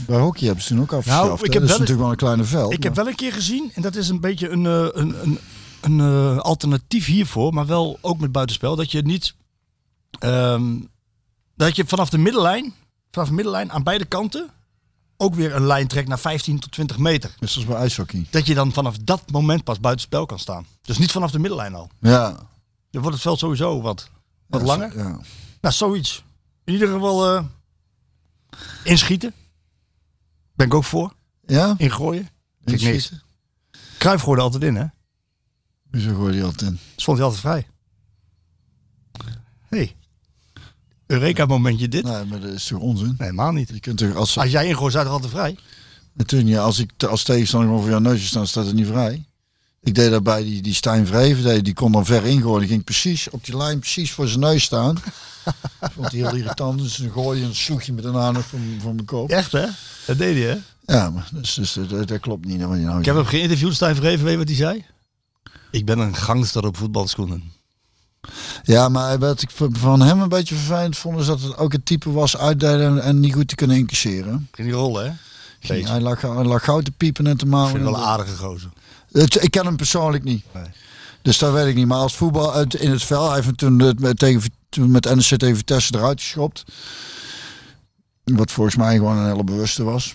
S7: Bij hockey hebben ze toen ook afgeschaft.
S4: Nou,
S7: hè?
S4: ik heb
S7: dat is
S4: wel-
S7: natuurlijk wel een kleine veld.
S4: Ik heb
S7: maar-
S4: wel een keer gezien, en dat is een beetje een, eh, een, een, een eh, alternatief hiervoor, maar wel ook met buitenspel, dat je niet. ehm, dat je vanaf de middenlijn, vanaf de middenlijn aan beide kanten ook weer een lijn trekt naar 15 tot 20 meter.
S7: Net zoals bij ijshockey.
S4: Dat je dan vanaf dat moment pas buitenspel kan staan. Dus niet vanaf de middenlijn al.
S7: Ja.
S4: Dan wordt het veld sowieso wat, wat
S7: Ja,
S4: langer.
S7: zo- Ja.
S4: Nou, zoiets. In ieder geval eh, inschieten. Ben ik ook voor.
S7: Ja?
S4: Ingooien. Vind ik niks.
S7: Inschieten?
S4: Kruif gooide altijd in, hè?
S7: Hoezo gooi je die altijd in?
S4: Stond hij altijd vrij. hey. Eureka-momentje dit?
S7: Nee, maar dat is toch onzin?
S4: Nee, helemaal niet.
S7: Je kunt toch, als,
S4: Als jij ingooit, staat er altijd vrij.
S7: natuurlijk, niet, als ik te- als tegenstander over jouw neusje staan, staat het niet vrij. Ik deed dat bij die, die Stijn Vreven, die, die kon dan ver ingooien. Die ging precies op die lijn, precies voor zijn neus staan. Vond hij heel irritant, dus dan gooi je een sloegje met een aandacht van, van mijn kop. Ja,
S4: Echt, hè? Dat deed hij, hè?
S7: maar dus, dus, dat, dat klopt niet. hè, wat je nou
S4: Ik heb
S7: zegt.
S4: hem geïnterviewd, Stijn Verheven, weet je wat hij zei? Ik ben een gangster op voetbalschoenen.
S7: Ja, maar wat ik van- van hem een beetje vervelend vond, is dat het ook het type was uitdelen en, en niet goed te kunnen incasseren.
S4: Ging die rollen, hè?
S7: Ging,
S4: Beetje.
S7: hij, lag, hij lag gauw te piepen en te
S4: Ik vind
S7: mouwen.
S4: het wel een aardige gozer.
S7: Het- ik ken hem persoonlijk niet.
S4: Nee.
S7: Dus dat weet ik niet. Maar als voetbal uit- in het veld, hij heeft hem toen het met, tegen, Vi- toen met NEC tegen Vitesse eruit geschopt. Wat volgens mij gewoon een hele bewuste was.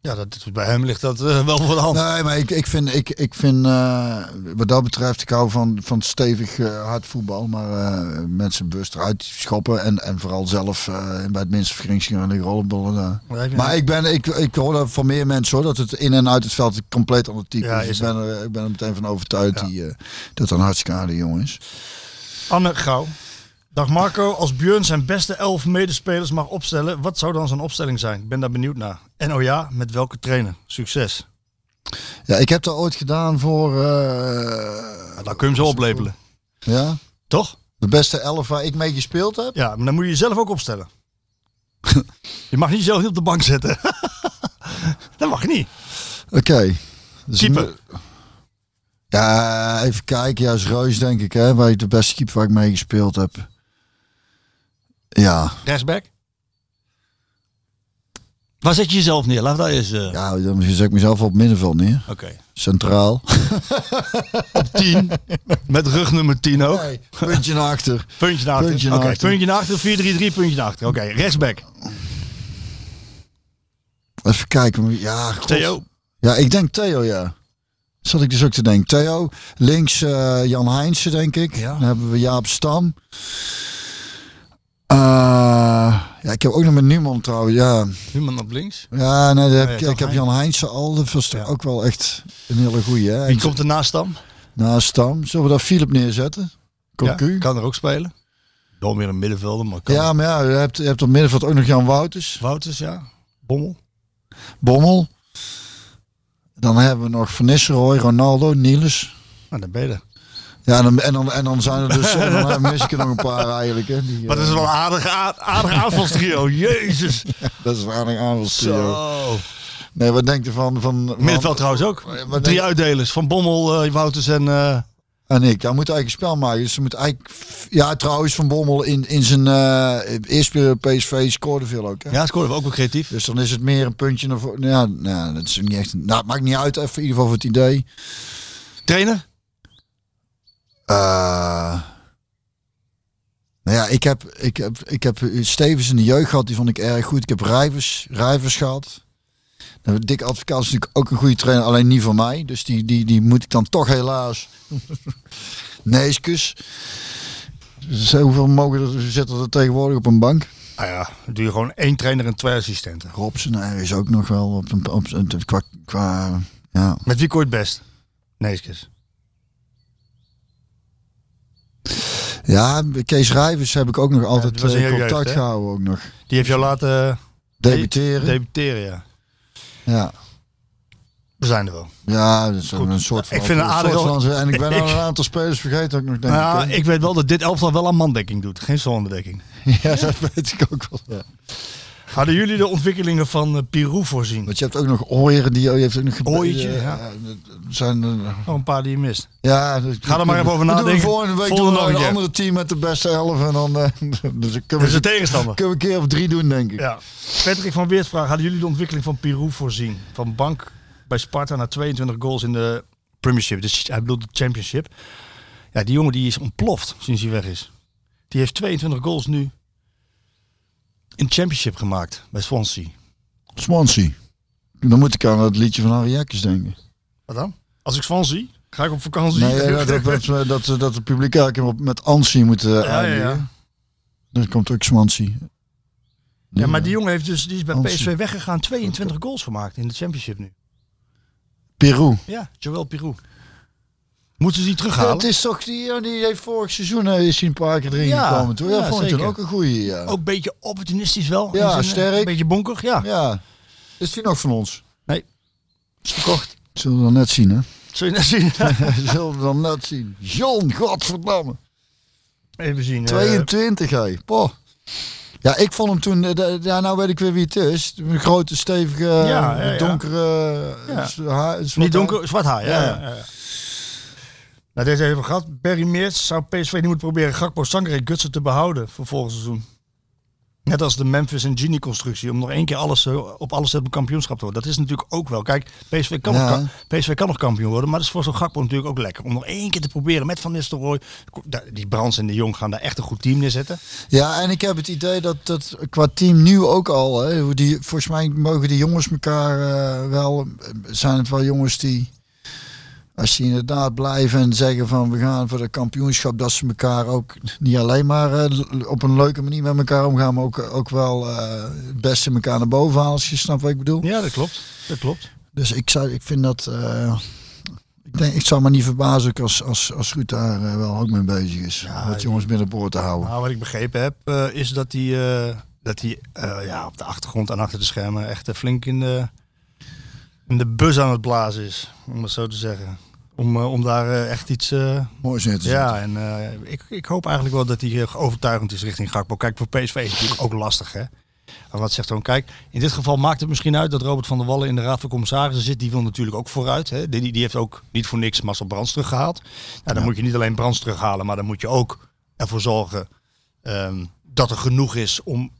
S4: Ja, dat, bij hem ligt dat eh, wel voor de hand.
S7: Nee, maar ik, ik vind, ik, ik vind eh, wat dat betreft, ik hou van, van stevig eh, hard voetbal. Maar eh, mensen bewust eruit schoppen en, en vooral zelf eh, bij het minste vergringsgerende rollenbollen. eh.
S4: Maar heb je-
S7: Maar ik, ben, ik, ik hoor dat van meer mensen hoor, dat het in en uit het veld een compleet ander type
S4: Ja,
S7: is.
S4: is
S7: Ik ben, er, ik ben er meteen van overtuigd die, eh, dat dat een hartstikke aardige jongen is.
S4: Anne Gauw. Dag Marco, als Björn zijn beste elf medespelers mag opstellen, wat zou dan zijn opstelling zijn? Ik ben daar benieuwd naar. En oh ja, met welke trainer? Succes.
S7: Ja, ik heb dat ooit gedaan voor... eh,
S4: Nou, dan kun je hem zo oplepelen.
S7: ja,
S4: Toch?
S7: de beste elf waar ik mee gespeeld heb.
S4: Ja, maar dan moet je jezelf ook opstellen. je mag niet jezelf niet op de bank zetten. dat mag niet.
S7: Oké. Dus
S4: Keeper.
S7: nu- Ja, even kijken. Ja, is Reus denk ik, hè. Waar ik de beste keeper waar ik mee gespeeld heb. Ja,
S4: Rechtsback. Waar zet je jezelf neer? Laat dat eens... eh,
S7: ja dan zet ik mezelf op middenveld neer.
S4: Oké.
S7: Centraal.
S4: Met rug nummer 10 ook.
S7: Nee, puntje naar achter.
S4: Puntje naar achter.
S7: Puntje
S4: Puntje
S7: naar
S4: naar
S7: achter.
S4: Puntje naar achter, 4-3-3, puntje naar achter. Oké, rechtsback.
S7: Even kijken. Ja, god.
S4: Theo.
S7: Ja, ik denk Theo, ja. Zat ik dus ook te denken. Theo, links eh, Jan Heinsen, denk ik.
S4: Ja.
S7: Dan hebben we Jaap Stam. Eh, ja, ik heb ook nog met Newman trouwens, ja.
S4: Human op links.
S7: Ja, nee, daar heb
S4: ja,
S7: ik,
S4: toch,
S7: ik heb
S4: Hein?
S7: Jan Heinsen al. Dat was toch
S4: Ja.
S7: ook wel echt een hele goeie, hè.
S4: Wie
S7: En
S4: komt ernaast dan?
S7: Naast Stam. Zullen we daar Philip neerzetten? Cocu?
S4: Ja,
S7: Ja,
S4: kan er ook spelen. Dan weer een middenvelder, maar kan.
S7: ja, maar ja, je hebt, je hebt op middenveld ook nog Jan Wouters.
S4: Wouters, ja. Bommel.
S7: Bommel. Dan hebben we nog Van Nistelrooy, Ronaldo, Niels.
S4: Nou, dan ben je er.
S7: Ja, en dan, en dan, en dan zijn er dus en dan mis ik er nog een paar eigenlijk. Hè, die,
S4: Maar dat is
S7: eh,
S4: wel een aardig, a- aardig aanvalstrio. Jezus.
S7: dat is een aardig aanvalstrio.
S4: Zo.
S7: Nee, wat denkt u van... van van-
S4: Middenveld trouwens ook.
S7: wat
S4: Drie
S7: denk-
S4: uitdelers. Van Bommel, eh, Wouters en... eh,
S7: En ik, daar moet eigenlijk een spel maken. Dus ze moet eigenlijk... Ja, trouwens, Van Bommel in, in zijn eh eerste PSV scoorde veel ook. Hè?
S4: ja, scoren we ook wel creatief.
S7: Dus dan is het meer een puntje naar voren. Ja, nou, dat is niet echt... Nou, het maakt niet uit, even in ieder geval voor het idee.
S4: Trainer?
S7: Eh, nou ja, ik heb, ik, heb, ik heb Stevens in de jeugd gehad, die vond ik erg goed. Ik heb Rijvers, Rijvers gehad. Nou, Dick Advocaat is natuurlijk ook een goede trainer, alleen niet voor mij. Dus die, die, die moet ik dan toch helaas... Neeskes. Dus hoeveel mogen er, zitten er tegenwoordig op een bank?
S4: Nou ja, dan doe je gewoon één trainer en twee assistenten.
S7: Robson hij is ook nog wel op een... Op, een- qua, qua, ja.
S4: Met wie kon je het best? Neeskens.
S7: ja, Kees Rijvers heb ik ook nog altijd
S4: dat was in
S7: eh,
S4: je
S7: contact
S4: jeugd, hè?
S7: gehouden. Ook nog.
S4: Die heeft jou laten eh,
S7: Debuteren.
S4: debuteren, ja.
S7: ja.
S4: We zijn er wel.
S7: Ja, dat is
S4: Goed.
S7: een soort van.
S4: Ik vind het
S7: een
S4: aardig
S7: soort
S4: wel-
S7: van- En ik ben al
S4: Ik-
S7: een aantal spelers vergeten ook nog, denk
S4: Nou,
S7: ik. hè?
S4: ik weet wel dat dit elftal wel aan mandekking doet. Geen zonnedekking.
S7: Ja, dat weet ik ook wel.
S4: Hadden jullie de ontwikkelingen van eh, Pirou voorzien?
S7: Want je hebt ook nog ooieren die oh, je heeft ook nog.
S4: Ooiertje,
S7: eh,
S4: ja.
S7: dat Zijn, eh,
S4: Nog een paar die je mist.
S7: ja, dat-
S4: Ga er maar even over
S7: We doen
S4: nadenken.
S7: volgende week
S4: Volgende
S7: doen we
S4: nog een
S7: een
S4: keer.
S7: andere team met de beste elf. En dan eh, dus
S4: Dat
S7: kunnen,
S4: is
S7: we,
S4: de tegenstander.
S7: kunnen we een keer of drie doen, denk ik.
S4: Ja. Patrick van Weert vraagt, hadden jullie de ontwikkeling van Pirou voorzien? Van bank bij Sparta naar 22 goals in de Premiership. Dus hij bedoelt de Championship. Ja, die jongen die is ontploft sinds hij weg is. Die heeft 22 goals nu in de Championship gemaakt bij Swansea.
S7: Swansea. Dan moet ik aan het liedje van Harry Jekkers denken.
S4: Wat dan? Als ik Swansea, ga ik op vakantie.
S7: Nee, ja, dat, dat, dat, dat, dat het publiek elke keer op- met Ansi moet eh
S4: ja, ja,
S7: eindigen.
S4: ja.
S7: Dan komt ook Swansea.
S4: Ja, maar die jongen heeft dus, die is bij
S7: Hansen.
S4: PSV weggegaan. 22 goals gemaakt in de championship nu.
S7: Peru.
S4: Ja, Joël Pirou. Moeten ze die
S7: Ja,
S4: terughalen?
S7: het is toch die, oh, die heeft vorig seizoen eh, is hij een paar keer erin
S4: Ja,
S7: gekomen. Toch? Ja,
S4: ja,
S7: vond ik toen
S4: zeker.
S7: ook een goeie. Ja.
S4: Ook een beetje opportunistisch wel.
S7: Ja,
S4: In eh,
S7: sterk.
S4: Een beetje bonkig, ja.
S7: ja. Is die nog van ons?
S4: Nee.
S7: Is verkocht. Zullen we dan net zien, hè?
S4: Zul je net zien?
S7: Zullen we dan net zien. John, godverdamme.
S4: Even zien. eh,
S7: 22, hé. Poh. Ja, ik vond hem toen... eh, de- ja, nou weet ik weer wie het is. Een grote, stevige,
S4: ja, ja.
S7: donkere...
S4: Ja.
S7: eh, z- haar-
S4: niet
S7: zwarte-
S4: donker, zwart haar. Ja,
S7: Ja.
S4: ja, ja. Nou, deze hebben we gehad. Barry Meers zou PSV niet moeten proberen Gakpo, Sangre en Gutsen te behouden voor volgend seizoen. Net als de Memphis en Genie constructie. Om nog één keer alles, eh, op alles te hebben om kampioenschap te worden. Dat is natuurlijk ook wel. Kijk, PSV kan,
S7: Ja.
S4: nog, ka- PSV kan nog kampioen worden. Maar dat is voor zo'n Gakpo natuurlijk ook lekker. Om nog één keer te proberen met Van Nistelrooy. Die Brands en de Jong gaan daar echt een goed team neerzetten.
S7: Ja, en ik heb het idee dat dat qua team nu ook al, hè, hoe die, volgens mij mogen die jongens elkaar eh, wel, zijn het wel jongens die, als die inderdaad blijven en zeggen van we gaan voor de kampioenschap, dat ze elkaar ook niet alleen maar eh, l- op een leuke manier met elkaar omgaan, maar ook, ook wel eh, het beste elkaar naar boven halen, als je snapt wat ik bedoel.
S4: Ja, dat klopt. Dat klopt.
S7: Dus ik, zou, ik vind dat, eh, Ik, denk, ik zou me niet verbazen ook als, als, als Ruud daar eh, wel ook mee bezig is. om het jongens binnenboord te houden.
S4: Nou, wat ik begrepen heb, eh, is dat hij, eh, dat hij eh, ja, op de achtergrond en achter de schermen echt eh, flink in de, in de bus aan het blazen is. Om het zo te zeggen. Om, eh, om daar eh, echt iets... eh,
S7: Mooi zin te zetten.
S4: ja, en eh, ik, ik hoop eigenlijk wel dat hij eh, overtuigend is richting Gakpo. Kijk, voor PSV is het natuurlijk ook lastig, hè. En wat zegt dan? Kijk, in dit geval maakt het misschien uit dat Robert van der Wallen in de Raad van Commissarissen zit. Die wil natuurlijk ook vooruit. Hè. Die, die heeft ook niet voor niks Marcel Brands teruggehaald. Nou, dan moet je niet alleen Brands terughalen, maar dan moet je ook ervoor zorgen ehm, dat er genoeg is om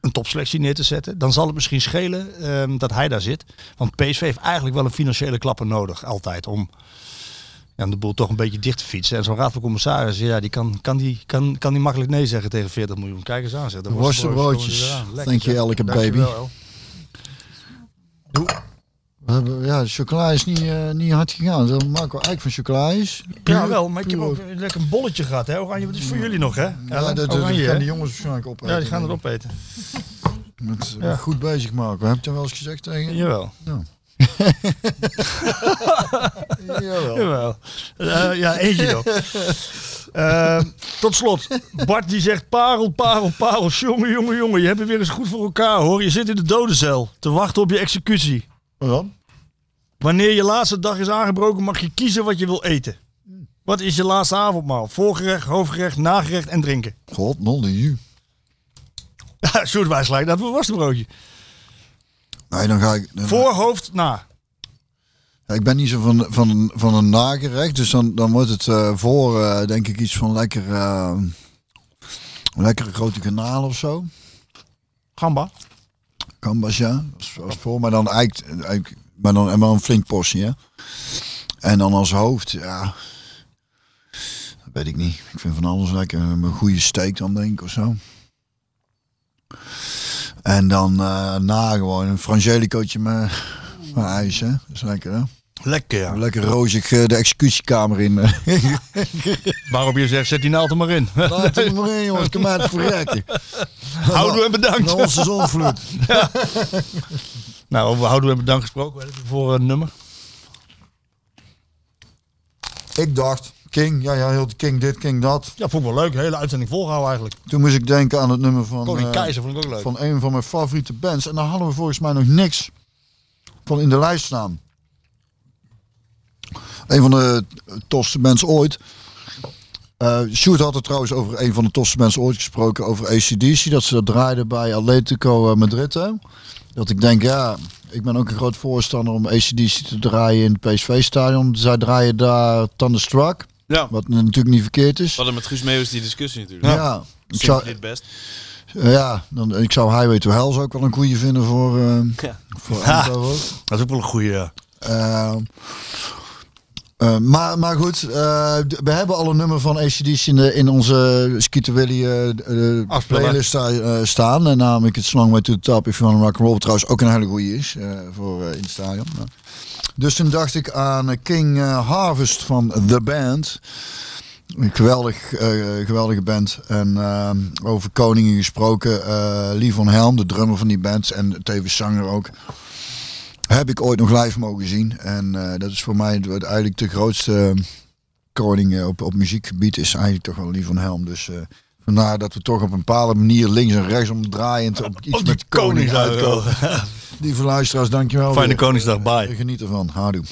S4: een topselectie neer te zetten. Dan zal het misschien schelen ehm, dat hij daar zit. Want PSV heeft eigenlijk wel een financiële klapper nodig, altijd, om ja, om de boel toch een beetje dicht te fietsen. En zo'n raad van commissarissen, ja, die kan, kan, die, kan, kan die makkelijk nee zeggen tegen 40 miljoen. Kijk eens aan, zeg. De
S7: Worstenbroodjes.
S4: worstenbroodjes komen eraan.
S7: Thank you,
S4: zeg.
S7: elke
S4: Dankjewel.
S7: baby. We hebben- Ja, de chocola is niet, eh, niet hard gegaan. Dat Marco Eijk van chocola is.
S4: Ja, wel, maar ik heb ook een lekker bolletje gehad, hè. Oranje, wat is voor jullie nog, hè?
S7: Mm. Ja, dat- dat- dat
S4: Oranje,
S7: gaan
S4: hè?
S7: die jongens waarschijnlijk opeten.
S4: ja, die gaan erop eten.
S7: Met, Goed bezig, Marco. Heb je dat wel eens gezegd tegen je?
S4: Jawel.
S7: Jawel.
S4: Jawel. Eh, ja, eentje nog. Eh, tot slot, Bart die zegt parel, parel, parel. Jongen, jongen, jongen, je hebt het weer eens goed voor elkaar hoor. Je zit in de dodencel te wachten op je executie.
S7: Wat dan?
S4: Wanneer je laatste dag is aangebroken, mag je kiezen wat je wil eten. Wat is je laatste avondmaal? Voorgerecht, hoofdgerecht, nagerecht en drinken.
S7: God, non de you.
S4: Ja, Sjoerd wijs lijkt dat voor worstenbroodje.
S7: Nee, dan ga ik... dan-
S4: Voor, hoofd, na.
S7: Ja, ik ben niet zo van, van, van een nagerecht, dus dan, dan wordt het eh, voor, eh, denk ik, iets van lekker, eh, lekkere grote kanaal of zo.
S4: Gamba.
S7: Gambas, ja, als, als voor, maar dan eikt, eik- maar dan en wel een flink portie, hè. En dan als hoofd, ja, dat weet ik niet. Ik vind van alles lekker, een goede steak dan denk ik of zo. En dan eh, na gewoon een frangelicootje met, met ijs, hè. Dat is lekker, hè.
S4: Lekker ja.
S7: Lekker rozig eh, de executiekamer in. eh.
S4: Waarop je zegt, zet die naald er maar in.
S7: Laat het maar in, jongens. Kom uit verrekken.
S4: Houden en bedankt.
S7: Naar onze zonvloed.
S4: Nou, over houden en bedankt gesproken. Wat heb je Voor een nummer.
S7: Ik dacht, King, ja, ja, heel de King dit, King dat.
S4: Ja, vond ik wel leuk. Hele uitzending volgehouden eigenlijk.
S7: Toen moest ik denken aan het nummer van,
S4: Koning
S7: eh,
S4: Keizer vond ik ook leuk.
S7: van een van mijn favoriete bands. En daar hadden we volgens mij nog niks van in de lijst staan. Een van de tofste bands ooit. Eh Sjoerd had het trouwens over een van de tofste mensen ooit gesproken over ACDC. Dat ze dat draaiden bij Atletico eh, Madrid. hè. Dat ik denk, ja, ik ben ook een groot voorstander om ACDC te draaien in het PSV-stadion. Zij draaien daar Thunderstruck.
S5: Ja.
S7: Wat natuurlijk niet verkeerd is.
S5: We hadden met Guus Meeuwis die discussie
S7: Ja,
S5: natuurlijk. Ja.
S7: ik zou,
S5: dit best.
S7: ja dan, ik zou Highway to Hell zou ik wel een goede vinden voor, eh, voor Eindhoven.
S4: Dat is ook wel een goeie. ja.
S7: Eh, eh, maar, maar goed, eh, d- we hebben al een nummer van ACDC in, de, in onze Skeeter Willy eh, d- eh,
S4: Afspeler.
S7: playlist sta- eh, staan. En namelijk het Slang Way to the Top If You Wanna Rock and Roll. wat Trouwens ook een hele goede is eh, voor eh in het stadion. Ja. Dus toen dacht ik aan eh, King eh, Harvest van The Band. Een geweldig, eh, geweldige band. En eh, over koningen gesproken. eh Lee van Helm, de drummer van die band. En tevens zanger ook heb ik ooit nog live mogen zien. En eh, dat is voor mij het- het eigenlijk de grootste eh, koning eh, op, op muziekgebied is eigenlijk toch wel Lee van Helm. Dus eh, vandaar dat we toch op een bepaalde manier links en rechts omdraaiend op iets met koning uitkomen. Die verluisteraars, dankjewel.
S4: Fijne
S7: weer.
S4: Koningsdag, bye.
S7: Geniet ervan. Houdoe.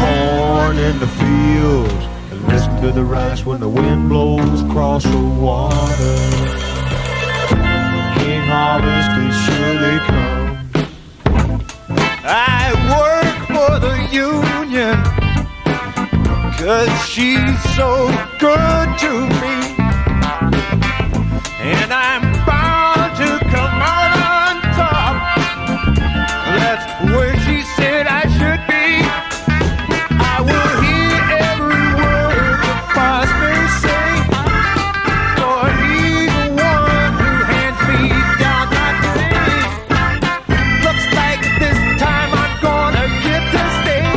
S10: corn in the fields and listen to the rice when the wind blows across the water. King harvest is surely come. I work for the union cause she's so good to me. And I'm bound to come out on top. That's where she said I should be. I will hear every word the pastor say. For he's the one who hands me down my pain. Looks like this time I'm gonna get to stay.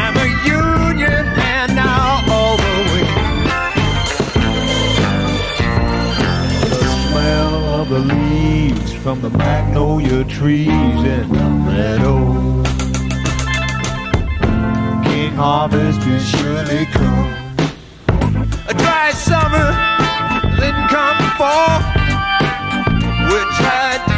S10: I'm a union man now all the way. The smell of the leaves from the back
S4: know your trees in the meadow. King harvest will surely come. A dry summer, then come fall. We're trying to